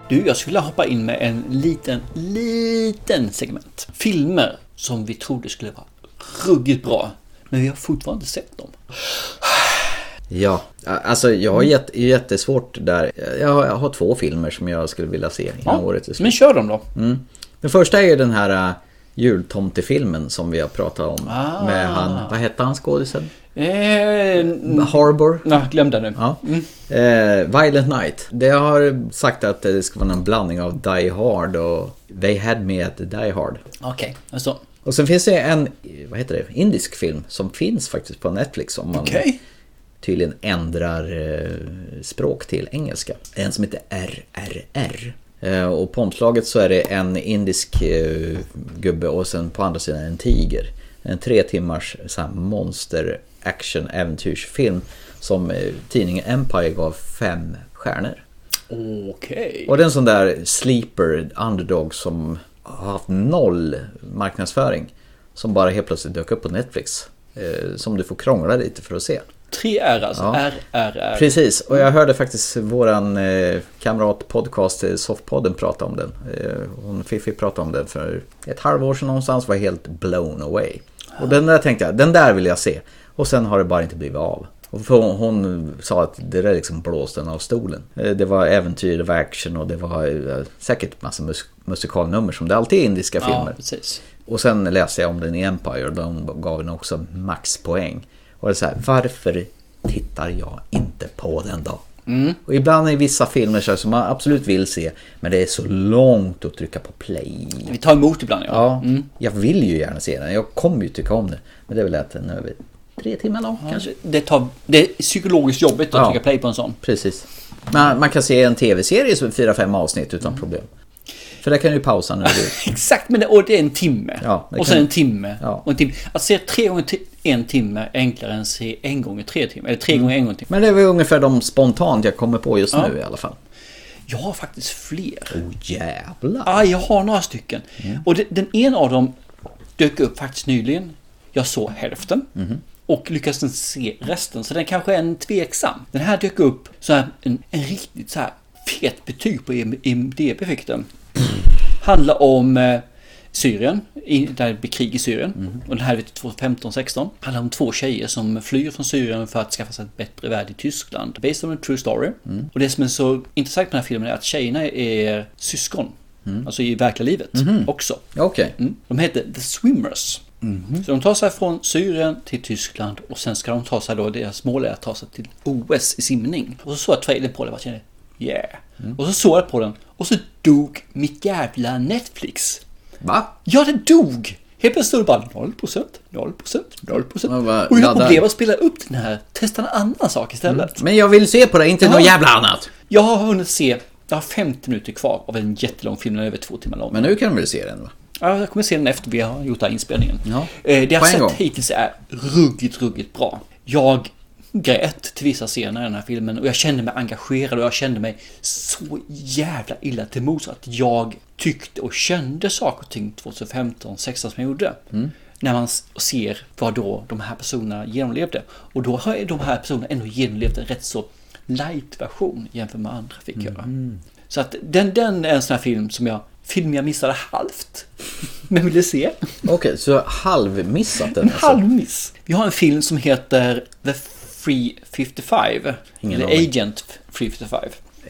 S2: Du, jag skulle vilja hoppa in med en liten, liten segment. Filmer som vi trodde skulle vara ruggigt bra, men vi har fortfarande inte sett dem.
S1: Ja, alltså jag
S2: Mm.
S1: har jätte, jättesvårt där. Jag har, jag har två filmer som jag skulle vilja se innan
S2: Ja,
S1: året är slut.
S2: men kör dem då.
S1: Mm. Den första är ju den här äh, jultomtefilmen som vi har pratat om. Med
S2: Ah.
S1: han, vad hette han skådisen?
S2: Eh,
S1: Harbour.
S2: Nej, glöm det nu.
S1: Ja. Eh, Violent Night. Det har sagt att det ska vara en blandning av Die Hard och They Had Me at Die Hard.
S2: Okej, alltså.
S1: Och sen finns det en, eh, vad heter det, indisk film som finns faktiskt på Netflix om man
S2: Okej.
S1: tydligen ändrar eh, språk till engelska. En som heter RRR. Eh, Och på omslaget så är det en indisk eh, gubbe och sen på andra sidan en tiger. En tre timmars eh, så här, monster action äventyrsfilm som eh, tidningen Empire gav fem stjärnor.
S2: Okej.
S1: Och det är en sån där sleeper underdog som har haft noll marknadsföring. Som bara helt plötsligt dök upp på Netflix. Eh, som du får krångla lite för att se.
S2: Tre R alltså.
S1: Ja.
S2: R, R, R.
S1: Precis, och jag hörde faktiskt våran eh, kamrat podcast eh, Softpodden prata om den. Eh, hon Fifi pratade om den för ett halvår sedan någonstans var helt blown away. Och den där tänkte jag, den där vill jag se. Och sen har det bara inte blivit av. Och för hon, hon sa att det där liksom blåste henne av stolen. Eh, det var äventyr, det var action och det var eh, säkert massa mus- musikalnummer som det alltid är i indiska
S2: Ja,
S1: filmer.
S2: precis.
S1: Och sen läste jag om den i Empire och de gav den också maxpoäng. Och det är så här, varför tittar jag inte på den då?
S2: Mm.
S1: Och ibland i vissa filmer så här som man absolut vill se, men det är så långt att trycka på play.
S2: Vi tar emot ibland ja.
S1: Ja,
S2: Mm.
S1: jag vill ju gärna se den. Jag kommer ju tycka om den. Men det är väl att den är över tre timmar lång kanske.
S2: Det, tar, det är psykologiskt jobbigt att
S1: Ja.
S2: trycka play på en sån.
S1: Precis. Man, man kan se en tv-serie som är fyra, fem avsnitt
S2: Mm.
S1: utan problem. För där kan du ju pausa när du vill.
S2: Exakt, men det, och det är en timme.
S1: Ja, det
S2: och sen
S1: kan-
S2: en timme.
S1: Ja.
S2: Och en timme. Att se tre gånger ti- en timme är enklare än att se en gånger tre timmar. Eller
S1: Mm.
S2: tre gånger en gånger timme.
S1: Men det var ungefär de spontant jag kommer på just
S2: Ja.
S1: nu i alla fall.
S2: Jag har faktiskt fler.
S1: Oh jävlar.
S2: Ja, jag har några stycken.
S1: Mm.
S2: Och de- den ena av dem dök upp faktiskt nyligen. Jag såg hälften.
S1: Mhm.
S2: Och lyckades inte se resten, så den kanske är en tveksam. Den här dök upp så här, en, en riktigt så här fet betyg på E IM- IMDB fick den. Handlar om eh, Syrien, i, där det blir krig i Syrien. Och den här är 2015-16. Handlar om två tjejer som flyr från Syrien för att skaffa sig ett bättre värld i Tyskland. Based on a true story. Och det som är så intressant med den här filmen är att tjejerna är syskon. Alltså i verkliga livet också.
S1: Okej.
S2: Mm. De heter The Swimmers.
S1: Mhm.
S2: Så de tar sig från Syrien till Tyskland och sen ska de ta sig då, deras mål är att ta sig till OS i simning. Och så såg jag trailern på det och bara kände yeah.
S1: Mm.
S2: Och så såg jag på den och så dog mitt jävla Netflix.
S1: Va?
S2: Ja, det dog! Helt plötsligt stod det bara 0%, 0%, 0%.
S1: bara
S2: och jag
S1: laddar. Mm.
S2: blev att spela upp den här, testa en annan sak istället.
S1: Men jag vill se på det, inte
S2: Ja.
S1: något jävla annat.
S2: Jag har hunnit se, jag har 50 minuter kvar av en jättelång film, den är över två timmar lång.
S1: Men nu kan du väl se den va?
S2: Ja, jag kommer se den efter vi har gjort den här inspelningen.
S1: Ja.
S2: Eh, Det jag
S1: På en
S2: sett
S1: gång.
S2: hittills är ruggigt, ruggigt bra. Jag grät till vissa scener i den här filmen och jag kände mig engagerad och jag kände mig så jävla illa till mods att jag tyckte och kände saker och ting 2015, 16 som jag gjorde. När man s- ser vad då de här personerna genomlevde. Och då har de här personerna ändå genomlevt en rätt så light version jämfört med vad andra fick göra. Så att den, den är en sån här film som jag, film jag missade halvt. Men ville se.
S1: Okej, så jag har halvmissat den
S2: En
S1: alltså.
S2: halvmiss. Vi har en film som heter The Free 55.
S1: Ingen
S2: eller
S1: aning.
S2: Agent Free 55.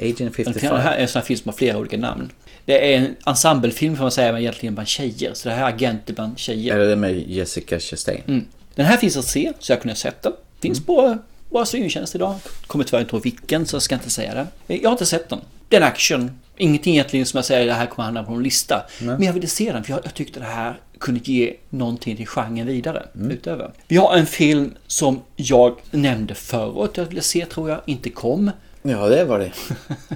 S1: Agent
S2: Den
S1: 55.
S2: här är en sån här film som har flera olika namn. Det är en ensemblefilm får man säga, men egentligen bland tjejer. Så det här är agenter bland tjejer.
S1: Är det den med Jessica Chastain?
S2: Mm. Den här finns att se, så jag kunde ha sett den. Finns
S1: Mm.
S2: på våra streamingtjänster idag. Kommer tyvärr inte ihåg vilken, så jag ska inte säga det. Eh, Jag har inte sett den. Det är en action. Ingenting egentligen som jag säger, det här kommer hamna på en lista. Men jag ville se den, för jag, jag tyckte det här kunde ge någonting till genren vidare.
S1: Mm.
S2: Utöver. Vi har en film som jag nämnde förut, jag ville se tror jag, inte kom.
S1: Ja, det var det.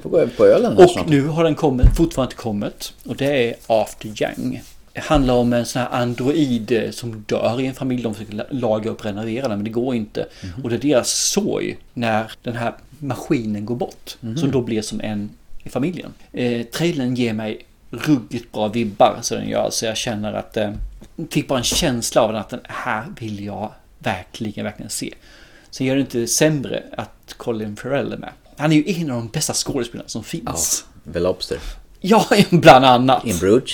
S1: Får gå över på ölen här snart.
S2: Och nu har den kommit, fortfarande inte kommit. Och det är After Yang. Det handlar om en sån här android eh, som dör i en familj. De försöker la- laga upp och renovera den men det går inte. Och det är deras sorg när den här maskinen går bort. Som då blir som en i familjen. Eh, trailern ger mig ruggigt bra vibbar så den gör. Så jag känner att... Eh, fick bara en känsla av den att den här vill jag verkligen, verkligen se. Sen gör det inte sämre att Colin Farrell är med. Han är ju en av de bästa skådespelarna som finns.
S1: The Lobster.
S2: Ja, bland annat.
S1: In Bruges.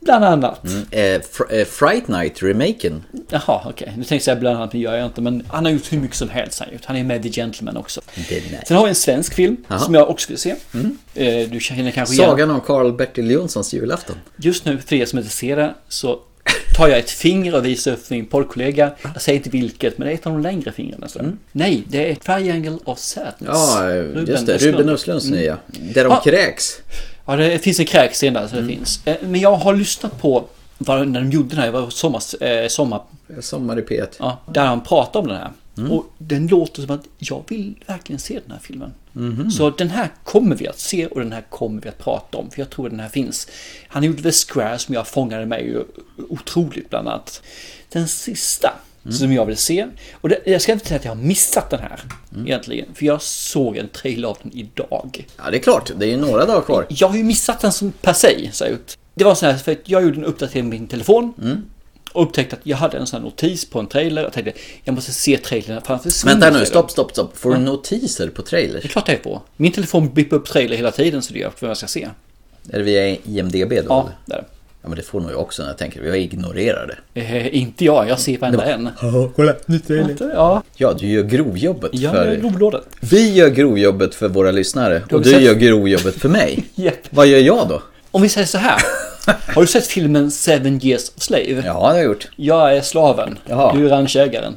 S2: Bland annat.
S1: Mm. Eh, fr- eh, Fright Night-remaken.
S2: Jaha, okej. Nu tänkte jag säga bland annat, men gör jag inte. Men han har gjort hur mycket som helst. Han, har gjort. han är med i The Gentleman också. Sen har vi en svensk film
S1: Mm. Jaha.
S2: som jag också vill se.
S1: Mm.
S2: Eh, Du känner kanske igen
S1: Sagan om Karl-Bertil Jonssons julafton.
S2: Just nu, för er som inte ser det, så tar jag ett finger och visar upp för min poddkollega. Jag säger inte vilket, men det är ett av de längre fingrarna. Så. Nej, det är Triangle of Sadness.
S1: Mm. Ja, eh, just det. Ruben Ah. Östlunds
S2: Mm.
S1: nya. Där de
S2: Ja.
S1: kräks.
S2: Ja, det finns en kräkscen där, så
S1: Mm.
S2: det finns. Eh, Men jag har lyssnat på vad, när de gjorde den här, det var sommar, eh, sommar
S1: Sommar i P1.
S2: Ja, där han pratar om den här. Och den låter som att jag vill verkligen se den här filmen. Så den här kommer vi att se och den här kommer vi att prata om. För jag tror den här finns. Han gjorde The Square som jag fångade mig ju otroligt bland annat. Den sista som jag vill se. Och det, jag ska inte säga att jag har missat den här egentligen. För jag såg en trailer av den idag.
S1: Ja, det är klart. Det är ju några dagar kvar.
S2: Jag har ju missat den som per se. Så jag gjort. det var så här, för att jag gjorde en uppdatering på min telefon.
S1: Mm.
S2: Och upptäckte att jag hade en sån här notis på en trailer. Jag tänkte, jag måste se trailern. För han försvinner
S1: Vänta nu,
S2: trailern.
S1: stopp, stopp, stopp. Får du
S2: Ja.
S1: notiser på trailers?
S2: Det är klart jag är på. Min telefon blippar upp trailer hela tiden så det gör vad jag ska se.
S1: Är det via IMDB då?
S2: Ja,
S1: eller?
S2: där.
S1: Ja, men det får nog jag också när jag tänker. Jag ignorerar det.
S2: Eh, inte jag, jag ser varenda en.
S1: Ja, kolla, nytt
S2: Ja,
S1: Ja, du gör grovjobbet
S2: jag
S1: för...
S2: är grovlådan.
S1: Vi gör grovjobbet för våra lyssnare
S2: har
S1: och
S2: vi
S1: du
S2: sett.
S1: gör grovjobbet för mig.
S2: Japp.
S1: Vad gör jag då?
S2: Om vi säger så här. Har du sett filmen Seven Years of Slave? Ja,
S1: det har jag gjort.
S2: Jag är slaven.
S1: Jaha.
S2: Du är ranchägaren.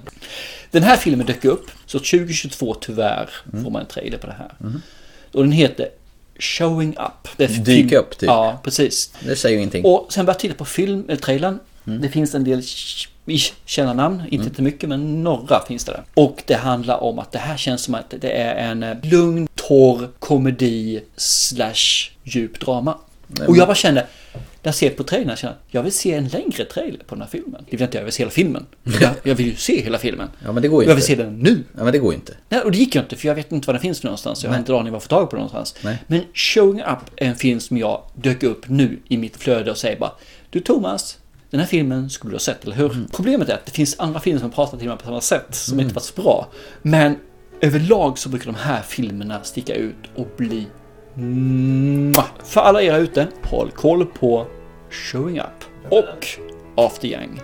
S2: Den här filmen dök upp. Så 2022 tyvärr
S1: Mm.
S2: får man en trailer på det här. Och den heter Showing Up. Det är film-
S1: Dyk upp, typ.
S2: Ja, precis.
S1: Det säger ju ingenting.
S2: Och sen började jag titta på film, eh, trailern.
S1: Mm.
S2: Det finns en del sh- ish kända namn, inte mm. mycket men några finns det där. Och det handlar om att det här känns som att det är en eh, lugn, torr komedi slash djup drama.
S1: Nej,
S2: Och
S1: men-
S2: jag bara kände, när jag ser på trailern, jag kände, jag vill se en längre trailer på den här filmen. Det vill inte jag, jag vill se hela filmen. Jag, jag vill ju se hela filmen.
S1: Ja, men det går ju
S2: jag vill se
S1: inte.
S2: den nu.
S1: Ja, men det går ju inte.
S2: Nej, och det gick ju inte för jag vet inte var den finns någonstans. Jag har
S1: Nej.
S2: inte en aning var jag får tag på den någonstans.
S1: Nej.
S2: Men Showing Up är en film som jag dök upp nu i mitt flöde och säger bara Du Thomas, den här filmen skulle du ha sett, eller hur?
S1: Mm.
S2: Problemet är att det finns andra filmer som pratar till mig på samma sätt som inte var så bra. Men överlag så brukar de här filmerna sticka ut och bli Mwah! För alla er ute, håll koll på Showing Up och After Yang.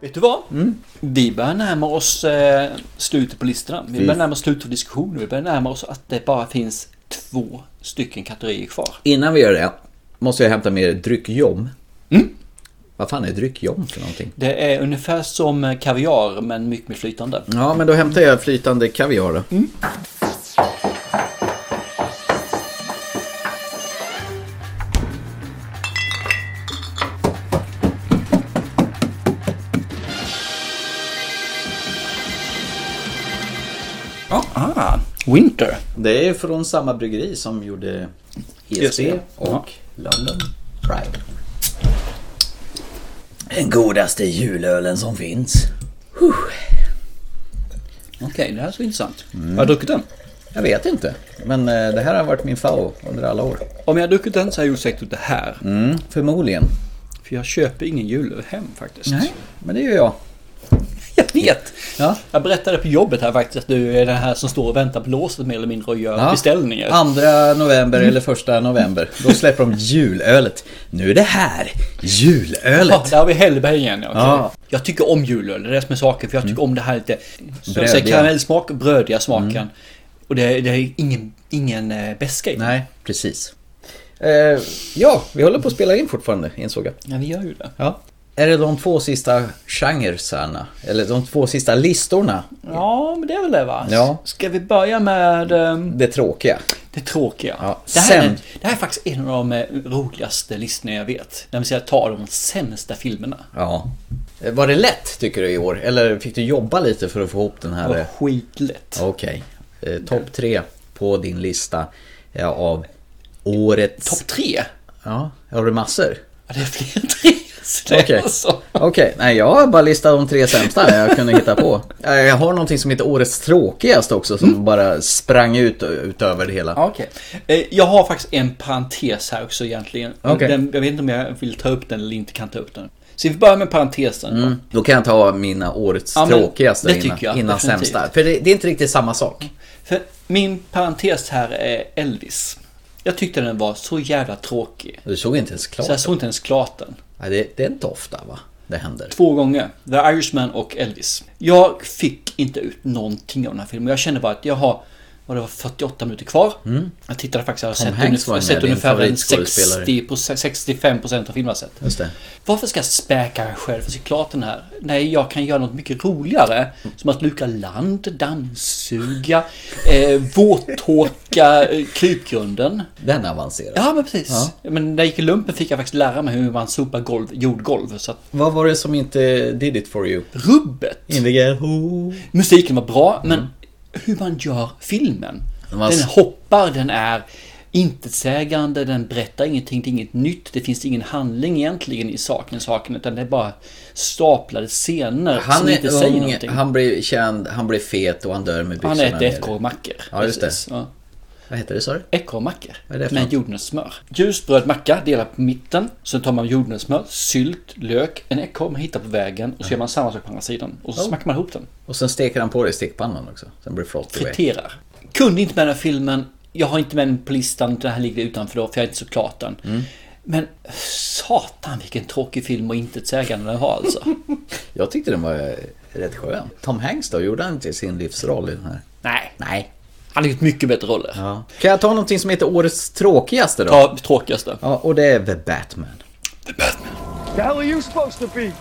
S2: Vet du vad? Vi börjar närma oss eh, slutet på listorna. Vi
S1: Fy-
S2: börjar närma oss slutet på diskussionen. Vi börjar närma oss att det bara finns två stycken kategorier kvar.
S1: Innan vi gör det måste jag hämta mer dryckjom.
S2: Mm.
S1: Vad fan är dryckjom för någonting?
S2: Det är ungefär som eh, kaviar men mycket mer flytande.
S1: Ja, men då hämtar jag flytande kaviar då.
S2: Ah, Winter.
S1: Det är från samma bryggeri som gjorde ESB och London Pride. Den godaste julölen som finns.
S2: Okej, det här är så intressant. Har jag druckit den?
S1: Jag vet inte, men eh, det här har varit min favorit under alla år.
S2: Om jag har druckit den så har jag säkert gjort det här.
S1: Mm, förmodligen.
S2: För jag köper ingen julöl hem faktiskt.
S1: Nej, men det gör jag.
S2: Jag vet! Jag berättade på jobbet här faktiskt att du är den här som står och väntar på låset mer eller mindre och gör
S1: Ja. Mm.
S2: beställningar.
S1: Andra november eller första november. Då släpper de julölet. Nu är det här! Julölet!
S2: Ja, där har vi Hellberg igen. Ja. okej.
S1: Ja. Mm.
S2: Jag tycker om julöl, det är det som är saken. För jag tycker om det här lite som jag säger,
S1: Brödiga.
S2: karamellsmak, brödiga smaken.
S1: Mm.
S2: Och det, det är ingen, ingen eh, beska i den.
S1: Nej, precis. Eh, ja, vi håller på att spela in fortfarande, insåg jag.
S2: Ja, vi gör ju det.
S1: Ja. Är det de två sista genresarna? Eller de två sista listorna?
S2: Ja, men det är väl det va?
S1: Ja.
S2: Ska vi börja med ehm,
S1: Det tråkiga.
S2: det tråkiga?
S1: Ja,
S2: Det, här är,
S1: sen-
S2: det här är faktiskt en av de eh, roligaste listorna jag vet. När vi ska ta de sämsta filmerna.
S1: Ja. Eh, Var det lätt tycker du i år? Eller fick du jobba lite för att få ihop den
S2: Det
S1: här?
S2: var
S1: eh,
S2: skitlätt.
S1: Okej. Eh, Topp tre på din lista eh, av årets...
S2: Topp tre?
S1: Ja, har du massor?
S2: Ja, det är fler än tre.
S1: Okej, Okej. nej jag har bara listat de tre sämsta jag kunde hitta på. Eh, Jag har någonting som heter årets tråkigaste också
S2: Mm.
S1: som bara sprang ut utöver det hela.
S2: Okej. Eh, Jag har faktiskt en parentes här också egentligen.
S1: Okej.
S2: Den, jag vet inte om jag vill ta upp den eller inte kan ta upp den. Så vi börjar med parentesen.
S1: Mm. Då kan jag ta mina årets
S2: Ja, men
S1: tråkigaste
S2: det
S1: innan,
S2: tycker jag,
S1: innan
S2: definitivt.
S1: sämsta. För det, det är inte riktigt samma sak.
S2: För min parentes här är Elvis. Jag tyckte den var så jävla tråkig.
S1: Du såg inte ens klart.
S2: Så jag såg inte ens klart den.
S1: Nej, det, det är inte ofta va? Det händer.
S2: Två gånger. The Irishman och Elvis. Jag fick inte ut någonting av den här filmen. Jag kände bara att jag har vad det var 48 minuter kvar.
S1: Mm.
S2: Jag tittade faktiskt, jag har
S1: Tom
S2: sett,
S1: Hanks
S2: ungefär,
S1: var
S2: jag har
S1: med,
S2: sett
S1: din
S2: ungefär en
S1: favoritskådespelare.
S2: 60 65% av filmen har jag sett.
S1: Just det.
S2: Varför ska jag späka mig själv för att se klart den här? Nej, jag kan göra något mycket roligare. Som att luka land, dammsuga, eh, våttorka eh, krypgrunden.
S1: Den är avancerad.
S2: Ja, men precis. Men när jag gick i lumpen fick jag faktiskt lära mig hur man sopar golv, jordgolv. Så att
S1: Vad var det som inte did it for you?
S2: Rubbet!
S1: In the ghetto. Den
S2: musiken var bra, men hur man gör filmen.
S1: Den Mm. var-
S2: Den hoppar, den är intetsägande, den berättar ingenting, det är inget nytt, det finns ingen handling egentligen i saken, saken utan det är bara staplade scener
S1: Han
S2: som inte
S1: är
S2: säger
S1: ung,
S2: någonting.
S1: han blir känd, han blir fet och han dör med byxorna
S2: Han äter
S1: nere.
S2: ekorrmackor.
S1: Ja, just det.
S2: Precis, ja.
S1: Vad heter det sa du?
S2: Ekorrmackor
S1: Vad är det för något?
S2: med jordnötssmör. Ljusbröd macka, delar på mitten. Sen tar man jordnötssmör, sylt, lök, en ekorre man hittar på vägen och så gör man samma sak på andra sidan. Och så
S1: Mm. Oh.
S2: smackar man ihop den.
S1: Och sen steker han på det i stekpannan också. Sen blir det frotty way.
S2: Friterar. Kunde inte med den här filmen. Jag har inte med den på listan, utan den här ligger utanför då, för jag är inte så klart den.
S1: Mm.
S2: Men satan vilken tråkig film och intetsägande den har alltså.
S1: Jag tyckte den var eh, rätt skön. Tom Hanks då, gjorde han inte sin livsroll i den här?
S2: Nej.
S1: Nej.
S2: Han har gjort mycket bättre roller.
S1: Ja. Kan jag ta någonting som heter årets tråkigaste då?
S2: Ta tråkigaste.
S1: Ja, och det är The Batman.
S9: The hell are you supposed to be?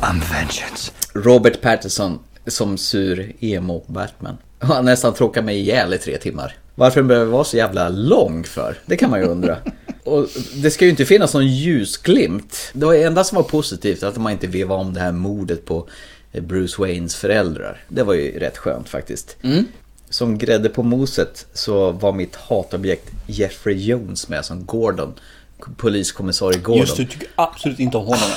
S1: I'm vengeance. Robert Pattinson som sur emo-Batman. Han nästan tråkar mig ihjäl i tre timmar. Varför den behöver vara så jävla lång för? Det kan man ju undra. Och det ska ju inte finnas någon ljusglimt. Det var det enda som var positivt att man inte vevade om det här mordet på eh, Bruce Waynes föräldrar. Det var ju rätt skönt faktiskt.
S2: Mm.
S1: Som grädde på moset så var mitt hatobjekt Jeffrey Jones med som Gordon. Poliskommissarie Gordon.
S2: Just det, du tycker absolut inte om honom.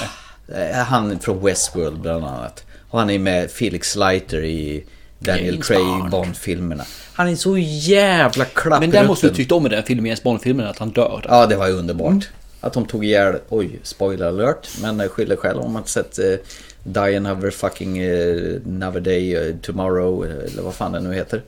S2: nej.
S1: Eh, Han från Westworld bland annat. Och han är med Felix Leiter i Daniel
S2: James
S1: Craig
S2: Bond.
S1: Bond-filmerna. Han är så jävla klapprutten.
S2: Men där måste du tyckt om i den filmen, Jens Bond-filmen, att han dör. Där.
S1: Ja, det var ju underbart. Att de tog ihjäl... Oj, spoiler alert. Men jag skyller själv om att sett eh, Die Another Fucking eh, Another Day eh, Tomorrow eh, eller vad fan den nu heter.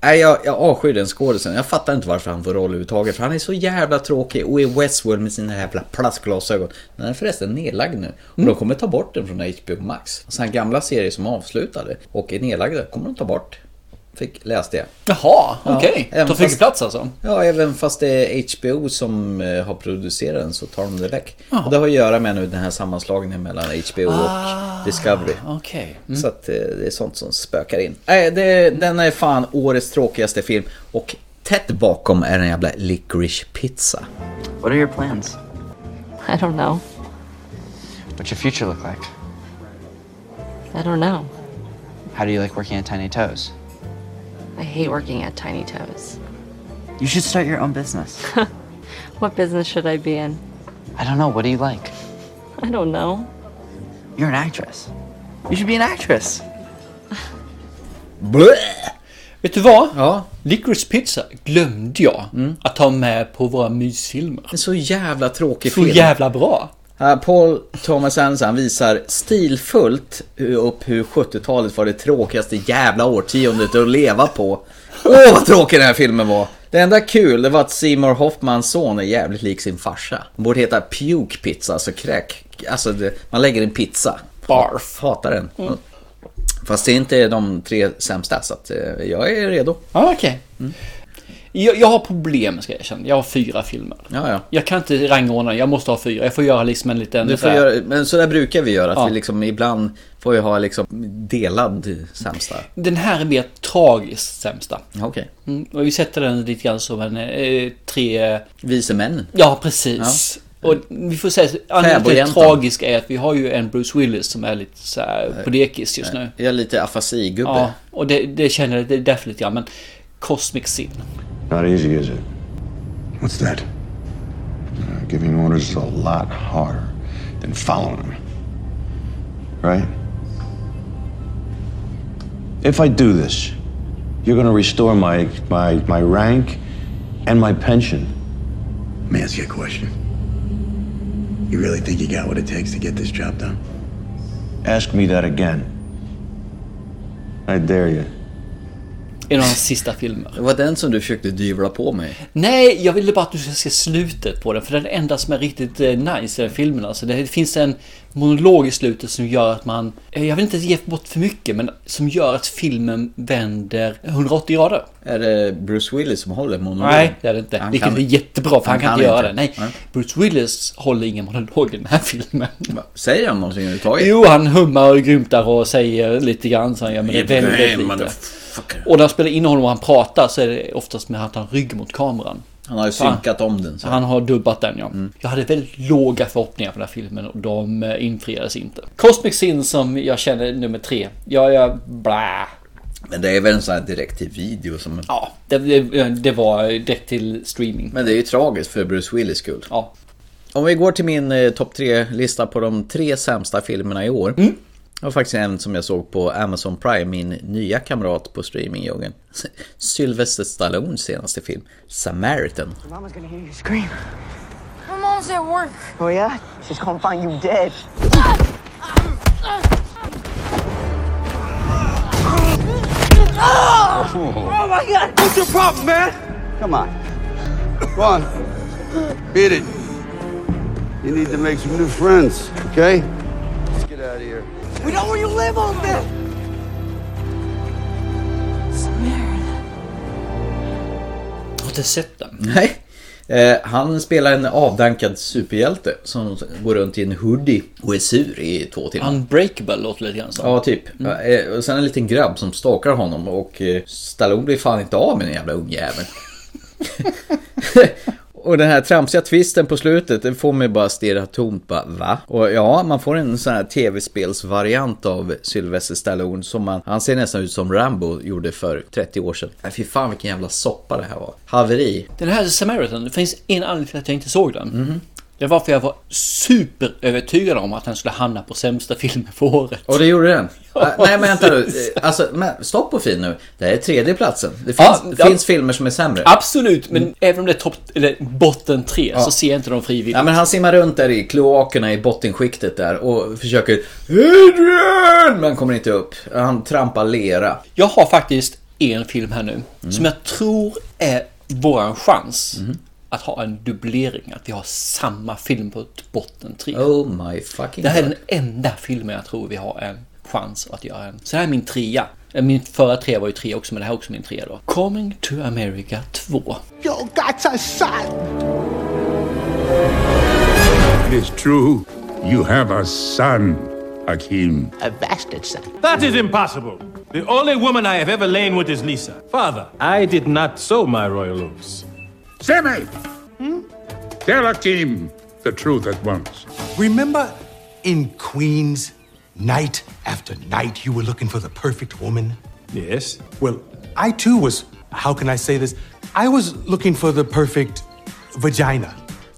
S1: Nej, jag, jag avskyr den skådisen. Jag fattar inte varför han får roll överhuvudtaget. För han är så jävla tråkig och i Westworld med sina jävla plastglasögon. Den är förresten nedlagd nu. Och de kommer ta bort den från HBO Max. Alltså den gamla serier som avslutade och är nedlagda kommer de ta bort. Fick, läste jag.
S2: Jaha,
S1: Ja,
S2: okej.
S1: även
S2: Tar
S1: fast-
S2: flygplats alltså?
S1: Ja, även fast det är HBO som eh, har producerat den så tar de det väck. Och det har att göra med nu den här sammanslagningen mellan HBO och
S2: Ah,
S1: Discovery.
S2: Okej. Mm.
S1: Så att eh, det är sånt som spökar in. Nej, det, den är fan årets tråkigaste film. Och tätt bakom är den jävla Licorice Pizza.
S3: What are your plans?
S12: I don't know.
S3: What's your future look like?
S12: I don't know.
S3: How do you like working at Tiny Toes?
S12: I hate working at Tiny Toes.
S3: You should start your own business.
S12: What business should I be in?
S3: I don't know. What do you like?
S12: I don't know.
S3: You're an actress. You should be an actress.
S1: Blö!
S2: Vet du vad?
S1: Ja. Mm.
S2: Licorice Pizza glömde jag att ta med på våra mysfilmer.
S1: En så jävla tråkig
S2: Så
S1: film.
S2: jävla bra.
S1: Här, Eh, Paul Thomas Anderson visar stilfullt upp hur 70-talet var det tråkigaste jävla årtiondet att leva på. Åh vad tråkig den här filmen var! Det enda kul det var att Seymour Hoffmans son är jävligt lik sin farsa. Den borde heta Puke Pizza, alltså kräk. Alltså det, man lägger en pizza.
S2: Barf.
S1: Hatar den.
S2: Mm.
S1: Fast det är inte de tre sämsta så att eh, jag är redo.
S2: Ja, okej. Mm. Jag, jag har problem ska jag erkänna. Jag har fyra filmer.
S1: Ja, ja.
S2: Jag kan inte rangordna, jag måste ha fyra. Jag får göra liksom en liten...
S1: Du får
S2: så här-
S1: göra, men så där brukar vi göra, att
S2: Ja.
S1: vi liksom ibland får vi ha liksom delad sämsta.
S2: Den här är mer tragiskt sämsta.
S1: Okej.
S2: Mm, och vi sätter den lite grann som en eh, tre...
S1: Vise männen.
S2: Ja, precis. Och vi får säga att anledningen till det
S1: Fäbodjäntan.
S2: tragiska är att vi har ju en Bruce Willis som är lite så här på dekis just nu.
S1: Jag är lite afasigubbe.
S2: Ja, och det, det känner jag, det är därför lite grann. Men Cosmic Sin.
S4: Not easy, is it? What's that? Uh, Giving orders is a lot harder than following them. Right? If I do this, you're going to restore my, my, my rank and my pension.
S5: Let me ask you a question. You really think you got what it takes to get this job done?
S4: Ask me that again. I dare you.
S2: En av hans sista filmer.
S1: Det var den som du försökte dyvla på mig.
S2: Nej, jag ville bara att du ska se slutet på den. För det är det enda som är riktigt eh, nice i den filmen. Alltså, det finns en monolog i slutet som gör att man... eh, Jag vill inte ge bort för mycket, men som gör att filmen vänder 180 grader.
S1: Är det Bruce Willis som håller monologen?
S2: Nej, det är det inte.
S1: Han
S2: Vilket
S1: kan-
S2: är jättebra, för han,
S1: han
S2: kan
S1: kan
S2: inte göra
S1: inte.
S2: det. Nej, Bruce Willis håller ingen monolog i den här filmen.
S1: Säger han någonting överhuvudtaget?
S2: Jo, han hummar och grymtar och säger lite grann så han gör, men det är
S1: Yeah,
S2: väldigt,
S1: man,
S2: väldigt lite.
S1: alltså. motherfucker.
S2: Och när han spelar in honom och han pratar så är det oftast med att han har rygg mot kameran.
S1: Han har ju
S2: Så han-
S1: synkat om den. Så.
S2: Han har dubbat den ja.
S1: Mm.
S2: Jag hade väldigt låga förhoppningar på den här filmen och de eh, infriades inte. Cosmic Sin som jag känner nummer tre. Jag, jag, blä.
S1: Men det är väl en sån här direkt till video som...
S2: Ja, det, det, det var direkt till streaming.
S1: Men det är ju tragiskt för Bruce Willis skull.
S2: Ja.
S1: Om vi går till min eh, topp tre lista på de tre sämsta filmerna i år.
S2: Mm.
S1: Det var faktiskt en som jag såg på Amazon Prime, min nya kamrat på streamingdjungeln. Sylvester Stallones senaste film, Samaritan.
S6: Your mama's gonna hear you scream.
S22: My mom's at work.
S6: Oh yeah? She's gonna find you dead.
S22: Oh!
S6: Oh my god! What's your problem, man? Come on. Run. Beat it. You need to make some new friends, okay? Let's get out of here. We know where you live on this!
S2: Jag har inte sett den.
S1: Nej. Eh, Han spelar en avdankad superhjälte som går runt i en hoodie och är sur i två timmar.
S2: Unbreakable låter lite grann som.
S1: Ja, typ. Eh, Och sen en liten grabb som stalkar honom och eh, Stallone blir fan inte av med den jävla ungjäveln. och den här tramsiga twisten på slutet, den får mig bara stirra tomt bara va? Och ja, man får en sån här tv-spelsvariant av Sylvester Stallone som man, han ser nästan ut som Rambo gjorde för 30 år sedan. Nej, fy fan vilken jävla soppa det här var. Haveri.
S2: Den här Samaritan, det finns en anledning till att jag inte såg den.
S1: Mm-hmm.
S2: Det var för jag var superövertygad om att den skulle hamna på sämsta filmen för året.
S1: Och det gjorde den.
S2: Ja,
S1: Ah, Nej men vänta nu, Eh, alltså men, stopp på fin nu. Det här är tredje platsen. Det finns,
S2: Ja,
S1: det
S2: ja.
S1: finns filmer som är sämre.
S2: Absolut, men även om det är topp, eller botten tre
S1: Mm. Ja.
S2: så ser jag inte dem frivilligt.
S1: Ja, men han simmar runt där i kloakerna i bottenskiktet där och försöker Adrian! Men kommer inte upp. Han trampar lera.
S2: Jag har faktiskt en film här nu som jag tror är våran chans att ha en dubblering. Att vi har samma film på botten tre.
S1: Oh my fucking
S2: Det här är
S1: God.
S2: den enda filmen jag tror vi har en chans att göra en. Så det här är min trea. Eh, Min förra trea var ju tre också, men det här är också min trea då. Coming to America 2.
S23: You got a son.
S24: It is true. You have a son, Hakim.
S23: A bastard son.
S25: That is impossible. The only woman I have ever lain with is Lisa. Father, I did not sow my royal oats.
S24: Semi!
S5: Hmm?
S24: Tell Hakim the truth at once.
S23: Remember in Queens, night after night, you were looking for the perfect woman? Yes. Well, I too was, how can I say this? I was looking for the perfect vagina.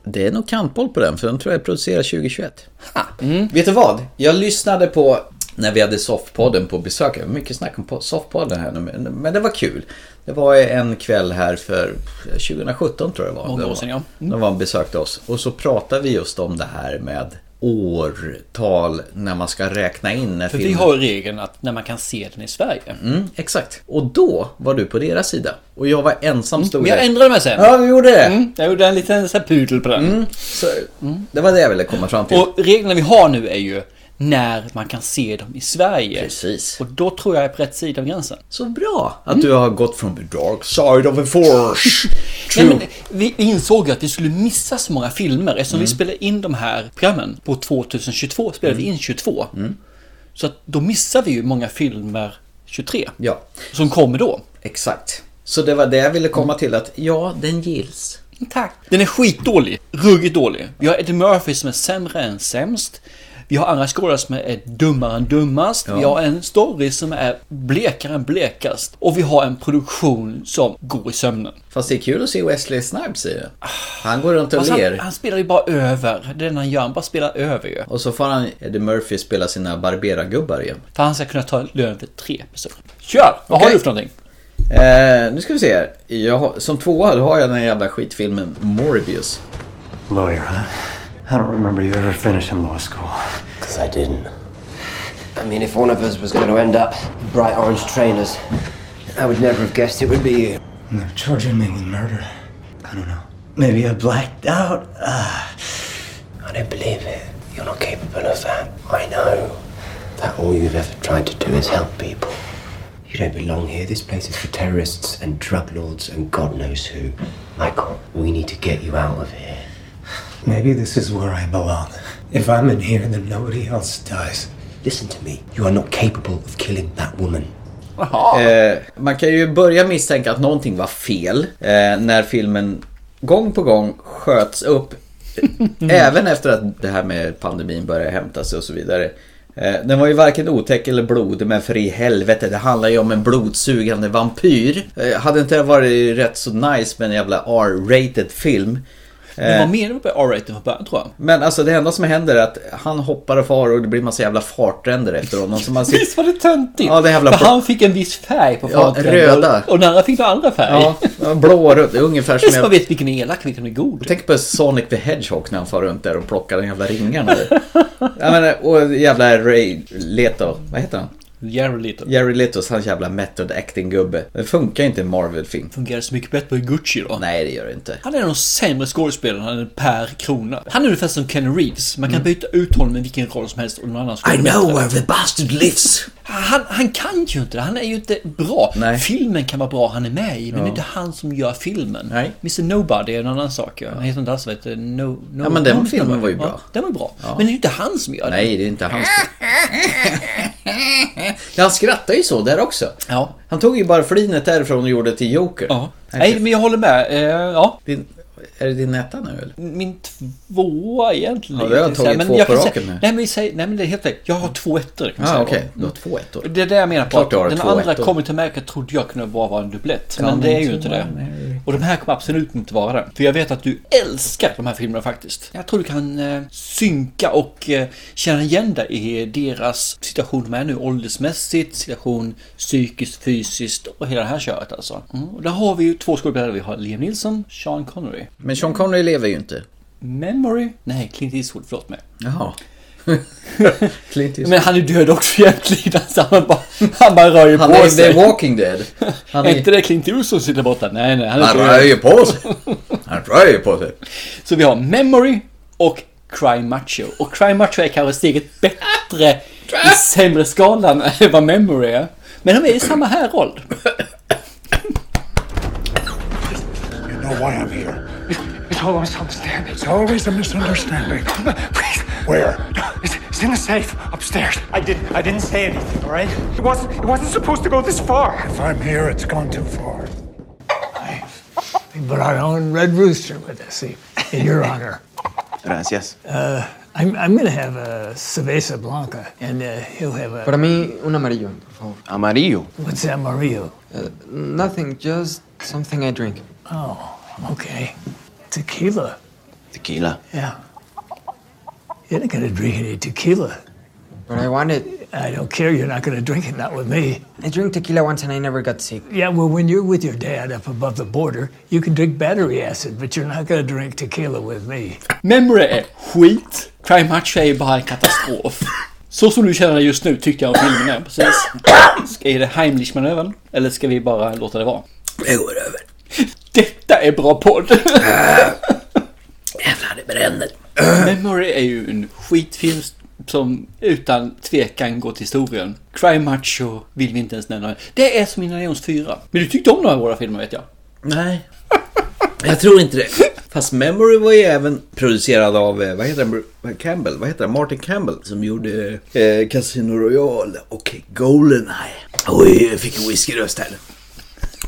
S1: Det är nog kantboll på den, för den tror jag är producerad 2021. Ha. Vet du vad? Jag lyssnade på när vi hade soffpodden på besök. Det var mycket snack om po- soffpodden här nu, men- men det var kul. Det var en kväll här för 2017 tror jag det var.
S2: Många
S1: Det
S2: år
S1: var-
S2: sedan, ja.
S1: Mm. De var och besökte oss och så pratade vi just om det här med årtal när man ska räkna in när
S2: För vi
S1: filmen-
S2: har ju regeln att när man kan se den i Sverige.
S1: Mm, exakt. Och då var du på deras sida. Och jag var ensam stod
S2: Men jag Mm.
S1: där.
S2: ändrade mig sen.
S1: Ja, du gjorde det. Mm.
S2: jag gjorde en liten så här pudel på den.
S1: Så, det var det jag ville komma fram till.
S2: Och reglerna vi har nu är ju när man kan se dem i Sverige.
S1: Precis.
S2: Och då tror jag är på rätt sida av gränsen.
S1: Så bra! Att du har gått från the dark side of the force.
S2: Nej, men vi vi insåg ju att vi skulle missa så många filmer eftersom
S1: Mm.
S2: vi spelade in de här programmen på 2022. Spelade vi in 22.
S1: Mm.
S2: Så att då missar vi ju många filmer 23.
S1: Ja.
S2: Som kommer då.
S1: Exakt. Så det var det jag ville
S2: Mm.
S1: komma till att ja, den gills.
S2: Tack. Den är skitdålig. Ruggigt dålig. Vi har Eddie Murphy som är sämre än sämst. Vi har andra skådespelare som är dummare än dummast. Vi har en story som är blekare än blekast. Och vi har en produktion som går i sömnen.
S1: Fast det är kul att se Wesley Snipes i det. Han går runt och
S2: Fast han,
S1: ler.
S2: han spelar ju bara över. Det är det han gör. Han bara spelar över ju.
S1: Och så får han Eddie Murphy spela sina barberargubbar igen.
S2: För han ska kunna ta lön för tre personer. Kör! Vad har
S1: Okej.
S2: du för någonting?
S1: Eh, nu ska vi se här. Jag, har- som tvåa då har jag den här jävla skitfilmen Morbius.
S7: Lawyer, huh? I don't remember you ever finishing law school.
S8: Because I didn't. I mean, if one of us was going to end up in bright orange trainers, I would never have guessed it would be you.
S7: And they're charging me with murder. I don't know. Maybe I blacked out. Uh,
S8: I don't believe it. You're not capable of that. I know. That all you've ever tried to do is help people. You don't belong here. This place is for terrorists and drug lords and God knows who. Michael, we need to get you out of here.
S7: maybe this is where I belong. If I'm in here, then nobody else does.
S8: Listen to me. You are not capable of killing that woman.
S1: Eh, man kan ju börja misstänka att någonting var fel eh, när filmen gång på gång sköts upp. eh, även efter att det här med pandemin började hämta sig och så vidare. Eh, den var ju varken otäck eller blodig men för i helvete, det handlar ju om en blodsugande vampyr. Eh, hade inte det varit rätt så nice med en jävla R-rated film?
S2: Men
S1: Eh,
S2: vad menar du med R-rating från början tror jag?
S1: Men alltså det enda som händer är att han hoppar och far och det blir massa jävla fartränder efter honom. Som man ser...
S2: Visst var det töntigt?
S1: Ja, det är jävla
S2: För han fick en viss färg på
S1: Ja,
S2: fartränder.
S1: röda.
S2: Och den andra fick en andra färg.
S1: Ja, blå och röd. Det är ungefär
S2: Det är
S1: som
S2: som man
S1: jag...
S2: vet vilken är elak och vilken är god.
S1: Tänk på Sonic the Hedgehog när han far runt där och plockar den jävla ringarna. där. Jag menar, och jävla Ray Leto. Vad heter han?
S2: Jerry Little.
S1: Jerry Letos, hans jävla method acting-gubbe. Det funkar inte i en Marvel-film.
S2: Fungerar så mycket bättre i Gucci då?
S1: Nej, det gör det inte.
S2: Han är de sämre skådespelaren per krona. Han är ungefär som Ken Reeves. Man kan byta ut honom i vilken roll som helst och någon annan skulle
S1: Mm. I
S2: vara
S1: know
S2: bättre.
S1: where the bastard lives.
S2: Han, han kan ju inte det. Han är ju inte bra. Filmen kan vara bra han är med i, men
S1: Ja.
S2: det är inte han som gör filmen. Mr Nobody är en annan sak ju. Han heter inte alls vad heter no, no,
S1: Ja, men den
S2: no,
S1: filmen var ju
S2: Ja,
S1: bra.
S2: den var bra.
S1: Ja.
S2: Men det är ju inte han som gör
S1: Nej, det är inte hans fel. Ja, Han skrattar ju så där också.
S2: Ja.
S1: Han tog ju bara flinet därifrån och gjorde det till Joker. Ja.
S2: Nej, men jag håller med. Eh, ja.
S1: Din, är det din etta nu eller?
S2: Min tvåa egentligen.
S1: Ja, det har jag
S2: Så här,
S1: tagit två
S2: jag
S1: på
S2: kan
S1: raken
S2: säga,
S1: nu.
S2: Nej men, vi säger, nej men det är helt rätt. Jag har två ettor. kan man
S1: Ah,
S2: säga.
S1: okej.
S2: Mm.
S1: Du har två ettor.
S2: Det är det jag menar på.
S1: Klart
S2: Att
S1: du har
S2: den
S1: två
S2: andra
S1: ettor.
S2: kommer till märka trodde jag kunde bara vara en dubblett.
S1: Ja,
S2: men det
S1: men
S2: är ju
S1: så
S2: inte
S1: var
S2: det.
S1: det.
S2: Och de här kommer absolut inte vara det. För jag vet att du älskar de här filmerna faktiskt. Jag tror du kan eh, synka och eh, känna igen dig i deras situation de är nu. Åldersmässigt, situation psykiskt, fysiskt och hela det här köret alltså. Mm. Och där har vi ju två skådespelare. Vi har Liam Nilsson, Sean Connery.
S1: Men Sean Connery lever ju inte.
S2: Memory? Nej, Clint Eastwood, förlåt mig.
S1: Jaha. Clint Eastwood.
S2: Men han är död också egentligen. Alltså, han, bara, han bara rör ju
S1: Han
S2: på
S1: är
S2: sig.
S1: The Walking Dead. Han
S2: är...
S1: är-
S2: inte det Clint Eastwood som sitter borta? Nej, nej.
S1: Han
S2: död.
S1: rör ju på sig. Han rör ju på sig.
S2: Så vi har Memory och Cry Macho. Och Cry Macho är kanske steget bättre i sämre skalan än vad Memory är. Men de är i samma här roll.
S5: You know why I'm here. It's always misunderstanding. It's always a misunderstanding. Where?
S13: It's, it's in the safe upstairs. I didn't. I didn't say anything. All right. It wasn't. It wasn't supposed to go this far.
S5: If I'm here, it's gone too far.
S10: We brought our own Red Rooster with us eh, in your honor.
S15: Gracias.
S10: Uh, I'm, I'm going to have a Cerveza Blanca, and uh, he'll have a.
S15: Para mí, un amarillo, por favor. ¿Amarillo?
S10: What's that, Mario?
S15: Uh, nothing, just something I drink.
S10: Oh, okay. Tequila.
S15: Tequila.
S10: Yeah. You're not going to drink any tequila.
S15: But I want it.
S10: I don't care. You're not going to drink it, not with me.
S15: I drank tequila once and I never got sick.
S10: Yeah, well, when you're with your dad up above the border, you can drink battery acid, but you're not going to drink tequila with me.
S2: Memory är skit. Cry Macho är bara en katastrof. Så som du känner dig just nu tycker jag om filmen är precis. Ska, är det Heimlich-manövern? Eller ska vi bara låta det vara?
S1: Det går över.
S2: Detta är bra podd!
S1: Jävlar, det bränner.
S2: Memory är ju en skitfilm som utan tvekan går till historien. Cry Macho vill vi inte ens nämna. Det är som Indiana Jones 4. Men du tyckte om några av våra filmer vet jag.
S1: Nej. Jag tror inte det. Fast Memory var ju även producerad av, eh, vad heter han, Bru- Campbell, vad heter han, Martin Campbell som gjorde eh, Casino Royale och Goldeneye. Oj, jag fick en whiskyröst här.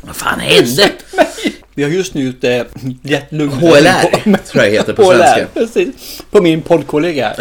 S1: Vad fan hände?
S2: Vi har just nu eh, ute gett lugn.
S1: HLR, tror jag heter på
S2: HLR,
S1: svenska.
S2: precis. På min poddkollega.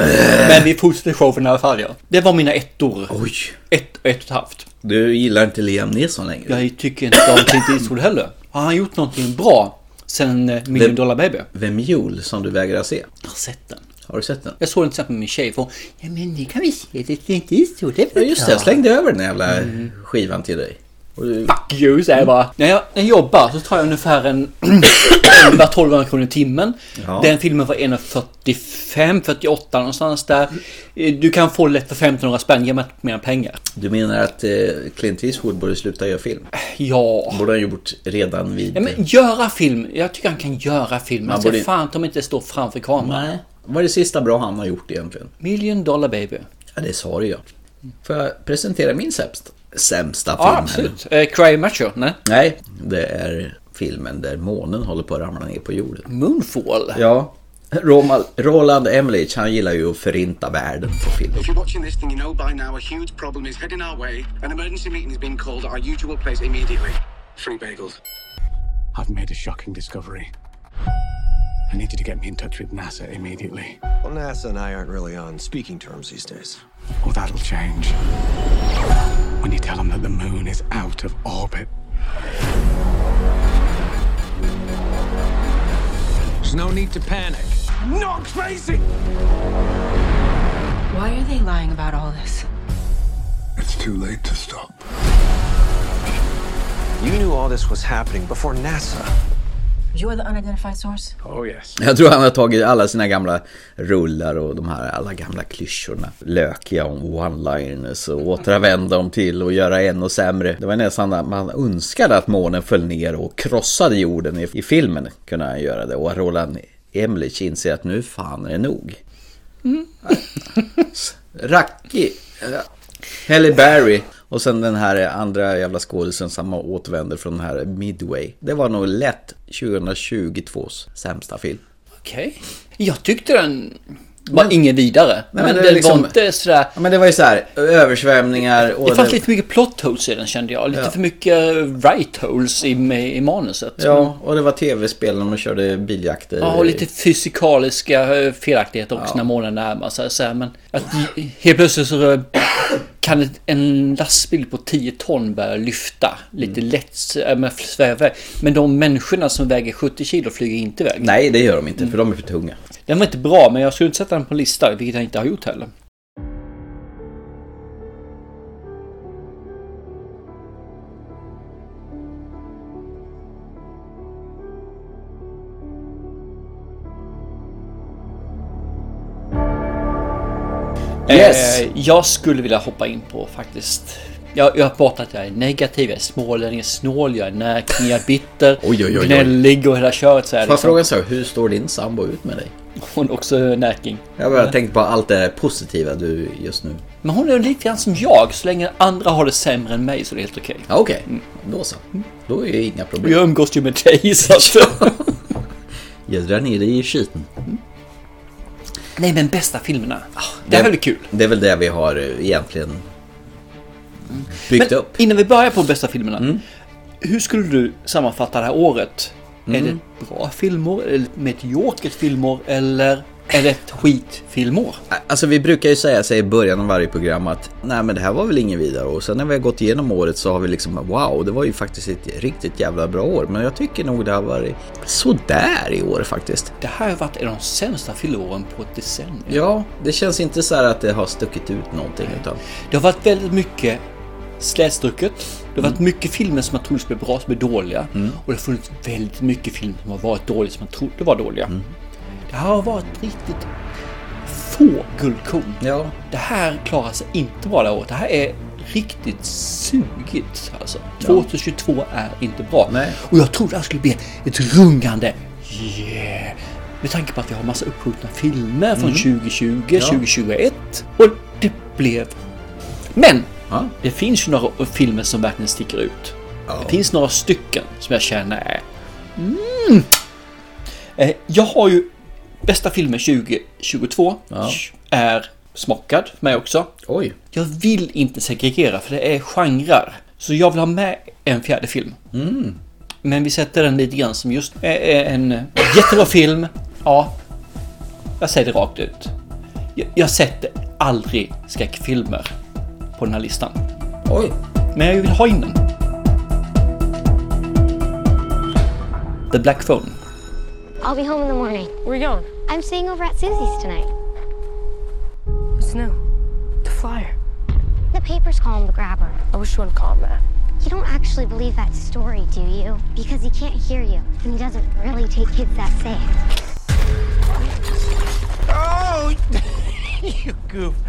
S2: Men vi fortsätter showen i alla fall. Ja. Det var mina ettor.
S1: Oj.
S2: Ett och ett och ett halvt.
S1: Du gillar inte Liam Neeson längre?
S2: Jag tycker inte om Clint Eastwood heller. Har han gjort någonting bra sen eh, Million
S1: Vem-
S2: Dollar Baby?
S1: The Mule som du vägrar se.
S2: Jag har sett den.
S1: Har du sett den?
S2: Jag såg den till exempel med min tjej. För hon, ja men nu kan vi se det Clint Eastwood. Det är väl
S1: Ja, just det,
S2: bra."
S1: jag slängde över den jävla
S2: Mm.
S1: skivan till dig. Och du...
S2: Fuck you säger jag bara. När jag, när jag jobbar så tar jag ungefär en 11-1200 kronor i timmen.
S1: Ja.
S2: Den filmen var 1,45, 48 någonstans där. Eh, Du kan få lätt för 1500 spänn genom att mina pengar.
S1: Du menar att eh, Clint Eastwood borde sluta göra film?
S2: Ja.
S1: Borde han gjort redan vid...
S2: Ja, men göra film. Jag tycker han kan göra film.
S1: Man
S2: Man ska
S1: borde-
S2: fan om inte står framför kameran.
S1: Nej. Vad är det sista bra han har gjort egentligen?
S2: Million dollar baby.
S1: Ja, det sa du ju. Får jag presentera min sämst, sämsta film?
S2: Ja,
S1: här nu?
S2: absolut. Eh, Cry Macho? Nej.
S1: Nej, det är filmen där månen håller på att ramla ner på jorden.
S2: Moonfall?
S1: Ja. Romal- Roland Emmerich, han gillar ju att förinta världen på film.
S14: If you're watching this, then you know by now a huge problem is heading our way. An emergency meeting has been called at our usual place immediately. Free bagels.
S13: I've made a shocking discovery. I need you to get me in touch with NASA immediately.
S16: Well, NASA and I aren't really on speaking terms these days.
S13: Well, that'll change. When you tell them that the moon is out of orbit.
S16: There's no need to panic.
S13: Not crazy!
S17: Why are they lying about all this?
S16: It's too late to stop. You knew all this was happening before NASA.
S17: You're the unidentified source?
S13: Oh, yes.
S1: Jag tror han har tagit alla sina gamla rullar och de här alla gamla klyschorna. Lökiga om one-liners och återanvända dem till och göra ännu sämre. Det var nästan att man önskade att månen föll ner och krossade jorden i, i filmen. Kunde han göra det och Roland Emmerich inser att nu fan är det nog. Racky. Halle Berry. Och sen den här andra jävla skådisen som återvänder från den här Midway. Det var nog lätt 2022s sämsta film.
S2: Okej. Jag tyckte den var ingen vidare. men,
S1: men det är
S2: den
S1: liksom-
S2: var inte sådär...
S1: Ja, men det var ju så här, översvämningar och...
S2: Det fanns lite mycket plot holes i den kände jag. Lite
S1: Ja.
S2: för mycket right holes i, i manuset.
S1: Ja, och det var tv-spel när de körde biljakter.
S2: Ja, och lite fysikaliska eh, felaktigheter också när månen närmar sig. Så här, men att j- helt plötsligt så eh, kan ett- en lastbil på 10 ton börja lyfta lite lätt, så- äh, men sväva iväg. Men de människorna som väger 70 kilo flyger inte iväg.
S1: Nej, det gör de inte, för de är för tunga.
S2: Den var inte bra, men jag skulle inte sätta den på en lista, vilket jag inte har gjort heller.
S1: Yes.
S2: Eh, jag skulle vilja hoppa in på faktiskt. Jag, jag har pratat att jag är negativ, jag är smålänning, jag är snål, jag är närking, jag är bitter,
S1: Oj, oj, oj, oj.
S2: gnällig och hela köret. Så här,
S1: Får jag
S2: liksom.
S1: fråga så, här, hur står din sambo ut med dig?
S2: Hon är också eh, närking.
S1: Jag bara tänkte på allt det positiva du just nu.
S2: Men hon är lite grann som jag, så länge andra har det sämre än mig så är det helt okej.
S1: Ja, okej.
S2: Mm.
S1: Då så. Då är det inga
S2: Och
S1: problem.
S2: jag umgås ju med dig så att...
S1: Jag drar ner dig i skiten.
S2: Nej men bästa filmerna. Ah, Det här var väldigt kul.
S1: Det är väl det vi har eh, egentligen
S2: Mm.
S1: byggt upp.
S2: Innan vi börjar på bästa filmerna. Hur skulle du sammanfatta det här året?
S1: Mm.
S2: Är det bra filmer, eller mediokert filmer eller är det ett skitfilmår?
S1: Alltså vi brukar ju säga så här i början av varje program att nej men det här var väl inget vidare och sen när vi har gått igenom året så har vi liksom wow det var ju faktiskt ett riktigt jävla bra år men jag tycker nog det har varit sådär i år faktiskt.
S2: Det här har varit en av de sämsta filmåren på ett decennium.
S1: Ja, det känns inte så här att det har stuckit ut någonting utan
S2: Det har varit väldigt mycket slätstrucket. Det har varit mycket filmer som man trodde skulle bli bra som är dåliga. Och det har funnits väldigt mycket filmer som har varit dåliga som man trodde var dåliga. Det här har varit riktigt få guldkorn. Det här klarar sig inte bra det här året. Det här är riktigt sugigt. Alltså. 2022 är inte bra. Och jag trodde det här skulle bli ett rungande yeah. Med tanke på att vi har massa uppskjutna filmer från
S1: Mm.
S2: 2020,
S1: Ja.
S2: 2021. Och det blev... Men! Det finns ju några filmer som verkligen sticker ut. Det finns några stycken som jag känner är... Mm. Eh, Jag har ju bästa filmen 2022 är smockad för mig också.
S1: Oj.
S2: Jag vill inte segregera för det är genrer. Så jag vill ha med en fjärde film. Men vi sätter den lite grann som just eh, eh, en jättebra film. Ja, jag säger det rakt ut. Jag, jag sätter aldrig skräckfilmer på den här listan.
S1: Oj.
S2: Men jag vill ha in den. The Black Phone.
S11: I'll be home in the morning. Where are you going? I'm staying over at Susie's tonight.
S22: What's new? The flyer.
S11: The papers call him the grabber.
S22: I wish you wouldn't call him that.
S11: You don't actually believe that story, do you? Because he can't hear you, and he doesn't really take kids that safe.
S13: Oh, you goof.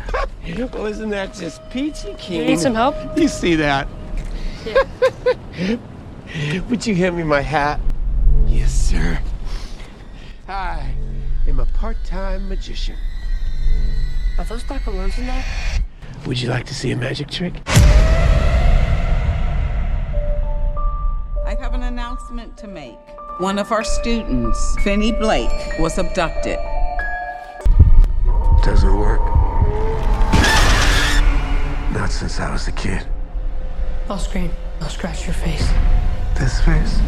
S13: Well, isn't that just peachy keen?
S22: You need some help?
S13: You see that? Would you hand me my hat? Yes, sir. I am a part-time magician.
S22: Are those black balloons in there?
S13: Would you like to see a magic trick?
S18: I have an announcement to make. One of our students, Finney Blake, was abducted.
S13: Doesn't work. Not since I was a kid.
S22: I'll scream. I'll scratch your face.
S13: This face?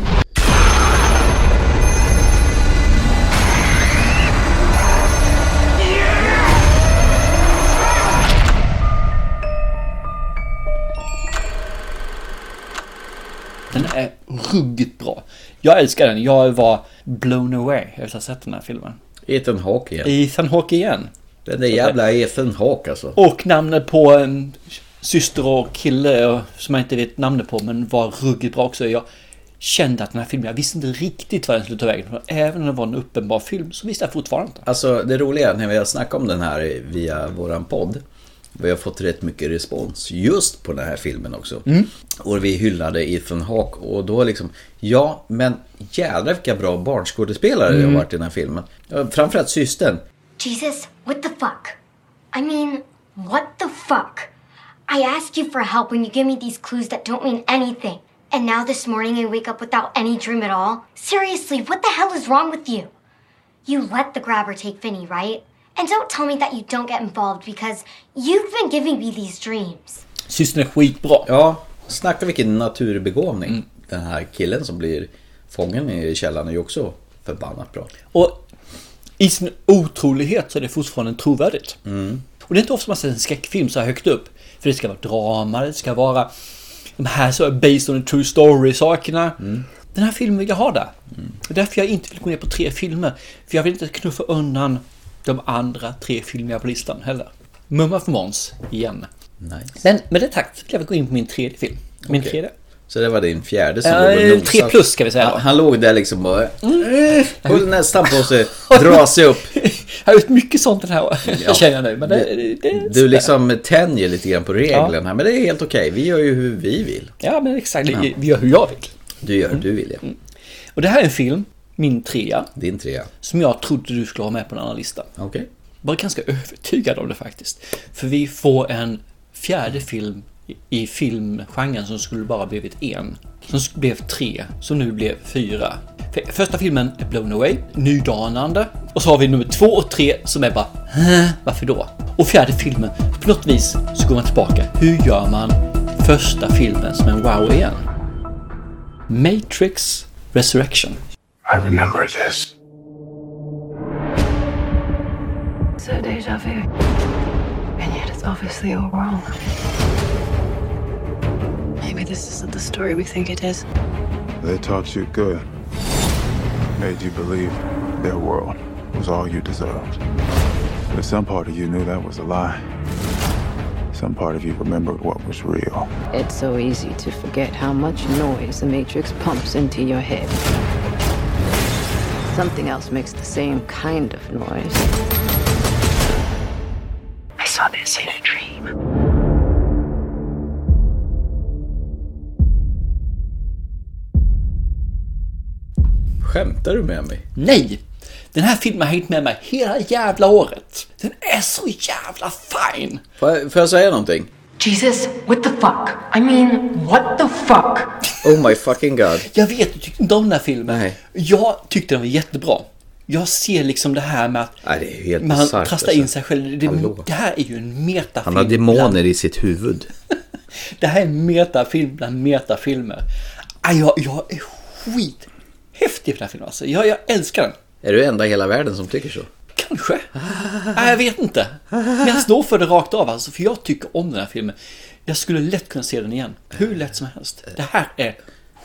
S2: Den är ruggigt bra. Jag älskar den. Jag var blown away efter att ha sett den här filmen.
S1: Ethan Hawke igen.
S2: Ethan Hawke igen.
S1: Den där jävla Ethan Hawke alltså.
S2: Och namnet på en syster och kille eh, som jag inte vet namnet på men var ruggigt bra också. Jag kände att den här filmen, jag visste inte riktigt vad den skulle ta vägen. För Även om det var en uppenbar film så visste jag fortfarande inte.
S1: Alltså det roliga när vi har snackat om den här via våran podd. Vi har fått rätt mycket respons just på den här filmen också.
S2: Mm.
S1: Och vi hyllade Ethan Hawke och då liksom, ja men jävlar vilka bra barnskådespelare det har
S11: Mm.
S1: varit i den här filmen. Ja, Framförallt systern.
S11: Jesus, what the fuck? I mean, what the fuck? I ask you for help when you give me these clues that don't mean anything. And now this morning I wake up without any dream at all? Seriously, what the hell is wrong with you? You let the grabber take Finny, right? And don't tell me that you don't get involved because you've been giving me these dreams.
S2: Systern är skitbra.
S1: Ja, snacka vilken naturbegåvning.
S2: Mm.
S1: Den här killen som blir fången i källaren är ju också förbannat bra.
S2: Och i sin otrolighet så är det fortfarande trovärdigt. Och det är inte ofta man ser en skräckfilm så här högt upp. För det ska vara drama, det ska vara de här så här based on a true story sakerna. Den här filmen vill jag ha där. Det är därför jag inte vill gå ner på tre filmer. För jag vill inte knuffa undan de andra tre filmerna på listan heller. Mumma för Måns igen.
S1: Nice.
S2: Men med det takt vill jag gå in på min tredje film. Min
S1: Okej.
S2: tredje.
S1: Så det var din fjärde som
S2: Eh,
S1: låg och nosade.
S2: tre plus ska vi säga då. Mm.
S1: Han, han låg där liksom och höll nästan på sig dra sig upp.
S2: Jag har gjort mycket sånt den här ja. känner jag nu. Men det, det, det är
S1: Du liksom tänjer lite grann på reglerna men det är helt okej. Vi gör ju hur vi vill.
S2: Ja, men exakt. Vi gör hur jag vill.
S1: Du gör hur du vill, ja.
S2: Och det här är en film, min trea.
S1: Din trea.
S2: Som jag trodde du skulle ha med på den andra listan.
S1: Okej.
S2: Var ganska övertygad om det faktiskt. För vi får en fjärde film i- i filmgenren som skulle bara blivit en. Som sk- blev tre, som nu blev fyra. För första filmen är Blown Away, nydanande. Och så har vi nummer två och tre som är bara "Hä? varför då? Och fjärde filmen, på något vis så går man tillbaka. Hur gör man första filmen som en wow igen? Matrix Resurrection.
S13: I remember this.
S19: So deja vu. And yet it's obviously all wrong. Maybe this isn't the story we think it is.
S13: They taught you good. Made you believe their world was all you deserved. But some part of you knew that was a lie. Some part of you remembered what was real.
S19: It's so easy to forget how much noise the Matrix pumps into your head. Something else makes the same kind of noise. I saw this in a dream.
S1: Skämtar du med mig?
S2: Nej! Den här filmen har hängt med mig hela jävla året. Den är så jävla fin!
S1: Får jag, får jag säga någonting?
S22: Jesus, what the fuck? I mean, what the fuck?
S1: Oh my fucking god.
S2: Jag vet, du tyckte inte om den här filmen. Jag tyckte den var jättebra. Jag ser liksom det här med att
S1: Nej, det är helt
S2: man
S1: bisarrt, alltså.
S2: kastar in sig själv. Det,
S1: Hallå.
S2: det här är ju en metafilm.
S1: Han har demoner i sitt huvud.
S2: Det här är en metafilm bland metafilmer. Aj, jag, jag är skithäftig den här filmen alltså. Jag, jag älskar den.
S1: Är du enda i hela världen som tycker så?
S2: Kanske. Nej, jag vet inte. Men jag står för det rakt av alltså, för jag tycker om den här filmen. Jag skulle lätt kunna se den igen. Hur lätt som helst. Det här är...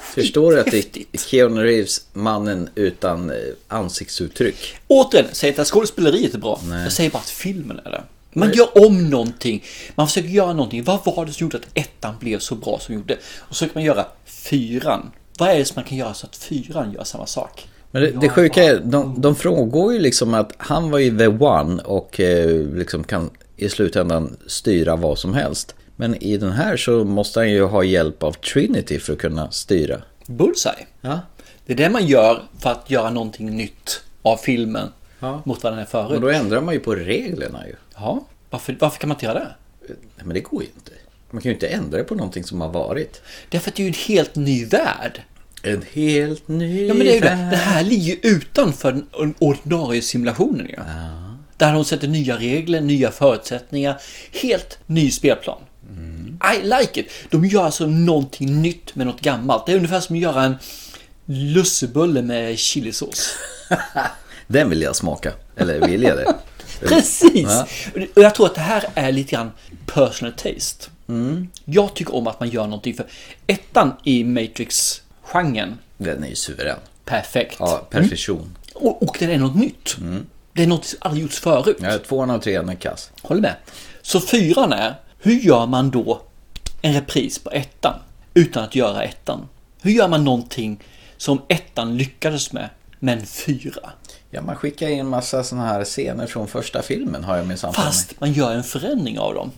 S1: Förstår du att det är Keanu Reeves, mannen utan eh, ansiktsuttryck?
S2: Återigen, jag säger inte att skådespeleriet är bra. Jag säger bara att filmen är det. Man gör om någonting. Man försöker göra någonting. Vad var det som gjorde att ettan blev så bra som gjorde? Och så försöker man göra fyran. Vad är det som man kan göra så att fyran gör samma sak?
S1: Men det, det sjuka är, de, de frågar ju liksom att han var ju the one och eh, liksom kan i slutändan styra vad som helst. Men i den här så måste han ju ha hjälp av Trinity för att kunna styra.
S2: Bullseye. Det är det man gör för att göra någonting nytt av filmen mot vad den är förut.
S1: Och då ändrar man ju på reglerna ju.
S2: Ja, varför, varför kan man inte göra det?
S1: Nej men det går ju inte. Man kan ju inte ändra på någonting som har varit.
S2: Därför att det är ju en helt ny värld.
S1: En helt ny
S2: Ja men det är ju det.
S1: värld.
S2: Det här ligger ju utanför den ordinarie simulationen ju. Där de sätter nya regler, nya förutsättningar. Helt ny spelplan. I like it. De gör alltså någonting nytt med något gammalt. Det är ungefär som att göra en lussebulle med chilisås.
S1: Den vill jag smaka. Eller vill jag det?
S2: Precis!
S1: Ja.
S2: Och jag tror att det här är lite grann personal taste. Jag tycker om att man gör någonting för ettan i Matrix-genren.
S1: Den är ju suverän.
S2: Perfekt.
S1: Ja, perfektion.
S2: Och, och den är något nytt. Det är något som aldrig gjorts förut.
S1: Mm. Ja, tvåan och trean är kass.
S2: Håller med. Så fyran är, hur gör man då en repris på ettan utan att göra ettan? Hur gör man någonting som ettan lyckades med, men fyra?
S1: Ja, man skickar in massa sådana här scener från första filmen har jag minsann för mig.
S2: Fast man gör en förändring av dem.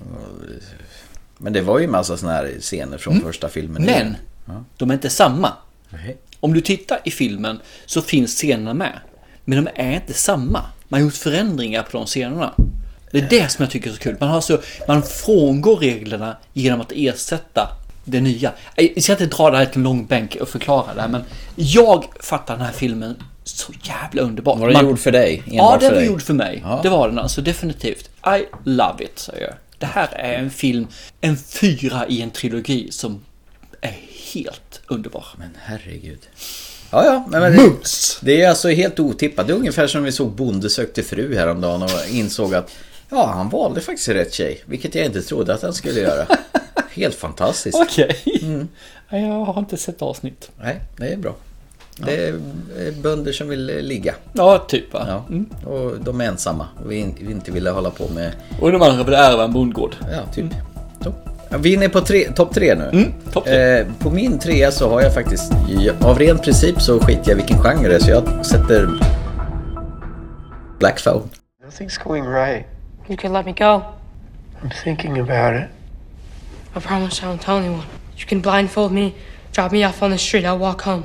S1: Men det var ju massa sådana här scener från första filmen.
S2: Mm. Men de är inte samma.
S1: Nej.
S2: Om du tittar i filmen så finns scenerna med. Men de är inte samma. Man har gjort förändringar på de scenerna. Det är det som jag tycker är så kul. Man, har så, man frångår reglerna genom att ersätta det nya. Jag ska inte dra det här till en lång bänk och förklara det här men jag fattar den här filmen så jävla underbart.
S1: Var den
S2: Man-
S1: gjord för dig?
S2: Ja,
S1: Enbart
S2: den
S1: för
S2: var
S1: dig?
S2: gjord för mig.
S1: Ja.
S2: Det var den alltså, definitivt. I love it, säger jag. Det här är en film, en fyra i en trilogi som är helt underbar.
S1: Men herregud. Ja, ja. Nej, men
S2: Mm.
S1: det, det är alltså helt otippat. Det är ungefär som vi såg Bonde sökte fru häromdagen och insåg att ja, han valde faktiskt rätt tjej. Vilket jag inte trodde att han skulle göra. Helt fantastiskt.
S2: Okej. Jag har inte sett avsnitt.
S1: Nej, det är bra. Det är eh, bönder som vill eh, ligga.
S2: Ja, typ va?
S1: Ja. Och de är ensamma och vi in- vi inte ville hålla på med...
S2: Och de andra vill ärva en bondgård.
S1: Ja, typ. Så. Ja, Vi är inne på tre- topp tre nu.
S2: Mm.
S1: Eh, på min trea så har jag faktiskt... jag- Av ren princip så skiter jag vilken genre det är så jag sätter... Black Phone.
S3: Nothing's going right.
S22: You can let me go.
S3: I'm thinking about it.
S22: I promise I won't tell anyone. You can blindfold me, drop me off on the street, I'll walk home.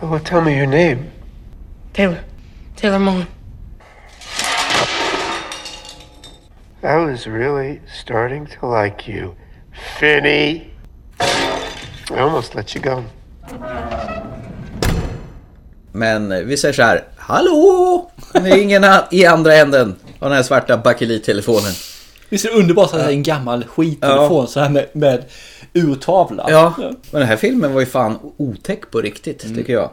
S3: Well, tell me your name.
S22: Taylor. Taylor Mullen.
S3: I was really starting to like you, Finny. I almost let you go.
S1: Men eh, vi säger så här. Hallå! Det är ingen a- i andra änden av den här svarta bakelittelefonen.
S2: Visst är det underbart att det är en gammal skittelefon
S1: Ja.
S2: så här med, med urtavla?
S1: Ja, men den här filmen var ju fan otäck på riktigt tycker jag.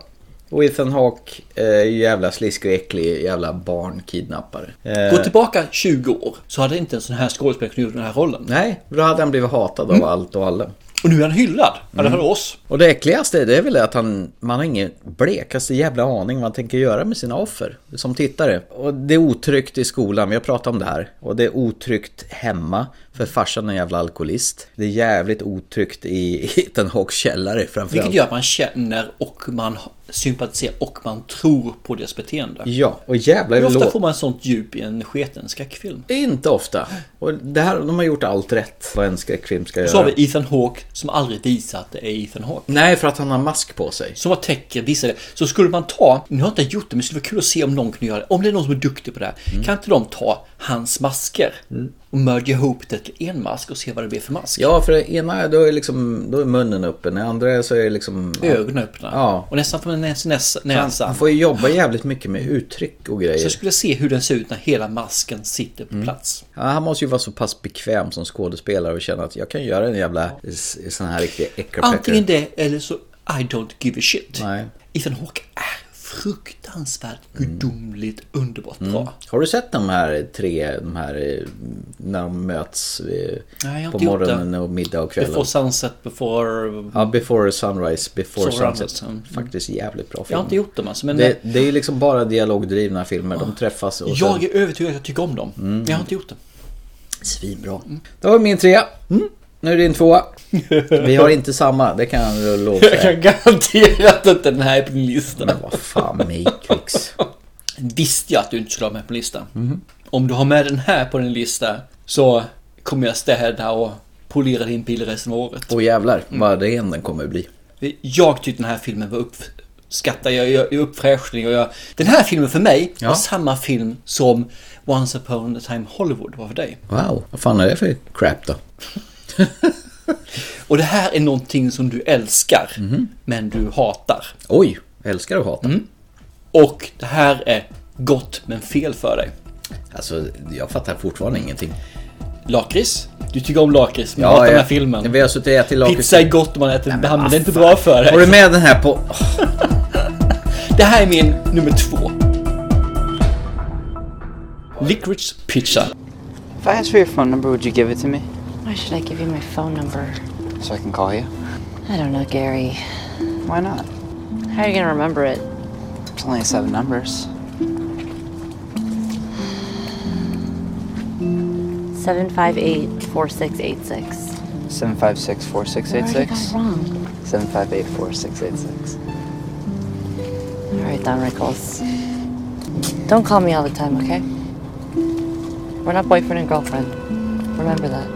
S1: Och Ethan Hawke, eh, jävla slisk och äcklig jävla barnkidnappare. Eh,
S2: Gå tillbaka 20 år så hade inte en sån här skådespelare kunnat göra den här rollen.
S1: Nej, då hade han blivit hatad av allt och alla.
S2: Och nu är han hyllad. I
S1: Mm.
S2: alla fall av oss.
S1: Och det äckligaste det är väl att han, man har ingen blekaste jävla aning vad han tänker göra med sina offer som tittare. Och det är otryggt i skolan, vi har pratat om det här. Och det är otryggt hemma, för farsan är en jävla alkoholist. Det är jävligt otryggt i Ethan Hawkes källare framförallt.
S2: Vilket gör att man känner och man sympatiserar och man tror på deras beteende.
S1: Ja, och jävlar
S2: Hur ofta
S1: låt-
S2: får man sånt djup i en sketen skräckfilm?
S1: Inte ofta. Och det här, de har gjort allt rätt vad en skräckfilm ska
S2: Och så har
S1: göra.
S2: vi Ethan Hawke som aldrig visar att det är Ethan Hawke.
S1: Nej, för att han har mask på sig.
S2: Som var täcker visar det. Så skulle man ta, nu har jag inte gjort det men det skulle vara kul att se om någon kunde göra det. Om det är någon som är duktig på det här.
S1: Mm.
S2: Kan inte de ta hans masker och mörja ihop det till en mask och se vad det blir för mask?
S1: Ja, för det ena då är, liksom, då är munnen öppen, det andra så är det liksom...
S2: Ögonen öppna.
S1: Ja.
S2: Och nästan från näs, näs,
S1: Han,
S2: näsan.
S1: han får ju jobba jävligt mycket med uttryck och
S2: Så
S1: grejer.
S2: jag skulle se hur den ser ut när hela masken sitter
S1: Mm.
S2: på plats.
S1: Ja, han måste ju vara så pass bekväm som skådespelare och känna att jag kan göra en jävla s- sån här riktig äckelpäckare.
S2: Antingen det eller så I don't give a shit.
S1: Nej.
S2: Ethan Hawke är fruktansvärt gudomligt underbart
S1: Mm.
S2: bra.
S1: Har du sett de här tre, de här eh, när de möts eh,
S2: Nej, jag har
S1: på
S2: inte gjort
S1: morgonen
S2: det.
S1: och middag och kvällen?
S2: Before sunset, before...
S1: Ja, Before Sunrise, Before
S2: Before
S1: Sunset.
S2: Sunset, mm.
S1: Faktiskt jävligt bra film.
S2: Jag har inte gjort dem alltså, men-
S1: Mm.
S2: Ah.
S1: det, det är ju liksom bara dialogdrivna filmer. De träffas och
S2: Jag
S1: sen...
S2: är övertygad att jag tycker om dem.
S1: Mm.
S2: Men jag har inte gjort det.
S1: Svinbra. Det var min trea. Mm. Nu är det din tvåa. Vi har inte samma, det kan jag lova.
S2: Jag kan garantera att inte den här är på min lista. Men
S1: vad fan, Matrix.
S2: Mm. Visste jag att du inte skulle ha med på listan. Om du har med den här på din lista så kommer jag städa och polera din bil resten av året.
S1: Åh jävlar, vad ren den kommer att bli.
S2: Jag tyckte den här filmen var uppskattad, jag jag- jag uppfräschning och jag... Den här filmen för mig var samma film som Once upon a time Hollywood var för dig.
S1: Wow, vad fan är det för crap då?
S2: Och det här är någonting som du älskar, men du hatar.
S1: Oj, älskar och hatar.
S2: Mm. Och det här är gott men fel för dig.
S1: Alltså, jag fattar fortfarande ingenting.
S2: Lakrits? Du tycker om lakrits, men hatar
S1: jag-
S2: den här filmen.
S1: Vi har suttit och ätit lakrits. alltså.
S2: Pizza är gott om man äter den, men det är inte bra för dig.
S1: Har du med den här på...
S2: Det här är min nummer två. Licorice pizza.
S4: If I asked for your phone number, would you give it to me?
S19: Why should I give you my phone number?
S4: So I can call you?
S19: I don't know, Gary.
S4: Why not?
S19: How are you gonna remember it?
S4: It's only seven numbers.
S19: Seven five eight four six eight six.
S4: 756
S19: 4686? wrong.
S4: 758 4686.
S19: All right, Don Rickles. Don't call me all the time, okay? We're not boyfriend and girlfriend. Remember that.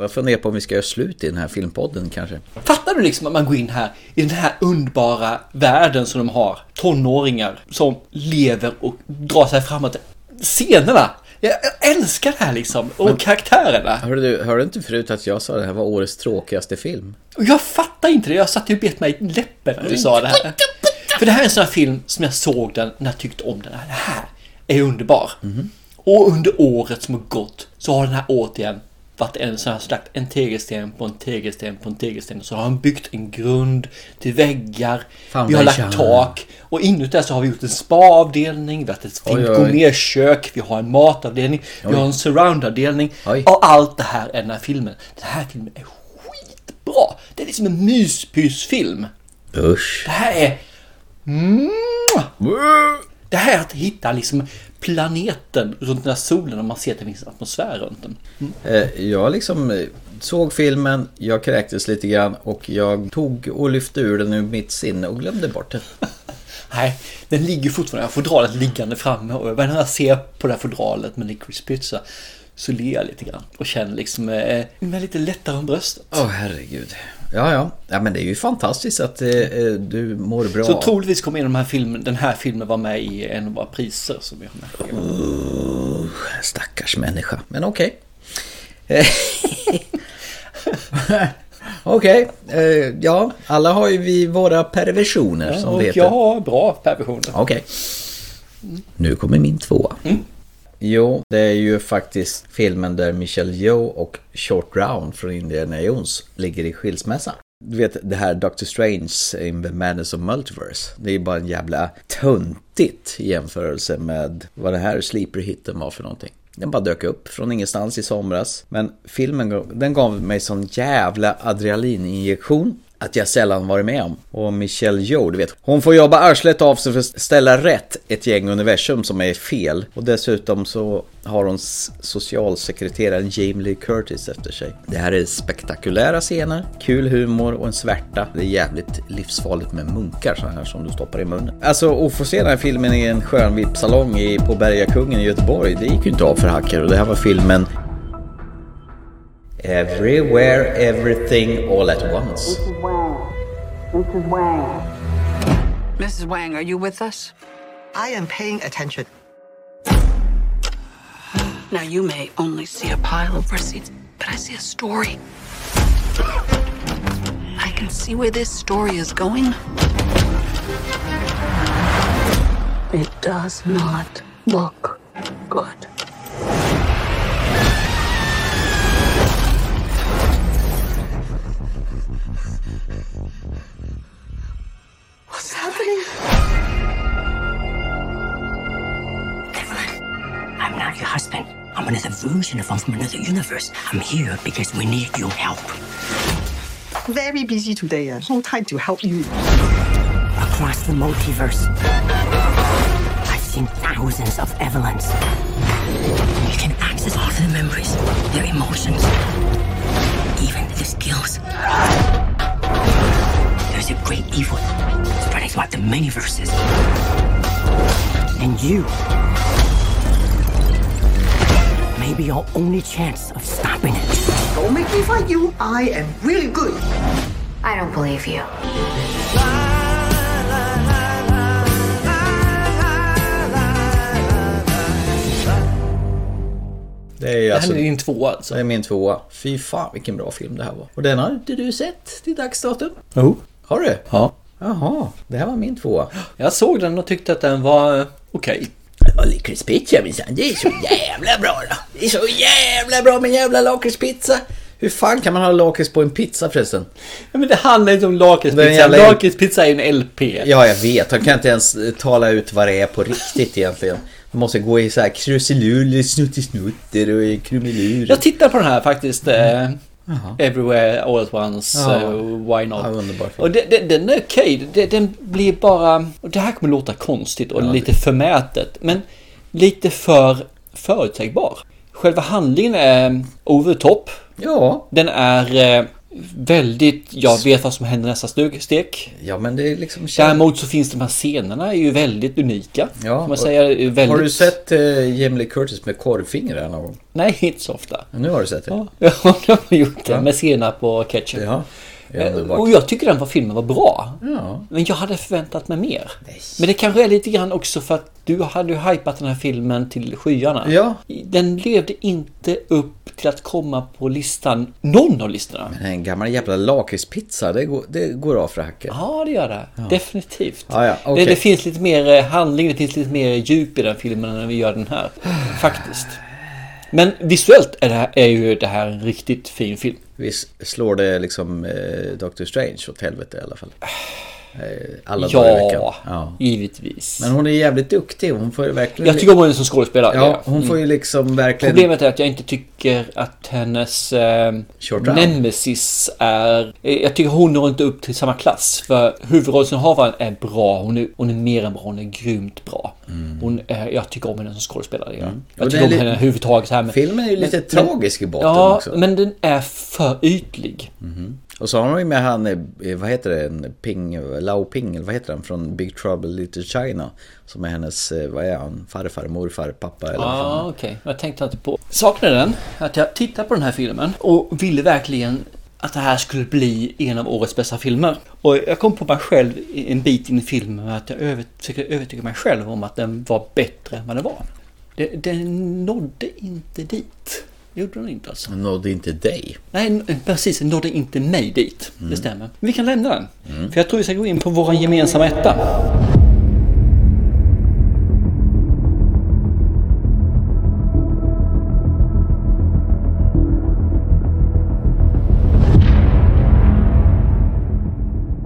S1: Jag funderar på om vi ska göra slut i den här filmpodden kanske.
S2: Fattar du liksom att man går in här i den här underbara världen som de har? Tonåringar som lever och drar sig framåt. Scenerna! Jag jag älskar det här liksom. Och karaktärerna.
S1: Hörde du, hörde du inte förut att jag sa att det här var årets tråkigaste film?
S2: Och jag fattar inte det. Jag satt ju och bet mig i läppen när du sa det här. För det här är en sån här film som jag såg den när jag tyckte om den. här. Det här är underbar. Och under året som har gått så har den här återigen varit en sån här slakt. En tegelsten på en tegelsten på en tegelsten. Så har han byggt en grund till väggar. Vi har lagt
S1: Foundation.
S2: tak. Och inuti där så har vi gjort en spa-avdelning. Vi har haft ett
S1: Oj,
S2: fint
S1: oj.
S2: gourmetkök. Vi har en matavdelning.
S1: Oj.
S2: Vi har en surround-avdelning. Och allt det här är den här filmen. Den här filmen är bra. Det är liksom en myspysfilm.
S1: Usch.
S2: Det här är... mm, Det här är att hitta liksom planeten runt den här solen och man ser att det finns en atmosfär runt den.
S1: Eh, Jag liksom eh, såg filmen, jag kräktes lite grann och jag tog och lyfte ur den ur mitt sinne och glömde bort den.
S2: Nej, den ligger fortfarande, jag har fodralet liggande framme och varje gång jag ser på det här fodralet med Licorice Pizza så ler jag lite grann och känner liksom, eh, mig lite lättare om bröstet.
S1: Åh herregud. Ja, ja. Ja, men det är ju fantastiskt att eh, eh, du mår bra.
S2: Så troligtvis kommer en av de här filmen, den här filmen vara med i en av våra priser som vi har med.
S1: Oh, stackars människa. Men okej. Eh, okej. Eh, Ja, alla har ju vi våra perversioner
S2: Ja,
S1: som det
S2: och
S1: heter.
S2: jag har bra perversioner.
S1: Okej. Nu kommer min tvåa. Jo, det är ju faktiskt filmen där Michelle Yeoh och Short Round från Indiana Jones ligger i skilsmässa. Du vet det här Doctor Strange in the Madness of Multiverse. Det är ju bara en jävla töntigt i jämförelse med vad det här sleeper-hitten var för någonting. Den bara dök upp från ingenstans i somras. Men filmen gav- den gav mig sån jävla adrenalininjektion att jag sällan varit med om. Och Michelle Yeoh, du vet. Hon får jobba arslet av sig för att ställa rätt ett gäng universum som är fel. Och dessutom så har hon s- socialsekreteraren Jamie Lee Curtis efter sig. Det här är spektakulära scener, kul humor och en svärta. Det är jävligt livsfarligt med munkar så här som du stoppar i munnen. Alltså att få se den här filmen i en skön VIP-salong i- på Bergakungen i Göteborg, det gick ju inte av för hacker. Och det här var filmen Everywhere, everything, all at once.
S9: Mrs. Wang. Mrs. Wang.
S12: Mrs. Wang, are you with us? I am paying attention.
S9: Now, you may only see a pile of receipts, but I see a story. I can see where this story is going. It does not look good.
S6: I'm not your husband. I'm another version of him from another universe. I'm here because we need your help.
S12: Very busy today and no time to help you.
S6: Across the multiverse, I've seen thousands of Evelyns. You can access all of their memories, their emotions, even their skills. There's a great evil spreading throughout the many verses. And you may be our only chance of stopping it.
S12: Don't make me fight you. I am really good.
S6: I don't believe you.
S1: Det är,
S2: alltså-
S1: din tvåa alltså? Det är min tvåa. Fy fan vilken bra film det här var. Och den har inte du sett till dags datum?
S2: Jo.
S1: Har du?
S2: Ja.
S1: Jaha, det här var min tvåa.
S2: Jag såg den och tyckte att den var eh, okej.
S1: Lakrits pizza minsann, det är så jävla bra då. Det är så jävla bra med jävla lakritspizza. Hur fan kan man ha lakrits på en pizza förresten?
S2: Ja, men det handlar inte om lakritspizza. Lakritspizza är en LP.
S1: Ja, jag vet. Han kan inte ens eh, tala ut vad det är på riktigt egentligen. Man måste gå i så här krusiluller, snuttisnutter och i krumelurer.
S2: Jag tittar på den här faktiskt. Eh,
S1: Jaha.
S2: Everywhere All At Once.
S1: Ja.
S2: eh, why Not?
S1: Ja, underbar film.
S2: och det, det, den är okej. Det, den blir bara... Och det här kommer låta konstigt och
S1: Ja, det-
S2: lite förmätet. Men lite för förutsägbar. Själva handlingen är over the top.
S1: Ja.
S2: Den är eh, väldigt... Jag vet vad som händer nästa steg. stek.
S1: Ja, men det är liksom...
S2: Däremot så finns de här scenerna är ju väldigt unika. Ja, man
S1: och-
S2: säga, är ju väldigt...
S1: Har du sett eh, Jamie Lee Curtis med korvfingrar någon gång?
S2: Nej, inte så ofta.
S1: Nu har du sett det? Ja,
S2: jag har gjort det. Med senap och ketchup.
S1: Ja. Ja,
S2: Eh,
S1: underbart.
S2: och jag tycker den var, filmen var bra.
S1: Ja.
S2: Men jag hade förväntat mig mer. Men det kanske är lite grann också för att du hade ju hypat den här filmen till skyarna.
S1: Ja.
S2: Den levde inte upp till att komma på listan, någon av listorna.
S1: Men en gammal jävla lakritspizza, det går, det går av för hacken.
S2: Ja, det gör det. Definitivt.
S1: Ja, ja, okej.
S2: det, det finns lite mer eh, handling, det finns lite mer djup i den filmen än vi gör den här. Faktiskt. Men visuellt är, det här, är ju det här en riktigt fin film.
S1: Vi s- slår det liksom eh, Doctor Strange åt helvete i alla fall. Eh, alla dagar i veckan.
S2: ja, givetvis.
S1: Men hon är jävligt duktig, hon får ju verkligen...
S2: Jag tycker om henne som skådespelare.
S1: Ja, hon får ju liksom verkligen...
S2: Problemet är att jag inte tycker att hennes eh,
S1: round.
S2: nemesis är... eh, Jag tycker hon når inte upp till samma klass. För huvudrollsinnehavaren är bra. Hon är, hon är mer än bra. Hon är grymt bra. Hon är, jag tycker om henne som skådespelare. ja.
S1: Mm. Och det
S2: Jag tycker
S1: är
S2: om
S1: li-
S2: henne överhuvudtaget. så Här, men,
S1: Filmen är ju lite tragisk i botten
S2: ja,
S1: också.
S2: men den är för ytlig.
S1: Och så har hon ju med han, eh, vad heter det, en Ping, Lao Ping, eller vad heter han, från Big Trouble Little China. Som är hennes, eh, vad är han, farfar, morfar, pappa eller vad
S2: Ja,
S1: fan.
S2: ah, okej. Jag tänkte inte på... Saknade den, att jag tittade på den här filmen och ville verkligen att det här skulle bli en av årets bästa filmer. Och jag kom på mig själv en bit in i filmen att jag över- försökte övertyga mig själv om att den var bättre än vad den var. Det- Den nådde inte dit. Det gjorde den inte alltså.
S1: Den Ah. nådde inte dig.
S2: Nej, n- precis. Den nådde inte mig dit. Det stämmer. Men vi kan lämna den. För jag tror vi ska gå in på vår gemensamma etta.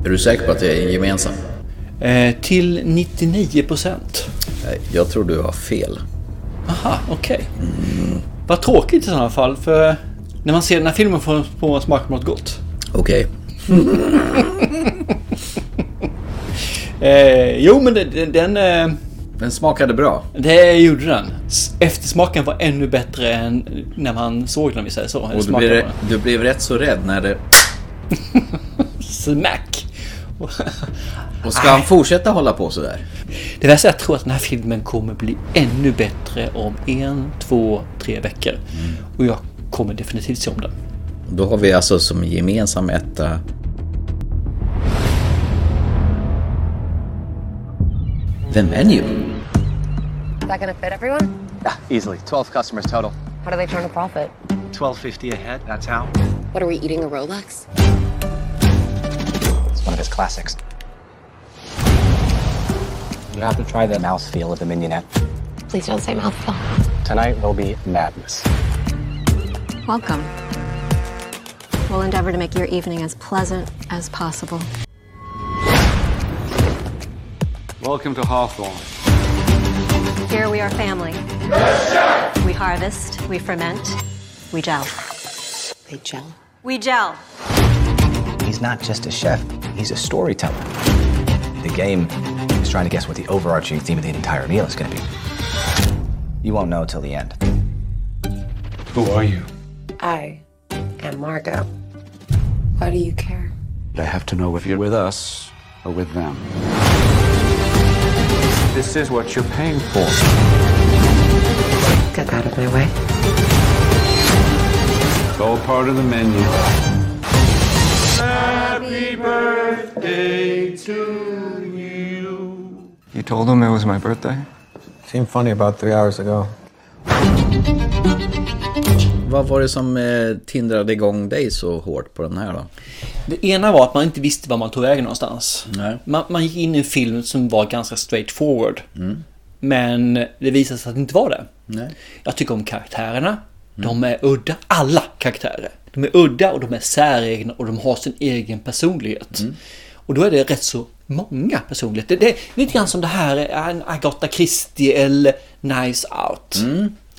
S1: Är du säker på att det är en gemensam?
S2: Eh, till 99 procent.
S1: Nej, Eh, jag tror du har fel.
S2: Aha, Ah, okej. Vad tråkigt i sådana fall, för när man ser den här filmen får får man smak på något gott.
S1: Okej.
S2: Eh, jo, men den... Den, den, eh,
S1: den smakade bra.
S2: Det gjorde den. S- Eftersmaken var ännu bättre än när man såg den, vi säger så.
S1: Och du
S2: Smaken
S1: blev,
S2: var-
S1: du blev rätt så rädd när det...
S2: Smack!
S1: Och ska han fortsätta hålla på sådär?
S2: Det värsta är att jag tror att den här filmen kommer bli ännu bättre om en, två, tre veckor.
S1: Mm.
S2: Och jag kommer definitivt se om den.
S1: Då har vi alltså som gemensam etta... The Menu.
S19: Is that gonna fit everyone?
S26: Easily. 12 customers total.
S19: How do they turn a profit?
S26: 1250 a head, that's how.
S19: What are we eating? A Rolex?
S26: It's one of his classics. You have to try the mouthfeel of the mignonette.
S19: Please don't say mouthful.
S26: Tonight will be madness.
S27: Welcome. We'll endeavor to make your evening as pleasant as possible.
S28: Welcome to Hawthorne.
S27: Here we are family. We harvest, we ferment, we gel.
S4: They gel.
S27: We gel.
S26: He's not just a chef, he's a storyteller. The game is trying to guess what the overarching theme of the entire meal is going to be. You won't know till the end. Who are you?
S7: I am Margot. Why do you care?
S8: I have to know if you're with us or with them. This is what you're paying for.
S7: Get out of my way.
S8: It's all part of the menu.
S28: Happy birthday to you.
S29: You told him it was my birthday? Seemed funny about three hours ago.
S1: Vad var det som eh, tindrade igång dig så hårt på den här då?
S2: Det ena var att man inte visste var man tog vägen någonstans. Man, man gick in i en film som var ganska straight forward.
S1: Mm.
S2: Men det visade sig att det inte var det.
S1: Nej.
S2: Jag tycker om karaktärerna. De är udda. Alla karaktärer. De är udda och de är säregna och de har sin egen personlighet. Och då är det rätt så många personligheter. Det är lite grann som det här är en Agatha Christie eller Nice Out.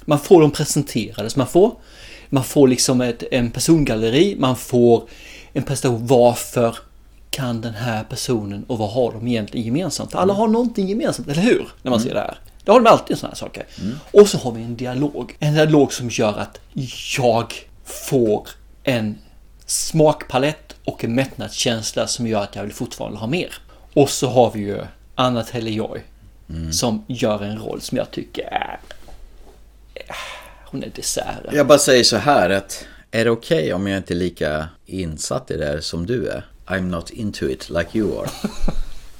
S2: Man får dem presenterade som man får. Man får liksom ett, en persongalleri. Man får en presentation. Varför kan den här personen och vad har de egentligen gemensamt? Alla har någonting gemensamt, eller hur? När man
S1: Mm.
S2: ser det här. Det har de alltid sådana här saker. Och så har vi en dialog. En dialog som gör att jag får en smakpalett och en mättnadskänsla som gör att jag vill fortfarande ha mer. Och så har vi ju Anna Telejoy
S1: Mm.
S2: som gör en roll som jag tycker är... eh, Hon är desserten.
S1: Jag bara säger så här att är det okej om jag inte är lika insatt i det här som du är? I'm not into it like you are.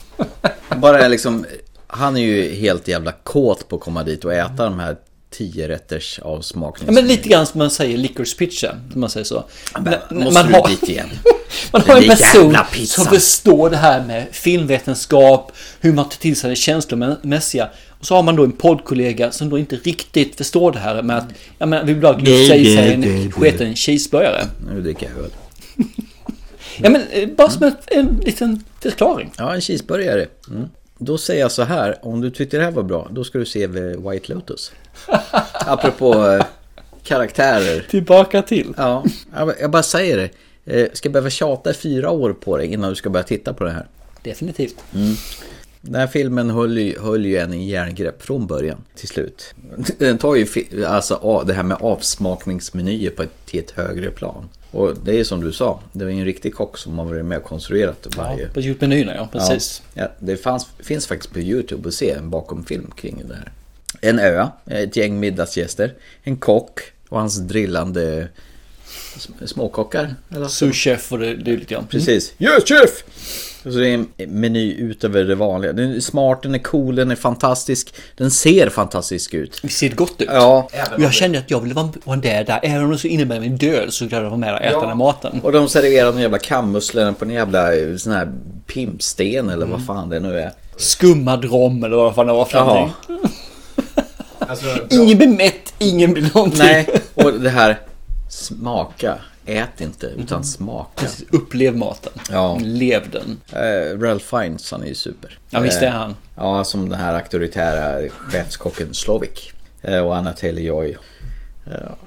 S1: Bara liksom, han är ju helt jävla kåt på att komma dit och äta de här tio rätters
S2: Ja,
S1: avsmakningar.
S2: men lite grann som man säger licorice pizza, om man säger så. Men-
S1: måste
S2: man
S1: du
S2: har-
S1: dit igen?
S2: man
S1: Den
S2: har en
S1: där
S2: person
S1: jävla pizzan.
S2: som förstår det här med filmvetenskap, hur man tar till sig det känslomässiga. Och så har man då en poddkollega som då inte riktigt förstår det här med att, ja men vi vill bara
S1: Nej,
S2: glufsa i sig
S1: nej, nej, nej.
S2: en sketen cheeseburgare.
S1: Nu dricker jag öl.
S2: Ja men eh, bara som ett, en liten förklaring.
S1: Ja, en cheeseburgare. Mm. Då säger jag så här, om du tyckte det här var bra, då ska du se eh, White Lotus. Apropå eh, karaktärer.
S2: Tillbaka till.
S1: Ja, jag bara- jag bara säger det. Eh, Ska jag behöva tjata i fyra år på dig innan du ska börja titta på det här?
S2: Definitivt.
S1: Mm. Den här filmen höll ju, höll ju en i järngrepp från början till slut. Den tar ju fi- alltså, a- det här med avsmakningsmenyer på ett, till ett högre plan. Och det är som du sa, det var ju en riktig kock som har varit med och konstruerat varje...
S2: På djupmenyerna ja, precis.
S1: Ja, ja, det fanns, finns faktiskt på YouTube att se en bakomfilm kring det här. En ö, ett gäng middagsgäster, en kock och hans drillande sm- småkockar. eller?
S2: Souschef och det, det är lite grann.
S1: Precis. Yes chef! Och så är det en meny utöver det vanliga. Den är smart, den är cool, den är fantastisk. Den ser fantastisk ut.
S2: Vi Mm. ser gott ut.
S1: Ja.
S2: Och jag kände att jag ville vara vara där, där. Även om det så innebär min död så ville jag vara med och äta den här maten.
S1: Och de serverar de jävla kammusslorna på en jävla eh, sån här pimpsten eller
S2: Mm.
S1: vad fan det nu är.
S2: Skummad rom eller vad fan det var för
S1: Jaha.
S2: någonting. Ingen blir mätt, ingen blir någonting.
S1: Nej, och det här smaka. Ät inte, utan smaka.
S2: Mm. Precis, upplev maten.
S1: Ja.
S2: Lev den.
S1: Eh, Ralph Fiennes, han är ju super.
S2: Ja, visst är
S1: Eh,
S2: han.
S1: Ja, som den här auktoritära chefskocken Slovik. Eh, och Anna Taylor-Joy. Ja.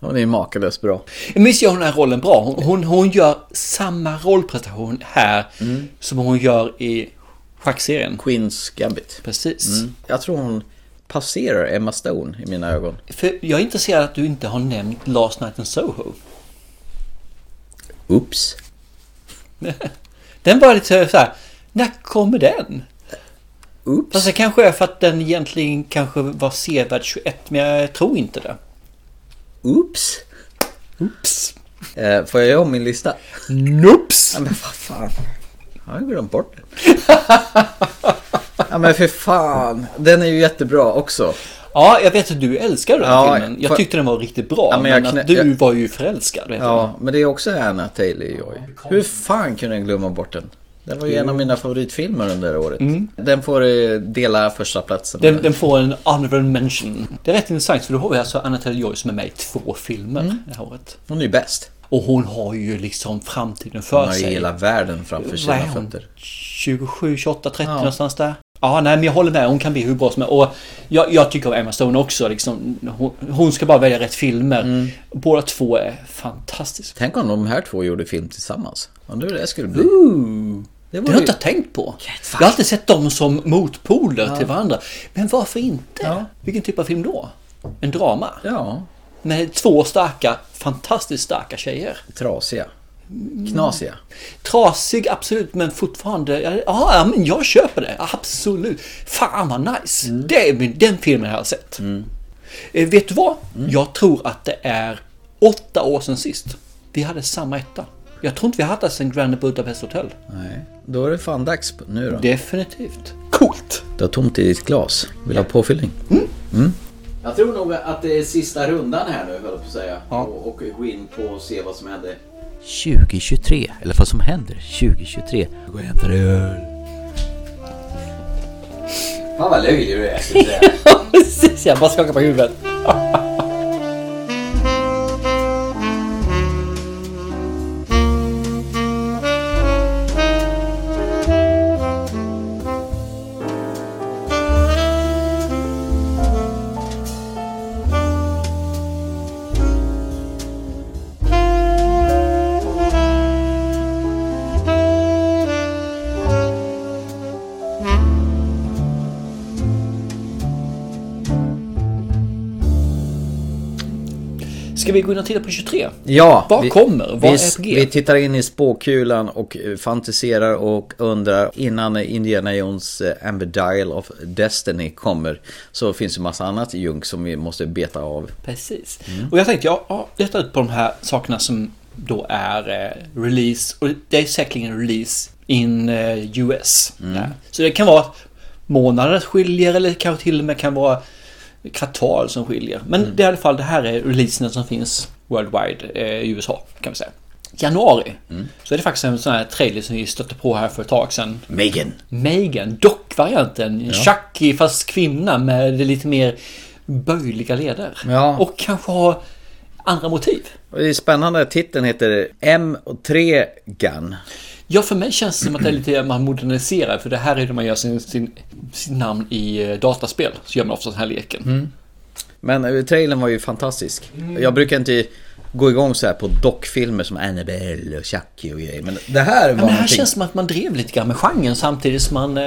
S1: Hon är ju makalöst bra.
S2: Men Visst gör hon den här rollen bra? Hon, hon, hon gör samma rollprestation här
S1: Mm.
S2: som hon gör i schackserien.
S1: Queens Gambit.
S2: Precis.
S1: Mm. Jag tror hon passerar Emma Stone i mina ögon.
S2: För jag är intresserad att du inte har nämnt Last Night in Soho.
S1: Oops.
S2: Den var lite så här. när kommer den?
S1: Oops.
S2: Fast det kanske är för att den egentligen kanske var sevärd 21, men jag tror inte det.
S1: Oops.
S2: Oops.
S1: Eh, får jag göra om min lista?
S2: Noops.
S1: Ja, men vad fan. Jag har ju glömt bort den. ja men för fan. Den är ju jättebra också.
S2: Ja, jag vet att du älskar den här
S1: Ja,
S2: filmen. Jag
S1: för-
S2: tyckte den var riktigt bra.
S1: Ja, men
S2: men
S1: jag knä-
S2: att du
S1: jag-
S2: var ju förälskad. Vet
S1: Ja, men det är också Anna Taylor-Joy. Hur fan kunde jag glömma bort den? Den var ju en av mina favoritfilmer under året.
S2: Mm.
S1: Den får eh, dela första platsen.
S2: Den, den får en honorable mention. Det är rätt intressant för då har vi alltså Anna Taylor-Joy som är med i två filmer
S1: Mm.
S2: det här året.
S1: Hon är ju bäst.
S2: Och hon har ju liksom framtiden för
S1: Hon har ju
S2: sig.
S1: hela världen framför
S2: Vad
S1: sina
S2: är hon?
S1: fötter.
S2: 27, 28, 30 någonstans där. Ja, nej men jag håller med. Hon kan bli hur bra som helst. Och jag, jag tycker om Emma Stone också. Liksom, hon, hon ska bara välja rätt filmer.
S1: Mm.
S2: Båda två är fantastiska.
S1: Tänk om de här två gjorde film tillsammans. Undrar hur det skulle bli.
S2: Ooh. Det,
S1: Det
S2: har jag
S1: vore
S2: inte tänkt på. Jag har alltid sett dem som motpoler till varandra. Men varför inte? Vilken typ av film då? En drama?
S1: Ja.
S2: Med två starka, fantastiskt starka tjejer.
S1: Trasiga. Knasiga.
S2: Mm. Trasig, absolut, men fortfarande... Ja, ja, men jag köper det. Absolut. Fan vad nice. Det är min, den filmen jag har sett. Eh, vet du vad? Jag tror att det är åtta år sedan sist. Vi hade samma etta. Jag tror inte vi hade sen Grand Budapest Hotel.
S1: Nej. Då är det fan dags nu då.
S2: Definitivt. Coolt!
S1: Du har tomt i ditt glas. Vill du ha påfyllning? Mm.
S5: Jag tror nog att det är sista rundan här nu, höll jag på att säga. Och, och gå in på och se vad som händer.
S1: 2023, eller vad som händer 2023. Gå och hämta dig öl.
S5: Fan vad löjlig du är.
S2: Ja, precis. Jag bara skakar på huvudet. Ska vi gå in och titta på 23?
S1: Ja,
S2: Vad kommer? Vad
S1: vi,
S2: är på G?
S1: vi tittar in i spåkulan och eh, fantiserar och undrar innan Indiana Jones eh, Amber Dial of Destiny kommer så finns det massa annat junk som vi måste beta av.
S2: Precis.
S1: Mm.
S2: Och jag tänkte, ja, ja, leta ut på de här sakerna som då är eh, release. Och det är säkerligen release in eh, US.
S1: Mm.
S2: Ja. Så det kan vara månader skiljer eller kanske till och med kan vara kvartal som skiljer. Men
S1: Mm.
S2: det är i alla fall det här är releaserna som finns worldwide eh, i USA kan vi säga. Januari
S1: Mm.
S2: så är det faktiskt en sån här trailer som vi stötte på här för ett tag sedan.
S1: Megan.
S2: Megan, dockvarianten.
S1: Ja.
S2: Chucky fast kvinna med lite mer böjliga leder.
S1: Ja.
S2: Och kanske ha andra motiv.
S1: Och det är spännande, titeln heter M3 Gun.
S2: Ja, för mig känns det som att det är lite man moderniserar. För det här är när man gör sin, sin, sin namn i eh, dataspel. Så gör man ofta den här leken.
S1: Mm. Men eh, trailern var ju fantastisk.
S2: Mm.
S1: Jag brukar inte gå igång så här på dockfilmer som Annabelle och Chucky och grejer. Men det här var
S2: Men det här
S1: någonting-
S2: känns som att man drev lite grann med genren samtidigt som man eh,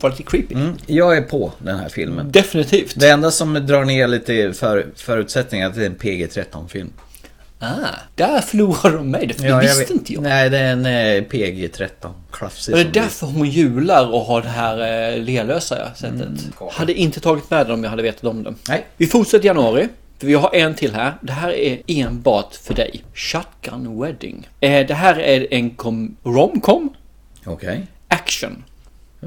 S2: var lite creepy.
S1: Jag är på den här filmen.
S2: Definitivt.
S1: Mm. Det enda som drar ner lite för, förutsättningar är att det är en PG-13-film.
S2: Ah, där förlorade de mig. Det visste inte
S1: jag. Nej, det är en eh, PG-13. Klafsig
S2: Var det
S1: som
S2: därför hon jular och har det här eh, lelösa sättet? Hade inte tagit med den om jag hade vetat om den.
S1: Mm, Nej.
S2: Vi fortsätter i januari. för Vi har en till här. Det här är enbart för dig. Shotgun Wedding. Eh, det här är en kom- romcom.
S1: Okej.
S2: Action.
S1: Oh.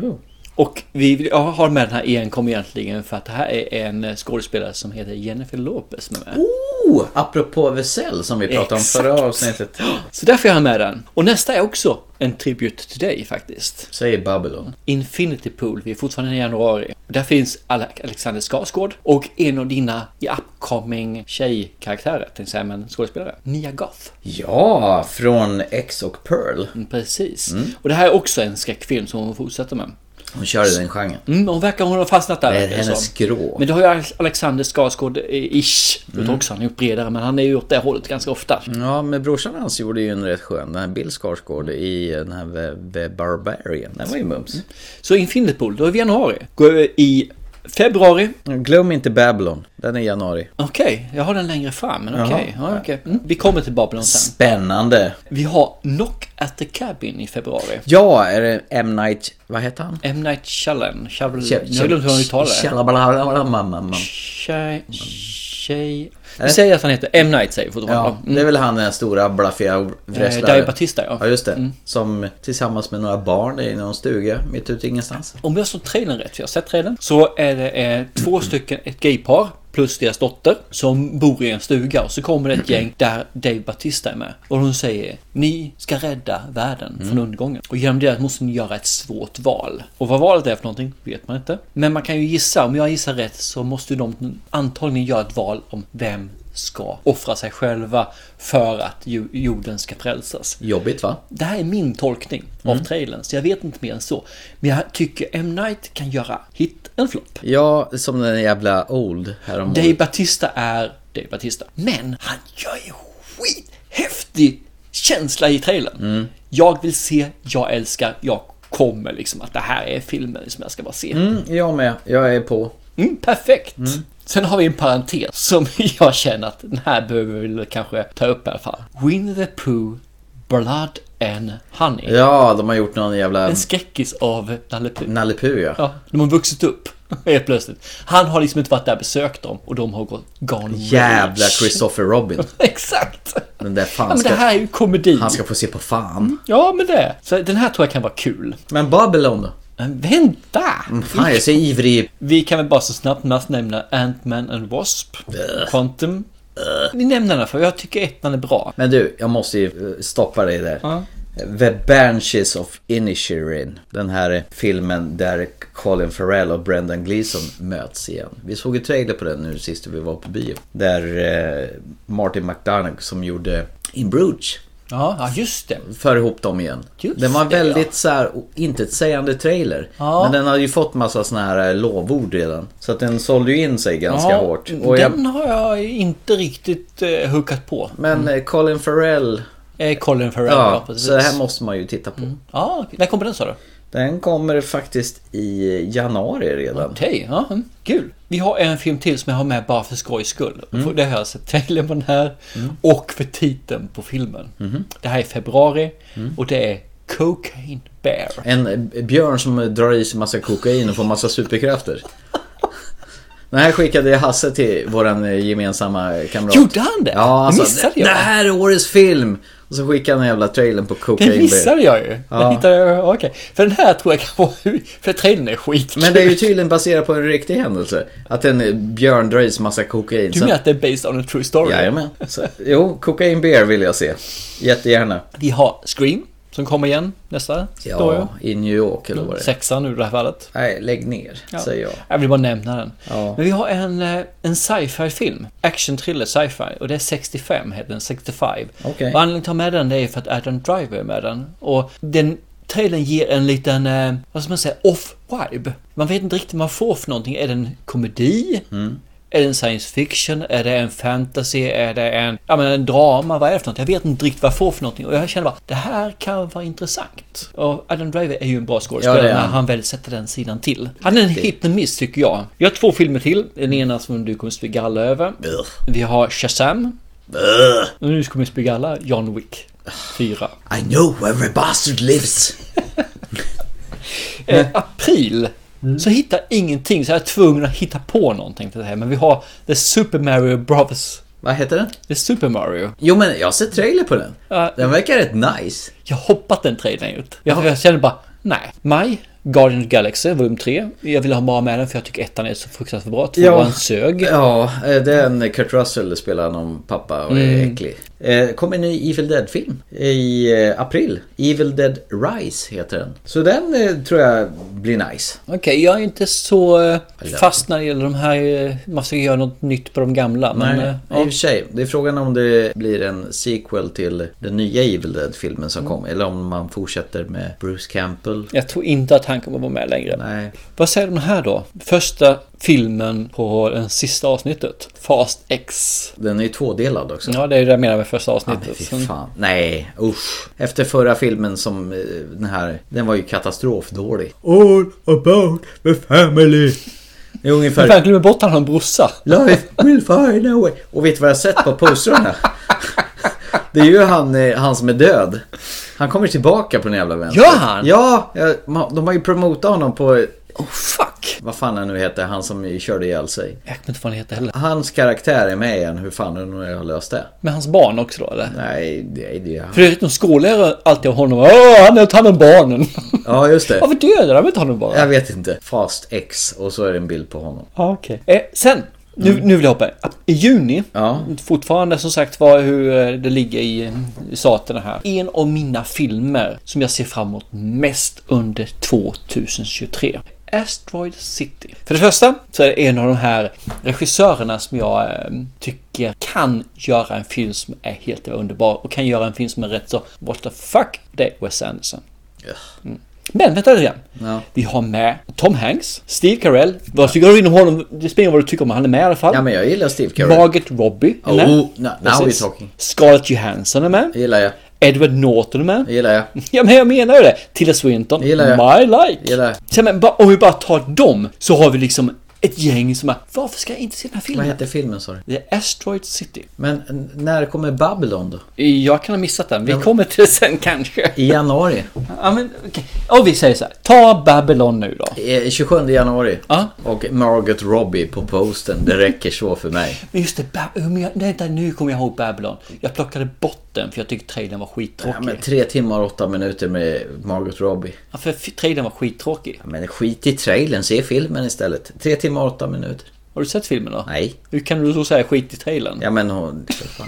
S2: Och vi jag har med den här enkom egentligen för att det här är en skådespelare som heter Jennifer Lopez som är med.
S1: blir. Oh, apropå Vesell som vi pratade
S2: Exakt.
S1: om förra avsnittet.
S2: Så därför jag har med den. Och nästa är också en tribute till dig faktiskt.
S1: Säg Babylon.
S2: Infinity Pool, vi är fortfarande i januari. Där finns Ale- Alexander Skarsgård och en av dina i upcoming tjejkaraktärer, tänkte jag säga, men skådespelare. Mia Goth. Mm,
S1: Ja, från X och Pearl.
S2: Precis.
S1: Mm.
S2: Och det här är också en skräckfilm som hon fortsätter med.
S1: Hon kör i den genren.
S2: Mm, hon verkar hon har fastnat där.
S1: Det är
S2: verkar det
S1: hennes
S2: som.
S1: skrå.
S2: Men det har ju Alexander Skarsgård-ish. Jag tror
S1: Mm.
S2: också han är gjort bredare, men han är ju åt det hållet ganska ofta.
S1: Ja, men brorsan hans gjorde ju en rätt skön, den här Bill Skarsgård i eh, den här The Barbarian. Den var ju mums.
S2: Så Infinity Pool, då är vi i januari. Går vi i februari.
S1: Glöm inte Babylon, den är i januari.
S2: Okej, jag har den längre fram, men
S1: Jaha.
S2: okej. Ja, okej. mm. Vi kommer till Babylon sen.
S1: Spännande!
S2: Vi har Knock at the Cabin i februari.
S1: Ja, är det M. Night... Vad heter han?
S2: M. Night Shyamalan. Shyamalan.
S1: Tja-
S2: Jag glömde hur han uttalar
S1: tja-
S2: det.
S1: tjalabalala, mamma, mamma.
S2: Tjej... Tjej... Vi säger att han heter M. Night säger vi fortfarande.
S1: Äh?
S2: Mm.
S1: Ja, det är väl han den stora blaffiga wrestlaren.
S2: Eh, Dave Bautista, ja. Mm.
S1: Ja, just det. Som tillsammans med några barn är i någon stuga mitt ute i ingenstans.
S2: Om jag såg trailern rätt, för jag har sett trailern, så är det eh, två stycken, ett gaypar plus deras dotter som bor i en stuga och så kommer det ett gäng där Dave Batista är med. Och hon säger Ni ska rädda världen från undergången. Och genom det måste ni göra ett svårt val. Och vad valet är för någonting vet man inte. Men man kan ju gissa, om jag gissar rätt så måste ju de antagligen göra ett val om vem ska offra sig själva för att ju- jorden ska frälsas.
S1: Jobbigt va?
S2: Det här är min tolkning av
S1: Mm.
S2: trailern, så jag vet inte mer än så. Men jag tycker M. Night kan göra hit en flopp.
S1: Ja, som den jävla Old häromåret.
S2: Dave Batista är Dave Batista. Men han gör ju skithäftig känsla i trailern.
S1: Mm.
S2: Jag vill se, jag älskar, jag kommer liksom att det här är filmen som jag ska bara se.
S1: Mm, jag med. Jag är på.
S2: Mm, perfekt! Sen har vi en parentes som jag känner att den här behöver vi väl kanske ta upp i alla fall. Winnie the Pooh, Blood and Honey.
S1: Ja, de har gjort någon jävla...
S2: En skräckis av Nalle Puh.
S1: Nalle Puh, ja.
S2: Ja, de har vuxit upp helt plötsligt. Han har liksom inte varit där och besökt dem och de har gått gone
S1: Jävla
S2: rage.
S1: Christopher Robin.
S2: Exakt!
S1: Den där fan
S2: Ja, men det
S1: ska-
S2: här är ju komedi.
S1: Han ska få se på fan.
S2: Ja, men det. Så den här tror jag kan vara kul.
S1: Men Babylon då?
S2: Men vänta!
S1: Mm, Fan, jag är så ivrig.
S2: Vi kan väl bara så snabbt nämna Ant-Man and Wasp, Quantum. Vi nämner den för jag tycker ettan är bra.
S1: Men du, jag måste ju eh, stoppa dig där.
S2: Ja.
S1: The Banshees of Inisherin. Den här eh, filmen där Colin Farrell och Brendan Gleeson möts igen. Vi såg ju trailer på den nu sist vi var på bio. Där eh, Martin McDonagh som gjorde In Bruges
S2: Ja, ja, just det.
S1: för ihop dem igen.
S2: Just
S1: den var
S2: det,
S1: väldigt
S2: ja.
S1: så här intetsägande trailer.
S2: Ja.
S1: Men den hade ju fått massa såna här eh, lovord redan. Så att den sålde ju in sig ganska
S2: ja,
S1: hårt. Och
S2: den
S1: jag,
S2: har jag inte riktigt eh, hookat på.
S1: men eh, Colin Farrell.
S2: Eh, Colin Farrell, Mm. ja,
S1: Ja,
S2: precis. Mm.
S1: så det här måste man ju titta på.
S2: Ja, okej. när kommer den sa du?
S1: Den kommer faktiskt i januari redan.
S2: Okej, ja, mm, kul. Vi har en film till som jag har med bara för skojs skull. För
S1: Mm.
S2: det har jag sett trailern på den här och för titeln på filmen.
S1: Mm-hmm.
S2: Det här är februari
S1: Mm.
S2: och det är Cocaine Bear.
S1: En eh, björn som drar i sig massa kokain och får massa superkrafter. Den här skickade Hasse till våran eh, gemensamma kamrat.
S2: Gjorde han det?
S1: Ja,
S2: Det
S1: alltså,
S2: missade
S1: det,
S2: jag.
S1: det här är årets film! Och så skickade han den jävla trailern på Cocaine
S2: Den
S1: Bear.
S2: missade jag ju.
S1: Ja.
S2: Den hittade jag, okej. För den här tror jag kan vara... För trailern är skitkul.
S1: Men det är ju tydligen baserat på en riktig händelse. Att en eh, björn drar i sig massa kokain.
S2: Du
S1: Sen-
S2: menar att det är based on a true story?
S1: Jajamän. Så, jo, Cocaine Bear vill jag se. Jättegärna.
S2: Vi har Scream som kommer igen nästa då,
S1: Ja, i New York eller vad det är.
S2: Sexan nu i det här fallet.
S1: Nej, lägg ner,
S2: Ja.
S1: säger jag.
S2: Jag vill bara nämna den.
S1: Ja.
S2: Men vi har en, eh, en sci-fi film. Action thriller sci-fi. Och det är 65 heter den. 65.
S1: Okej.
S2: Och anledningen till att ha med den det är för att Adam Driver är med den. Och den trailern ger en liten, eh, vad ska man säga, off-vibe. Man vet inte riktigt vad man får för någonting. Är det en komedi? Är det en science fiction? Är det en fantasy? Är det en, ja, men en drama? Vad är det för något? Jag vet inte riktigt vad jag får för någonting. Och jag känner bara, det här kan vara intressant. Och Adam Driver är ju en bra skådespelare
S1: Ja, det är
S2: när
S1: han.
S2: han väl sätter den sidan till. Han är en hit and miss tycker jag. Vi har två filmer till. Den ena som du kommer spy galla över. Vi har Shazam. Och nu kommer vi spy galla John Wick
S1: Ah.
S2: 4.
S1: I know where a bastard lives. Mm.
S2: Eh, april så hittar jag ingenting så jag är tvungen att hitta på någonting till det här. Men vi har The Super Mario Brothers.
S1: Vad heter den?
S2: The Super Mario.
S1: Jo men jag har sett trailer på den.
S2: Ja.
S1: Den verkar rätt nice.
S2: Jag hoppat den trailern ut. Jag, jag känner bara, nej. Maj, Guardian of the Galaxy, volym 3. Jag vill ha bara med den för jag tycker ettan är så fruktansvärt bra. Tvåan
S1: Ja.
S2: sög.
S1: Ja, eh, den Kurt Russell spelar någon pappa och
S2: Mm.
S1: är äcklig. Eh, kom en ny Evil Dead-film i eh, april. Evil Dead Rise heter den. Så den eh, tror jag blir nice.
S2: Okej, jag är inte så eh,
S1: Eller-
S2: fast när det gäller de här... eh, Man ska göra något nytt på de gamla. Men,
S1: Nej,
S2: eh,
S1: i och för sig. Det är frågan om det blir en sequel till den nya Evil Dead-filmen
S2: Mm.
S1: som kom. Eller om man fortsätter med Bruce Campbell.
S2: Jag tror inte att han kommer vara med längre.
S1: Nej.
S2: Vad säger de här då? Första filmen på det sista avsnittet. Fast X.
S1: Den är ju tvådelad också.
S2: Ja, det är det jag menar med första
S1: Ja,
S2: avsnittet.
S1: men fy
S2: Sen-
S1: fan. Nej, usch. Efter förra filmen som eh, den här, den var ju katastrofdålig. All about the family. Det är
S2: Men fan, jag
S1: ungefär
S2: glömmer bort att han har en brorsa.
S1: Life will find a way. Och vet du vad jag har sett på postrarna? Det är ju han, eh, han som är död. Han kommer tillbaka på den jävla vänster.
S2: Gör han?
S1: Ja, jag- ma- de har ju promotat honom på, eh,
S2: Oh fuck!
S1: vad fan han nu hette, han som körde ihjäl sig.
S2: Jag kommer inte vad han heter heller.
S1: Hans karaktär är med igen, hur fan hon har löst det.
S2: Med hans barn också då eller?
S1: Nej, det är det.
S2: För det är- de skålar alltid om honom. Åh, han har tagit hand om barnen.
S1: Ja, just det.
S2: Varför dödar de inte honom bara?
S1: Jag vet inte. Fast X och så är det en bild på honom.
S2: Ja, okej. Eh, sen, nu, nu vill jag hoppa. I juni,
S1: Ja.
S2: fortfarande som sagt var hur eh, det ligger i, eh, i staterna här. En av mina filmer som jag ser fram emot mest under 2023 Asteroid City. För det första så är det en av de här regissörerna som jag eh, tycker kan göra en film som är helt underbar och kan göra en film som är rätt så what the fuck. Det är Wes Anderson. Mm. Men vänta lite grann.
S1: Ja.
S2: Vi har med Tom Hanks, Steve Carell. Vad tycker du om honom? Det spelar ingen roll vad du tycker om honom. Han är med i alla fall.
S1: Ja, men jag gillar Steve Carell.
S2: Margaret Robbie är
S1: Oh,
S2: med.
S1: no- now we're
S2: Precis.
S1: talking.
S2: Scarlett Johansson är med.
S1: gillar jag.
S2: Edward Norton är med.
S1: gillar jag.
S2: Ja men jag menar ju det. Tilda Swinton.
S1: Gillar jag.
S2: My like. Sen, men, bara- om vi bara tar dem så har vi liksom ett gäng som är Varför ska jag inte se den här filmen?
S1: Vad heter filmen sa du?
S2: Det är Asteroid City.
S1: Men n- när kommer Babylon då?
S2: Jag kan ha missat den. Vi kommer till det sen kanske.
S1: I januari?
S2: Ja men okej. Och vi säger så här. Ta Babylon nu då.
S1: Eh, 27 januari. Och Margaret Robbie på posten. Det räcker så för mig.
S2: Men just det, Bab- men jag, nej, där, nu kommer jag ihåg Babylon. Jag plockade bort den för jag tyckte trailern var skittråkig.
S1: Ja, men tre timmar och åtta minuter med Margot Robbie.
S2: Ja, för f- trailern var skittråkig.
S1: Ja, men skit i trailern, se filmen istället. Tre timmar och åtta minuter.
S2: Har du sett filmen då?
S1: Nej.
S2: Hur kan du så säga skit i trailern?
S1: Ja men hon... för fan.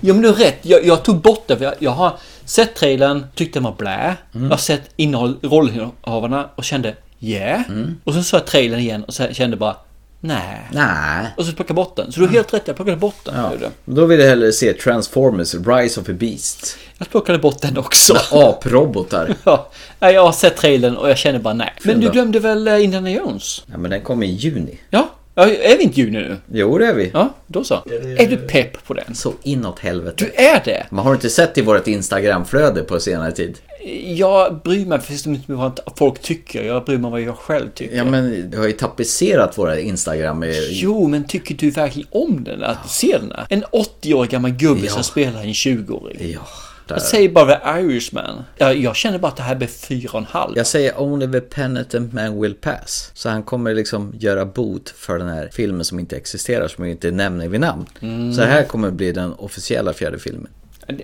S2: Ja men du har rätt, jag, jag tog bort det för jag, jag har sett trailern, tyckte den var blä.
S1: Mm.
S2: Jag har sett innehåll, rollhavarna och kände yeah. Och sen såg jag trailern igen och så kände bara nej.
S1: Mm. Nej.
S2: Och så plockade jag bort den. Så du har helt rätt, jag plockade bort den.
S1: Ja.
S2: gjorde jag.
S1: Då vill jag hellre se Transformers Rise of a Beast.
S2: Jag plockade bort den också.
S1: Med aprobotar.
S2: Ja, nej, jag har sett trailern och jag känner bara nej. Men
S1: Film
S2: du
S1: då?
S2: glömde väl eh, Indiana Jones?
S1: Ja men den kommer i juni.
S2: Ja, ja är vi inte juni nu?
S1: Jo det är vi.
S2: Ja, då så. Är du pepp på den?
S1: Så inåt helvete.
S2: Du är det?
S1: Man har du inte sett i vårt Instagramflöde på senare tid?
S2: Jag bryr mig först inte vad folk tycker, jag bryr mig vad jag själv tycker.
S1: Ja men du har ju tapetserat våra Instagram med...
S2: Jo, men tycker du verkligen om den? Att se den? här? En 80-årig gammal gubbe
S1: Ja.
S2: som spelar en 20-åring.
S1: Ja, där.
S2: Jag säger bara The Irishman. Jag, jag känner bara att det här blir 4,5.
S1: Jag säger only the penitent man will pass. Så han kommer liksom göra bot för den här filmen som inte existerar, som jag inte nämner vid namn.
S2: Mm.
S1: Så det här kommer bli den officiella fjärde filmen.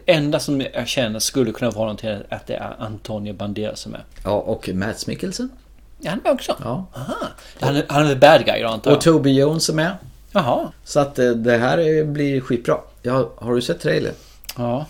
S2: Det enda som jag känner skulle kunna vara någonting är att det är Antonio Banderas som är.
S1: Ja, och Mads Mikkelsen.
S2: Ja, han är med också.
S1: Ja.
S2: Aha. Han, är- han är the bad guy då antar
S1: Och
S2: jag.
S1: Toby Jones är med.
S2: Jaha.
S1: Så att eh, det här eh, blir skitbra. Ja, har du sett trailern?
S2: Ja.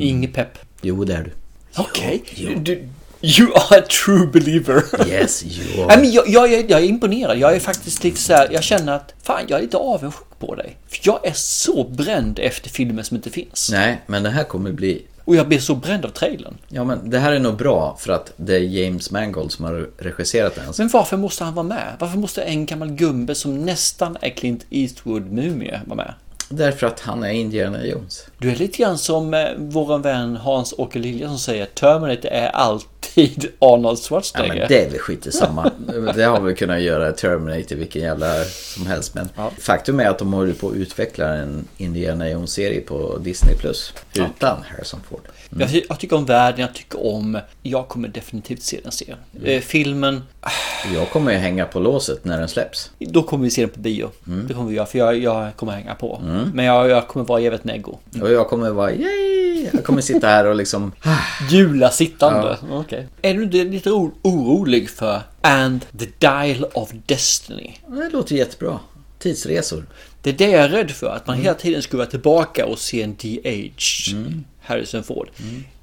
S2: Inget pepp.
S1: Jo, det är du.
S2: Okej. Du- You are a true believer.
S1: Yes, you
S2: Nej,
S1: are.
S2: men jag, jag, är- jag är imponerad. Jag är faktiskt lite så här, jag känner att fan, jag är lite avundsjuk på dig. För jag är så bränd efter filmer som inte finns.
S1: Nej, men det här kommer bli...
S2: Och jag blir så bränd av trailern.
S1: Ja, men det här är nog bra för att det är James Mangold som har regisserat den.
S2: Men varför måste han vara med? Varför måste en gammal gubbe som nästan är Clint Eastwood-mumie vara med?
S1: Därför att han är Indiana Jones.
S2: Du är lite grann som eh, vår vän Hans-Åke Lilja som säger Terminator är alltid Arnold
S1: Ja,
S2: Schwarzenegger.
S1: men det är väl skit i samma. Det har vi kunnat göra Terminator vilken jävla som helst. Men faktum är att de håller på att utveckla en Indiana Jones-serie på Disney+. Plus Utan Harrison Ford.
S2: Jag, ty- jag tycker om världen, jag tycker om... Jag kommer definitivt se den serien. Eh, filmen,
S1: Jag kommer ju hänga på låset när den släpps.
S2: Då kommer vi se den på bio. Det kommer vi göra, för jag, jag kommer hänga på. Men jag, jag kommer vara jävligt neggo.
S1: Och jag kommer vara yay! Jag kommer sitta här och liksom...
S2: Julasittande. Ja. Är du inte lite o- orolig för And the Dial of Destiny?
S1: Det låter jättebra. Tidsresor.
S2: Det är det jag är rädd för, att man hela tiden skulle vara tillbaka och se en de-aged Harrison Ford.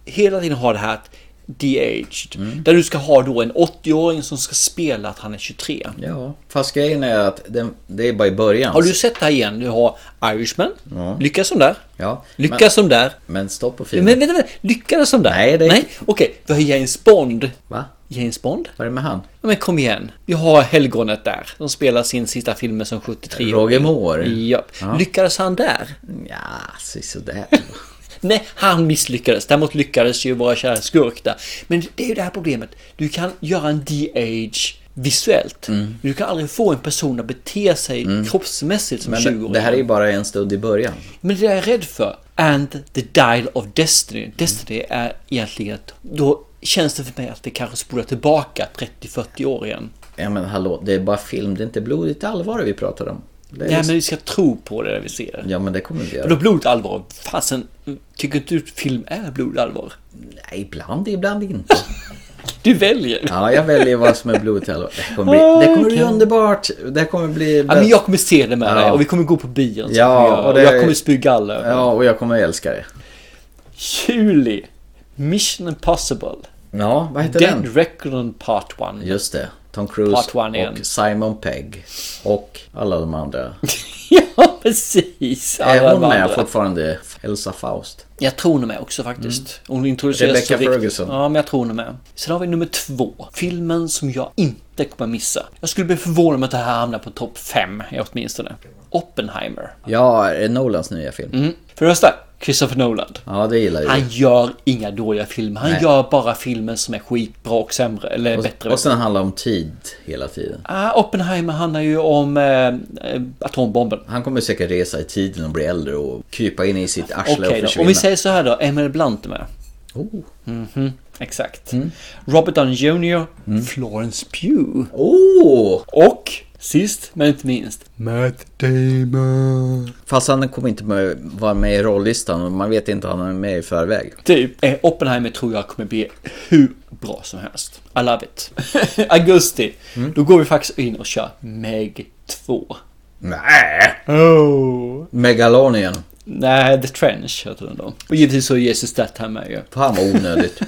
S2: Hela tiden har det här att de-aged. Där du ska ha då en 80-åring som ska spela att han är 23.
S1: Ja, fast grejen är att den, det är bara i början.
S2: Har du sett det här igen? Du har Irishman.
S1: Ja.
S2: Lyckas som där.
S1: Ja.
S2: Lyckas som där.
S1: Men stopp och
S2: Men
S1: film.
S2: vänta, vänta, lyckades de där? Nej, det... Nej, okej. Vi har James Bond.
S1: Va?
S2: James Bond?
S1: Vad är det med han?
S2: Ja, men kom igen. Vi har Helgonet där. De spelar sin sista film som 73
S1: Roger Moore.
S2: Ja.
S1: Ja.
S2: Lyckades han där?
S1: Ja, sådär.
S2: Nej, han misslyckades. Däremot lyckades ju våra kära skurk där. Men det är ju det här problemet. Du kan göra en de-age visuellt.
S1: Mm.
S2: Men du kan aldrig få en person att bete sig kroppsmässigt som
S1: Men
S2: 20
S1: det,
S2: år.
S1: det här är ju bara en stund i början.
S2: Men det jag är rädd för, and the dial of destiny.
S1: Mm.
S2: Destiny är egentligen att då känns det för mig att det kanske spolar tillbaka 30-40 år igen.
S1: Ja men hallå, det är bara film, det är inte blodigt allvar vi pratar om. Det är
S2: Nej
S1: just-
S2: men vi ska tro på det vi ser.
S1: Ja men det kommer vi
S2: För då
S1: göra.
S2: blodigt allvar, fasen, tycker inte du att film är blodigt allvar?
S1: Nej, ibland, ibland inte.
S2: Du väljer.
S1: Ja, jag väljer vad som är blodigt allvar. Det här kommer bli, det kommer bli
S2: Okej.
S1: underbart. Det här kommer bli...
S2: Ja, men jag kommer se det med
S1: Ja.
S2: dig och vi kommer gå på bion. som
S1: Ja,
S2: vi gör,
S1: och
S2: och
S1: det-
S2: jag kommer spy galler.
S1: Ja, och jag kommer älska det.
S2: Juli, Mission Impossible.
S1: Ja, vad heter
S2: Dead
S1: den?
S2: Reckoning Part 1.
S1: Just det. Tom Cruise
S2: Part one igen.
S1: och Simon Pegg. Och alla de andra.
S2: ja, precis. Alla
S1: Är hon
S2: de
S1: med
S2: andra.
S1: fortfarande? Elsa Faust.
S2: Jag tror hon är med också faktiskt. Hon introduceras
S1: Mm. Rebecca
S2: så riktigt.
S1: Ferguson.
S2: Ja, men jag tror hon är med. Sen har vi nummer två. Filmen som jag inte kommer missa. Jag skulle bli förvånad om att det här hamnar på topp fem, åtminstone. Oppenheimer.
S1: Ja, är det Nolans nya film.
S2: Mm. För det första, Christopher Nolan.
S1: Ja, det gillar jag.
S2: Han gör inga dåliga filmer. Han
S1: Nej.
S2: gör bara filmer som är skitbra och sämre. Eller bättre.
S1: Och sen handlar det om tid hela tiden.
S2: Ah, Oppenheimer handlar ju om eh, eh, atombomben.
S1: Han kommer säkert resa i tiden och bli äldre och krypa in i sitt arsle
S2: Okej
S1: och
S2: då.
S1: försvinna.
S2: Om vi säger så här då. Emil Blunt är med.
S1: Oh.
S2: Mhm, exakt.
S1: Mm.
S2: Robert Downey Jr. Florence Pugh.
S1: Oh.
S2: Och sist men inte minst. Matt Damon.
S1: Fast han kommer inte med- vara med i rollistan och man vet inte om han är med i förväg.
S2: Typ. Eh, Oppenheimer tror jag kommer bli hur bra som helst. I love it. Augusti.
S1: Mm.
S2: Då går vi faktiskt in och kör Meg 2.
S1: Nej.
S2: Oh.
S1: Megalonian.
S2: Nej, The Trench heter den då. Och givetvis så är Jesus Statham med ju.
S1: Fan vad onödigt.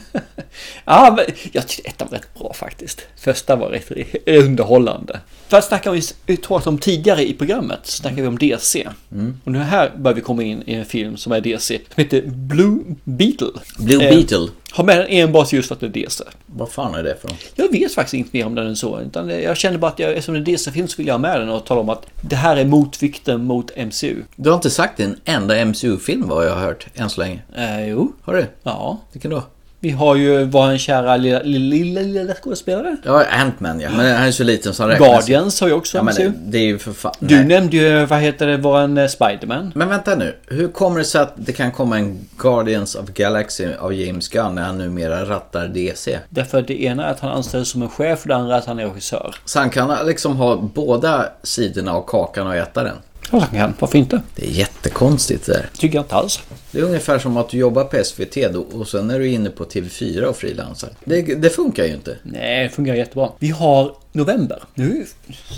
S2: ja, men jag tyckte ettan var rätt bra faktiskt. Första var rätt underhållande. För att snacka om, vi pratade om tidigare i programmet, så snackade vi om DC.
S1: Mm.
S2: Och nu här börjar vi komma in i en film som är DC, som heter Blue Beetle.
S1: Blue
S2: Eh,
S1: Beetle.
S2: Har med den enbart just för att det är DC.
S1: Vad fan är det för något?
S2: Jag vet faktiskt inte mer om den än så. Utan jag känner bara att jag, eftersom det är en DC-film så vill jag ha med den och tala om att det här är motvikten mot MCU.
S1: Du har inte sagt en enda MCU-film vad jag har hört än så länge.
S2: Eh, jo.
S1: Har du?
S2: Ja.
S1: Vilken då?
S2: Vi har ju vår kära lilla, lilla, lilla, lilla skådespelare.
S1: Ja, Ant-Man ja. Men han är så liten så han räknas.
S2: Guardians har ju också
S1: Ja, men
S2: MCU.
S1: det, det är ju för fan...
S2: Du
S1: Nej.
S2: nämnde ju, vad heter det, våran eh, Spiderman.
S1: Men vänta nu. Hur kommer det sig att det kan komma en Guardians of Galaxy av James Gunn när han numera rattar DC?
S2: Därför att det ena är att han anställs som en chef och det andra är att han är regissör.
S1: Så han kan liksom ha båda sidorna av kakan och äta den.
S2: Ja, han kan. Varför inte?
S1: Det är jättekonstigt det där.
S2: Tycker jag inte alls.
S1: Det är ungefär som att du jobbar på SVT då, och sen är du inne på TV4 och frilansar. Det, det funkar ju inte.
S2: Nej, det fungerar jättebra. Vi har november. Nu är ju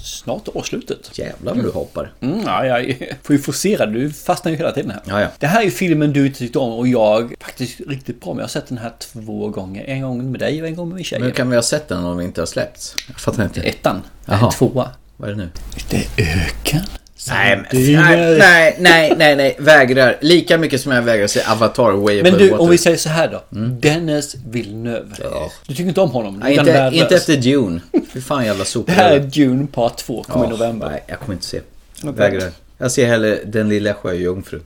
S2: snart årsslutet.
S1: Jävlar vad du hoppar.
S2: Mm, ja, jag får ju forcera. Du fastnar ju hela tiden här.
S1: Ja, ja.
S2: Det här är ju filmen du inte tyckte om och jag faktiskt riktigt bra med. Jag har sett den här två gånger. En gång med dig och en gång med min tjej.
S1: Men hur kan vi ha sett den om vi inte har släppts? Jag fattar inte.
S2: Ettan.
S1: Jaha.
S2: Nej, tvåa.
S1: Vad är det nu?
S2: Det är öken.
S1: Nej, men, nej, nej, nej, nej, nej, vägrar. Lika mycket som jag vägrar se Avatar Way
S2: Men
S1: Above
S2: du,
S1: Water.
S2: om vi säger så här då. Dennis Villeneuve. Du tycker inte om honom?
S1: Mm. Nej,
S2: utan
S1: inte,
S2: värdelös.
S1: inte efter Dune. Fy fan jävla
S2: Det här är
S1: sopor.
S2: Dune Part 2, kommer i
S1: Ja,
S2: november.
S1: Nej, jag kommer inte se.
S2: Okej.
S1: Vägrar. Jag ser hellre Den lilla sjöjungfrun.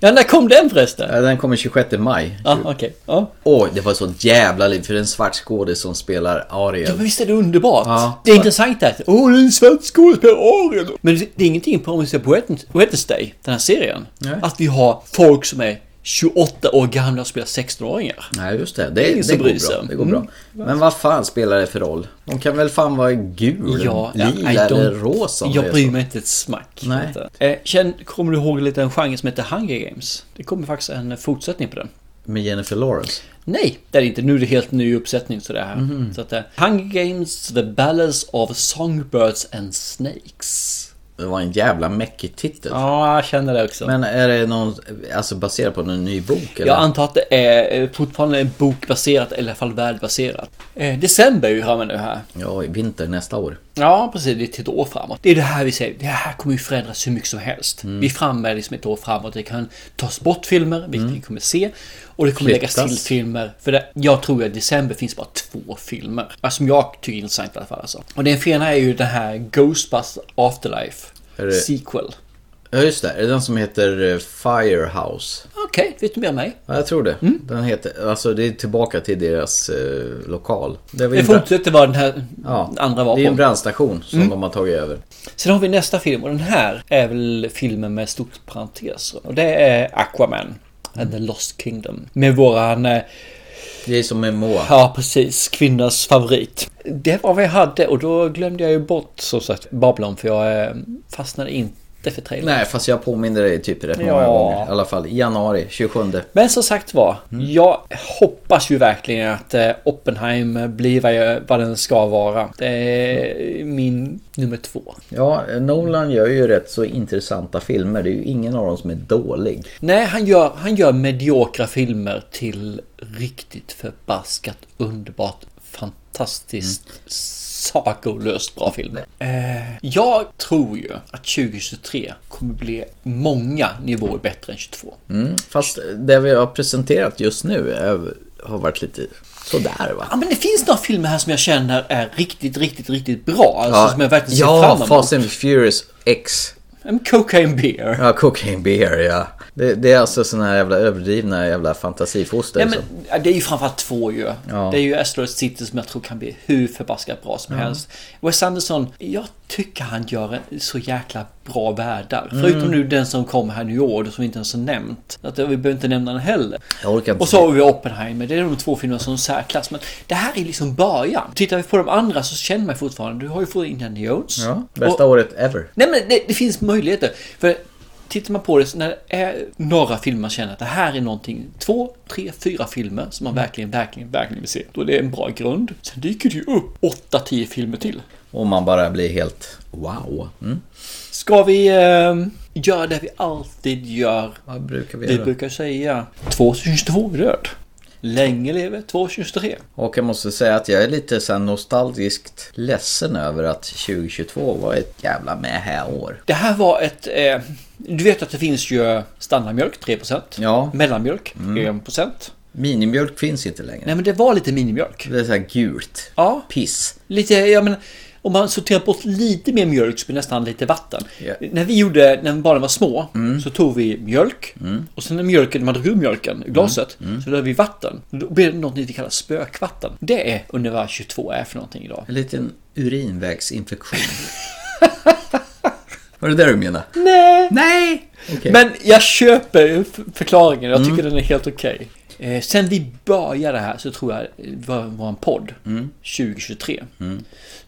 S2: Ja, när kom den förresten?
S1: Ja, Den kommer 26 maj.
S2: Ja, okej. Ja.
S1: Åh, det var så jävla liv för det är en svart skådis som spelar
S2: ja,
S1: Ariel.
S2: men visst är det underbart?
S1: Ja.
S2: Det är intressant det här. Åh, det är en svensk skådespelare, Ariel. Men det är ingenting på om vi ser på Wednes- Wednesday, den här serien.
S1: Nej.
S2: Att vi har folk som är 28 år gamla och spelar 16-åringar.
S1: Nej, just det.
S2: är
S1: Det,
S2: ingen
S1: det,
S2: som
S1: går
S2: bryr
S1: bra.
S2: sig. Mm.
S1: det går bra. Men vad fan spelar det för roll? De kan väl fan vara gul,
S2: Ja,
S1: lila
S2: I
S1: eller
S2: don't-
S1: rosa? om det
S2: Jag
S1: är
S2: bryr
S1: så.
S2: mig inte ett smack.
S1: Nej.
S2: Inte. Eh, Känn, kommer du ihåg en liten genre som heter Hunger Games? Det kommer faktiskt en fortsättning på den.
S1: Med Jennifer Lawrence?
S2: Nej, det är det inte. Nu är det helt ny uppsättning så det här. Så att, eh, Hunger Games, The Ballads of Songbirds and Snakes.
S1: Det var en jävla mäckig titel.
S2: Ja, jag känner det också.
S1: Men är det någon, alltså baserat på någon ny bok eller?
S2: jag antar att det är eh, fortfarande en bokbaserat eller i alla fall världbaserat. Eh, december är ju framme nu här.
S1: Ja, i vinter nästa år.
S2: Ja, precis. Det är ett år framåt. Det är det här vi säger. Det här kommer ju förändras hur mycket som helst.
S1: Mm.
S2: Vi är framme liksom ett år framåt. Det kan tas bort filmer, vilket
S1: Mm.
S2: vi kommer se. Och det kommer
S1: Flyttas.
S2: läggas till filmer. För det, jag tror att i december finns bara två filmer. Alltså, som jag tycker är intressant i alla fall. Alltså. Och den ena är ju den här Ghostbusters Afterlife.
S1: Är det-
S2: Sequel.
S1: Ja, just det. Är det den som heter eh, Firehouse?
S2: Okej, vet du mer än mig?
S1: Ja, jag tror det.
S2: Mm.
S1: Den heter, alltså det är tillbaka till deras eh, lokal. Det, var ju
S2: Det
S1: en bra-
S2: fortsätter vara den här
S1: ja,
S2: andra var
S1: det är en
S2: på. Mm.
S1: brandstation som de har tagit över.
S2: Sen har vi nästa film och den här är väl filmen med stort parentes. Och det är Aquaman and the Lost Kingdom. Med våran, eh,
S1: Det är som en mål.
S2: ja precis, kvinnas favorit. Det var vad jag hade och då glömde jag ju bort som sagt Babylon för jag eh, fastnade inte för trailern.
S1: Nej, fast jag påminner dig typ rätt många
S2: Ja.
S1: gånger. I alla fall i januari, 27.
S2: Men som sagt var, jag hoppas ju verkligen att eh, Oppenheim blir vad, jag, vad den ska vara. Det är min nummer två.
S1: Ja, Nolan gör ju rätt så intressanta filmer. Det är ju ingen av dem som är dålig.
S2: Nej, han gör, han gör mediokra filmer till riktigt förbaskat underbart fantastiskt
S1: Mm.
S2: sakolöst bra film. Eh, jag tror ju att 2023 kommer bli många nivåer bättre än 22.
S1: Mm, fast det vi har presenterat just nu är, har varit lite sådär va?
S2: Ja, men det finns några filmer här som jag känner är riktigt, riktigt, riktigt bra. Alltså, som jag verkligen ser fram
S1: ja
S2: emot.
S1: Fast and Furious X.
S2: En cocaine beer.
S1: Ja, Cocaine Beer ja. Det, det är alltså såna här jävla överdrivna jävla fantasifoster. liksom.
S2: Ja,
S1: som-
S2: men, ja, det är ju framförallt två ju.
S1: Ja.
S2: Det är ju Asteroid City som jag tror kan bli hur förbaskat bra som
S1: Ja.
S2: helst. Wes Anderson, jag tycker han gör en så jäkla bra världar.
S1: Mm.
S2: Förutom nu den som kom här nu i år, som vi inte ens har nämnt. Att eh, vi behöver inte nämna den heller.
S1: Jag orkar inte
S2: Och så har vi Oppenheimer, det är de två filmerna som särklass. Men det här är liksom början. Tittar vi på de andra så känner man fortfarande, du har ju fått Indiana Jones.
S1: Ja, bästa
S2: Och-
S1: året ever.
S2: Nej men det, det finns möjligheter. För tittar man på det, så när det är några filmer man känner att det här är någonting, två, tre, fyra filmer som
S1: Mm.
S2: man verkligen, verkligen, verkligen vill se. Då är det en bra grund. Sen dyker det ju upp åtta, tio filmer till.
S1: Och man bara blir helt wow. Mm.
S2: Ska vi eh, göra det vi alltid gör?
S1: Vad brukar vi
S2: Vi
S1: göra?
S2: brukar säga 2022 är död. Länge leve 2023.
S1: Och jag måste säga att jag är lite så här nostalgiskt ledsen över att 2022 var ett jävla mähä-år.
S2: Det här var ett... Eh, du vet att det finns ju standardmjölk 3%.
S1: Ja.
S2: Mellanmjölk
S1: Mm.
S2: 1%.
S1: Minimjölk finns inte längre.
S2: Nej men det var lite minimjölk.
S1: Det är så här gult.
S2: Ja.
S1: Piss.
S2: Lite, ja men om man sorterar bort lite mer mjölk så blir det nästan lite vatten.
S1: Ja. Mm.
S2: När vi gjorde, när barnen var små, så tog vi mjölk och sen när mjölken, när man drog ur mjölken ur glaset,
S1: Mm.
S2: så la vi vatten. Då blev det något vi kallar spökvatten. Det är ungefär vad 22 är för någonting idag.
S1: En liten urinvägsinfektion. Var det det du menade?
S2: Nej!
S1: Nej! Okej. Mm.
S2: Men jag köper f- förklaringen, jag tycker den är helt okej. Eh, sen vi började här så tror jag, eh, vår, vår podd,
S1: Mm.
S2: 2023,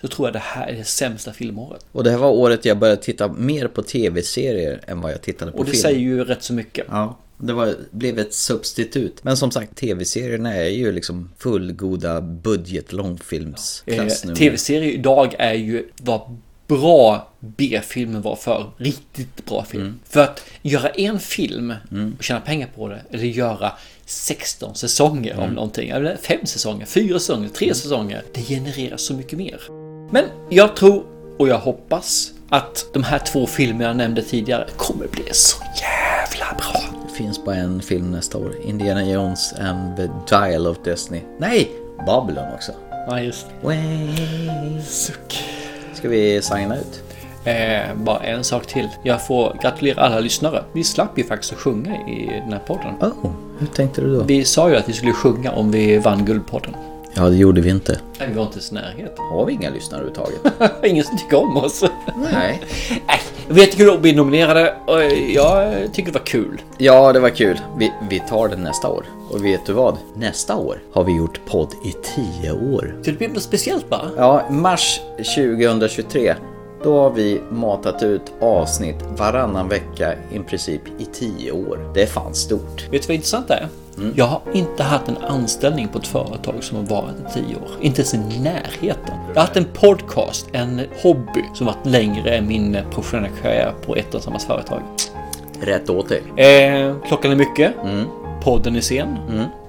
S2: så tror jag det här är det sämsta filmåret.
S1: Och det här var året jag började titta mer på tv-serier än vad jag tittade på
S2: Och det
S1: film.
S2: säger ju rätt så mycket.
S1: Ja, det var, blev ett substitut. Men som sagt, tv-serierna är ju liksom fullgoda budget långfilmsklass
S2: Eh,
S1: nu.
S2: Tv-serier idag är ju vad bra B-filmen var för Riktigt bra film. För att göra en film och tjäna pengar på det, eller göra 16 säsonger av någonting, eller fem säsonger, fyra säsonger, tre säsonger. Det genererar så mycket mer. Men jag tror och jag hoppas att de här två filmerna jag nämnde tidigare kommer bli så jävla bra.
S1: Det finns bara en film nästa år. Indiana Jones and the Dial of Destiny. Nej! Babylon också.
S2: Ja, just
S1: Way.
S2: Suck.
S1: Ska vi signa ut?
S2: Eh, bara en sak till. Jag får gratulera alla lyssnare. Vi slapp ju faktiskt att sjunga i den här podden.
S1: Oh, hur tänkte du då?
S2: Vi sa ju att vi skulle sjunga om vi vann Guldpodden.
S1: Ja, det gjorde vi inte.
S2: Nej, vi var inte ens i närheten.
S1: Har vi inga lyssnare överhuvudtaget?
S2: Ingen som tycker om oss.
S1: Nej.
S2: Nej, det var jättekul att bli nominerade och jag tycker det var kul.
S1: Ja, det var kul. Vi, vi tar det nästa år. Och vet du vad? Nästa år har vi gjort podd i tio år.
S2: Så det blev något speciellt bara.
S1: Ja, mars 2023. Då har vi matat ut avsnitt varannan vecka i princip i tio år. Det är fan stort.
S2: Vet du vad intressant det är? Jag har inte haft en anställning på ett företag som har varit i tio år. Inte ens i närheten. Jag har haft en podcast, en hobby, som varit längre än min professionella karriär på ett och samma företag.
S1: Rätt åt dig.
S2: Eh, klockan är mycket. Podden är sen.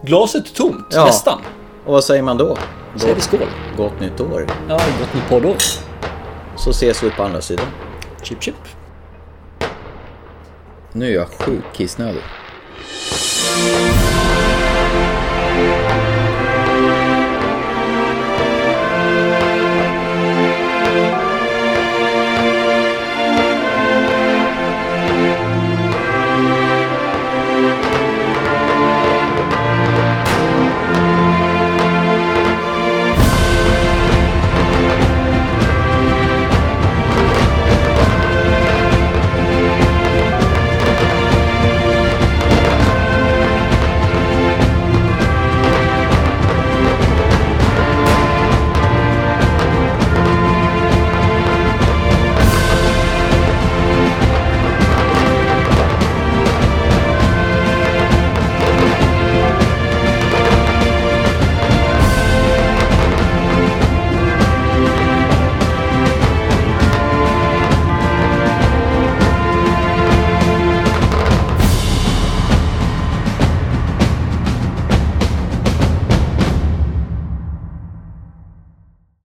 S2: Glaset är tomt,
S1: Ja.
S2: nästan.
S1: Och vad säger man då?
S2: Då säger vi skål.
S1: Gott nytt år.
S2: Ja, gott nytt poddår.
S1: Så ses vi på andra sidan.
S2: Chip chip.
S1: Nu är jag sjukt kissnödig.